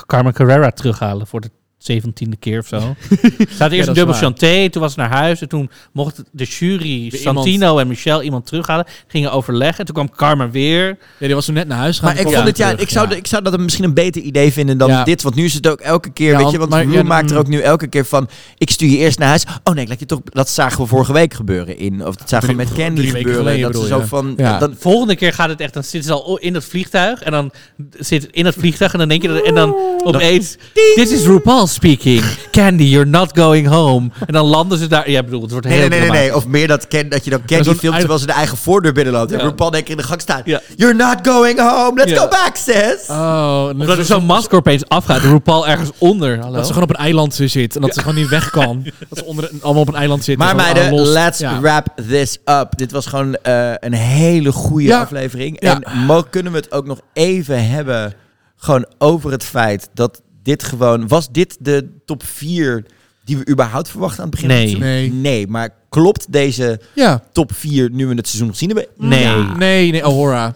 Speaker 2: Carmen Carrera terughalen voor de zeventiende keer of zo. Ze hadden
Speaker 3: dat
Speaker 2: eerst
Speaker 3: is
Speaker 2: een dubbel
Speaker 3: waar.
Speaker 2: chanté, toen was ze naar huis. En toen mocht de jury
Speaker 3: Weer
Speaker 2: Santino en Michel iemand terughalen. Gingen overleggen. En toen kwam Carmen weer.
Speaker 3: Ja, die was toen net naar huis gegaan.
Speaker 1: Maar ik, vond het, ja, ik, zou, ik zou dat misschien een beter idee vinden dan
Speaker 3: Ja.
Speaker 1: dit. Want nu is het ook elke keer,
Speaker 3: Ja,
Speaker 1: weet je, want
Speaker 3: maar-
Speaker 1: Rue
Speaker 3: ja,
Speaker 1: maakt er
Speaker 3: mm.
Speaker 1: ook nu elke keer van... Ik stuur je eerst naar huis. Oh nee, ik laat je toch... Dat zagen we vorige week gebeuren in... Of dat zagen we
Speaker 3: Drie-
Speaker 1: met Candy
Speaker 3: drie weken
Speaker 1: gebeuren.
Speaker 3: geleden
Speaker 1: dat ze
Speaker 3: bedoel
Speaker 1: zo
Speaker 3: je.
Speaker 1: van...
Speaker 3: Ja.
Speaker 1: Dan,
Speaker 2: Volgende keer gaat het echt. Dan zitten ze al in dat vliegtuig. En dan zit het in dat vliegtuig. En dan denk je dat. En dan opeens. This is RuPaul speaking. Candy, you're not going home. En dan landen ze daar. Ja, ik bedoel, het wordt
Speaker 1: nee,
Speaker 2: heel
Speaker 1: nee, nee, nee,
Speaker 2: dramatisch.
Speaker 1: nee. Of meer dat, Ken, dat je dan Candy
Speaker 3: zo'n
Speaker 1: filmt terwijl ze de eigen voordeur binnenloopt. En
Speaker 2: Ja.
Speaker 1: RuPaul denk ik in de gang staat.
Speaker 2: Ja.
Speaker 1: You're not going home. Let's
Speaker 2: Ja.
Speaker 1: go back, sis.
Speaker 3: Oh, en
Speaker 2: Omdat er zo'n masker opeens afgaat. en RuPaul ergens onder. Hallo?
Speaker 3: Dat ze gewoon op een eiland zit en dat ze gewoon niet weg kan. Dat ze onder, allemaal op een eiland zit.
Speaker 1: Maar meiden, let's
Speaker 3: ja.
Speaker 1: wrap this up. Dit was gewoon eh, een hele goede
Speaker 3: Ja.
Speaker 1: aflevering.
Speaker 3: Ja.
Speaker 1: En mo- kunnen we het ook nog even hebben gewoon over het feit dat dit gewoon... Was dit de top 4 die we überhaupt verwachten aan het begin
Speaker 2: Nee.
Speaker 1: van het seizoen?
Speaker 3: Nee.
Speaker 1: Nee, maar klopt deze
Speaker 3: Ja.
Speaker 1: top 4 nu we het seizoen gezien hebben?
Speaker 2: Nee.
Speaker 1: Ja.
Speaker 3: Nee, nee, Ahora.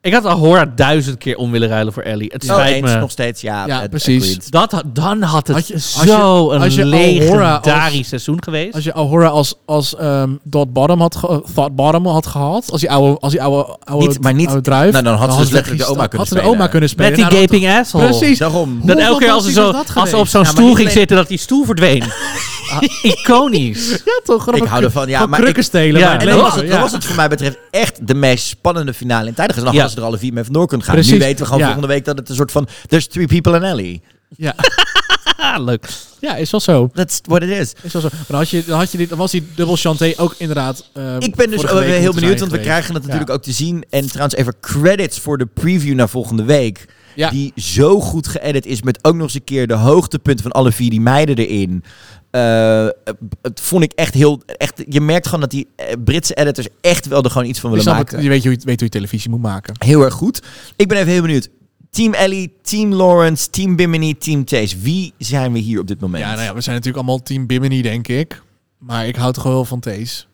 Speaker 2: Ik had Ahora duizend keer om willen ruilen voor Ellie. Het
Speaker 1: Oh,
Speaker 2: spijt
Speaker 1: eens
Speaker 2: me.
Speaker 1: nog steeds, ja.
Speaker 3: Ja,
Speaker 1: het-
Speaker 3: precies.
Speaker 1: agreed.
Speaker 2: Dat, had- dan had het
Speaker 3: Had je- als je-
Speaker 2: zo een
Speaker 3: als je Ahora als-
Speaker 2: legendarisch seizoen geweest.
Speaker 3: Als je Ahora als, als ehm Dot Bottom had, ge- eh, Thought Bottom had gehad. Als die oude, als die oude, oude,
Speaker 1: Niet- maar niet-
Speaker 3: oude druif.
Speaker 1: nou, dan had ze dus
Speaker 3: het
Speaker 1: letterlijk de
Speaker 3: gesta-
Speaker 1: oma kunnen
Speaker 3: had ze
Speaker 1: spelen.
Speaker 3: De oma kunnen spelen.
Speaker 2: Met die
Speaker 3: Nou, dat-
Speaker 2: gaping asshole.
Speaker 3: Precies.
Speaker 1: Daarom.
Speaker 2: Dat
Speaker 3: Hoe
Speaker 2: elke keer als ze,
Speaker 3: fantastisch
Speaker 2: zo,
Speaker 3: was dat
Speaker 2: als ze op
Speaker 3: geweest?
Speaker 2: zo'n
Speaker 1: Ja, maar
Speaker 2: stoel
Speaker 1: niet
Speaker 2: ging
Speaker 1: alleen-
Speaker 2: zitten, dat die stoel verdween. Ah, Iconisch.
Speaker 3: Ja, toch?
Speaker 1: Ik hou ervan. Ja, maar ik,
Speaker 2: Ja,
Speaker 1: en dan was, het, dan was het voor mij betreft echt de meest spannende finale in tijden. Dus dan
Speaker 2: Ja.
Speaker 1: hadden ze er alle vier mee vandoor kunnen gaan. Nu
Speaker 2: Precies.
Speaker 1: weten we gewoon
Speaker 2: Ja.
Speaker 1: volgende week dat het een soort van... There's three people in Ellie.
Speaker 3: Ja.
Speaker 2: Leuk.
Speaker 3: Ja, is wel zo.
Speaker 1: That's what it is.
Speaker 3: Is wel zo. Maar dan had je, dan had je dit, dan was die dubbel chanté ook inderdaad. eh,
Speaker 1: Ik ben dus
Speaker 3: vorige
Speaker 1: wel
Speaker 3: week
Speaker 1: heel
Speaker 3: moeten
Speaker 1: benieuwd, want
Speaker 3: zijn
Speaker 1: we
Speaker 3: geweest.
Speaker 1: krijgen het
Speaker 3: Ja.
Speaker 1: natuurlijk ook te zien. En trouwens even credits voor de preview naar volgende week.
Speaker 3: Ja.
Speaker 1: Die zo goed geëdit is met ook nog eens een keer de hoogtepunten van alle vier die meiden erin. Eh, het vond ik echt heel... Echt, je merkt gewoon dat die eh, Britse editors echt wel er gewoon iets van
Speaker 3: Je,
Speaker 1: willen
Speaker 3: snapt
Speaker 1: maken.
Speaker 3: het, je weet, hoe je weet hoe je televisie moet maken.
Speaker 1: Heel erg goed. Ik ben even heel benieuwd. Team Ellie, Team Lawrence, Team Bimini, Team Chase. Wie zijn we hier op dit moment?
Speaker 3: Ja, nou ja, we zijn natuurlijk allemaal team Bimini, denk ik. Maar ik hou toch wel heel van Thees.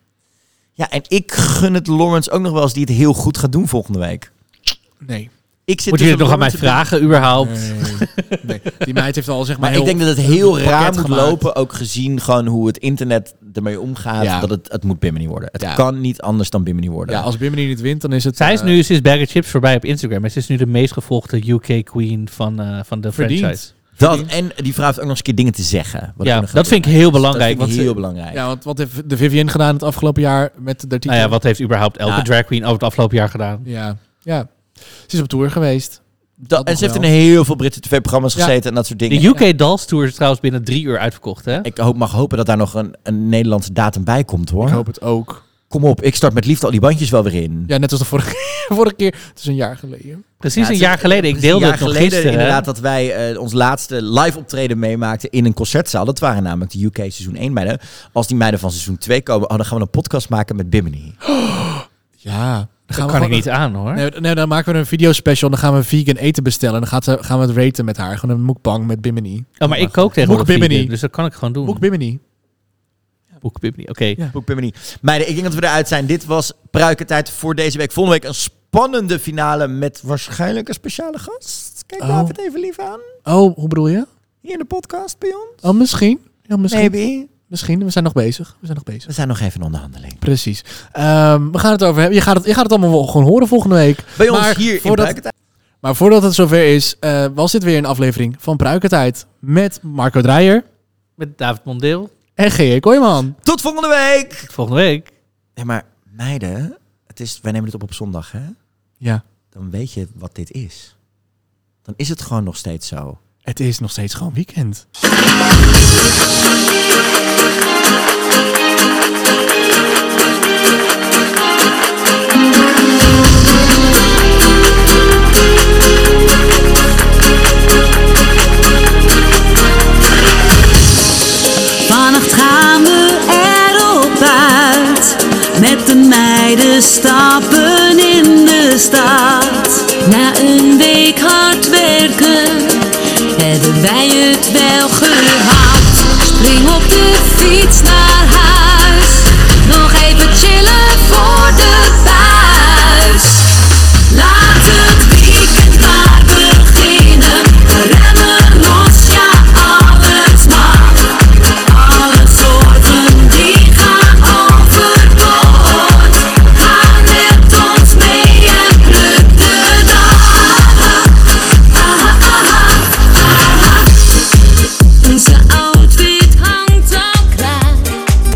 Speaker 1: Ja, en ik gun het Lawrence ook nog wel eens die het heel goed gaat doen volgende week.
Speaker 3: Nee.
Speaker 1: Ik zit
Speaker 2: Moet
Speaker 1: dus
Speaker 2: je het nog aan mij
Speaker 1: Lawrence te denken.
Speaker 2: vragen, überhaupt?
Speaker 3: Nee, die meid heeft al zeg maar
Speaker 1: Maar ik
Speaker 3: heel
Speaker 1: denk dat het heel
Speaker 3: pakket
Speaker 1: raar moet
Speaker 3: gemaakt.
Speaker 1: lopen, ook gezien gewoon hoe het internet ermee omgaat,
Speaker 3: Ja.
Speaker 1: dat het, het moet Bimini worden. Het
Speaker 3: Ja.
Speaker 1: kan niet anders dan Bimini worden.
Speaker 3: Ja, als Bimini niet wint, dan is het...
Speaker 2: Zij is
Speaker 3: eh,
Speaker 2: nu sinds Bag of Chips voorbij op Instagram. En ze is nu de meest gevolgde UK queen van, eh, van de
Speaker 3: Verdiend.
Speaker 2: franchise.
Speaker 1: dat, en die vrouw heeft ook nog eens een keer dingen te zeggen. wat
Speaker 2: Ja,
Speaker 1: ook nog Dus
Speaker 2: dat vind ik heel belangrijk,
Speaker 1: Dat vind ik
Speaker 2: want
Speaker 1: heel
Speaker 2: ze-
Speaker 1: belangrijk.
Speaker 3: Ja, want wat heeft de Vivienne gedaan het afgelopen jaar met de titel?
Speaker 2: Nou ja, wat heeft überhaupt elke
Speaker 1: Ja.
Speaker 2: drag queen over het afgelopen jaar gedaan?
Speaker 3: ja, ja. Ze is op tour geweest.
Speaker 1: Dat, en
Speaker 3: nog
Speaker 1: ze heeft in
Speaker 3: wel.
Speaker 1: heel veel Britse tv-programma's
Speaker 3: Ja.
Speaker 1: gezeten en dat soort dingen.
Speaker 2: De UK Dolls Tour is trouwens binnen drie uur uitverkocht, hè?
Speaker 1: Ik hoop, mag hopen dat daar nog een, een Nederlandse datum bij komt hoor.
Speaker 3: Ik hoop het ook.
Speaker 1: Kom op, ik start met liefde al die bandjes wel weer in.
Speaker 3: Ja, net als de vorige, vorige keer. Het is een jaar geleden.
Speaker 2: Precies
Speaker 1: Ja,
Speaker 2: een
Speaker 1: het is-
Speaker 2: jaar geleden. Ik
Speaker 1: precies
Speaker 2: deelde
Speaker 1: een
Speaker 2: het
Speaker 1: jaar
Speaker 2: nog
Speaker 1: geleden
Speaker 2: gisteren.
Speaker 1: inderdaad dat wij eh, ons laatste live optreden meemaakten in een concertzaal. Dat waren namelijk de UK seizoen 1 meiden. Als die meiden van seizoen 2 komen, oh, dan gaan we een podcast maken met Bimini.
Speaker 3: Ja. Dan gaan
Speaker 2: Dat
Speaker 3: we
Speaker 2: kan ik
Speaker 3: gewoon-
Speaker 2: niet aan, hoor.
Speaker 3: Nee, nee, dan maken we een video special. Dan gaan we vegan eten bestellen. En dan gaat ze, gaan we het raten met haar. Gewoon een mukbang met Bimini.
Speaker 2: Oh, maar ik kook tegenwoordig
Speaker 3: Boek Bimini.
Speaker 2: vegan, dus dat kan ik gewoon doen.
Speaker 3: Boek Bimini.
Speaker 2: Boek Bimini, oké.
Speaker 3: Ja.
Speaker 1: Boek Bimini. Meiden, ik denk dat we eruit zijn. Dit was Pruikentijd voor deze week. Volgende week een spannende finale met waarschijnlijk een speciale gast. Kijk daar
Speaker 3: Oh.
Speaker 1: het even lief aan.
Speaker 3: Oh, hoe bedoel je?
Speaker 1: Hier in de podcast bij ons.
Speaker 3: Oh, misschien. Ja, misschien.
Speaker 1: Maybe.
Speaker 3: Misschien. We zijn nog bezig. We zijn nog bezig.
Speaker 1: We zijn nog even in onderhandeling.
Speaker 3: Precies. Ehm, we gaan het over hebben. Je gaat het, je gaat het allemaal wel gewoon horen volgende week.
Speaker 1: Bij ons
Speaker 3: Maar
Speaker 1: hier in
Speaker 3: voordat-
Speaker 1: Pruikentijd.
Speaker 3: Maar voordat het zover is, eh, was dit weer een aflevering van Pruikentijd. Met Marco Dreyer
Speaker 2: Met David Mondeel.
Speaker 3: en G.E. Kooijman.
Speaker 1: Tot volgende week!
Speaker 2: Tot Volgende week.
Speaker 1: Nee, maar meiden, het is, wij nemen dit op op zondag, hè?
Speaker 3: Ja,
Speaker 1: dan weet je wat dit is. Dan is het gewoon nog steeds zo.
Speaker 3: het is nog steeds gewoon weekend.
Speaker 16: Vannacht gaan we erop uit. Met de meiden stappen in de stad. Na een week hard werken hebben wij het wel gehad.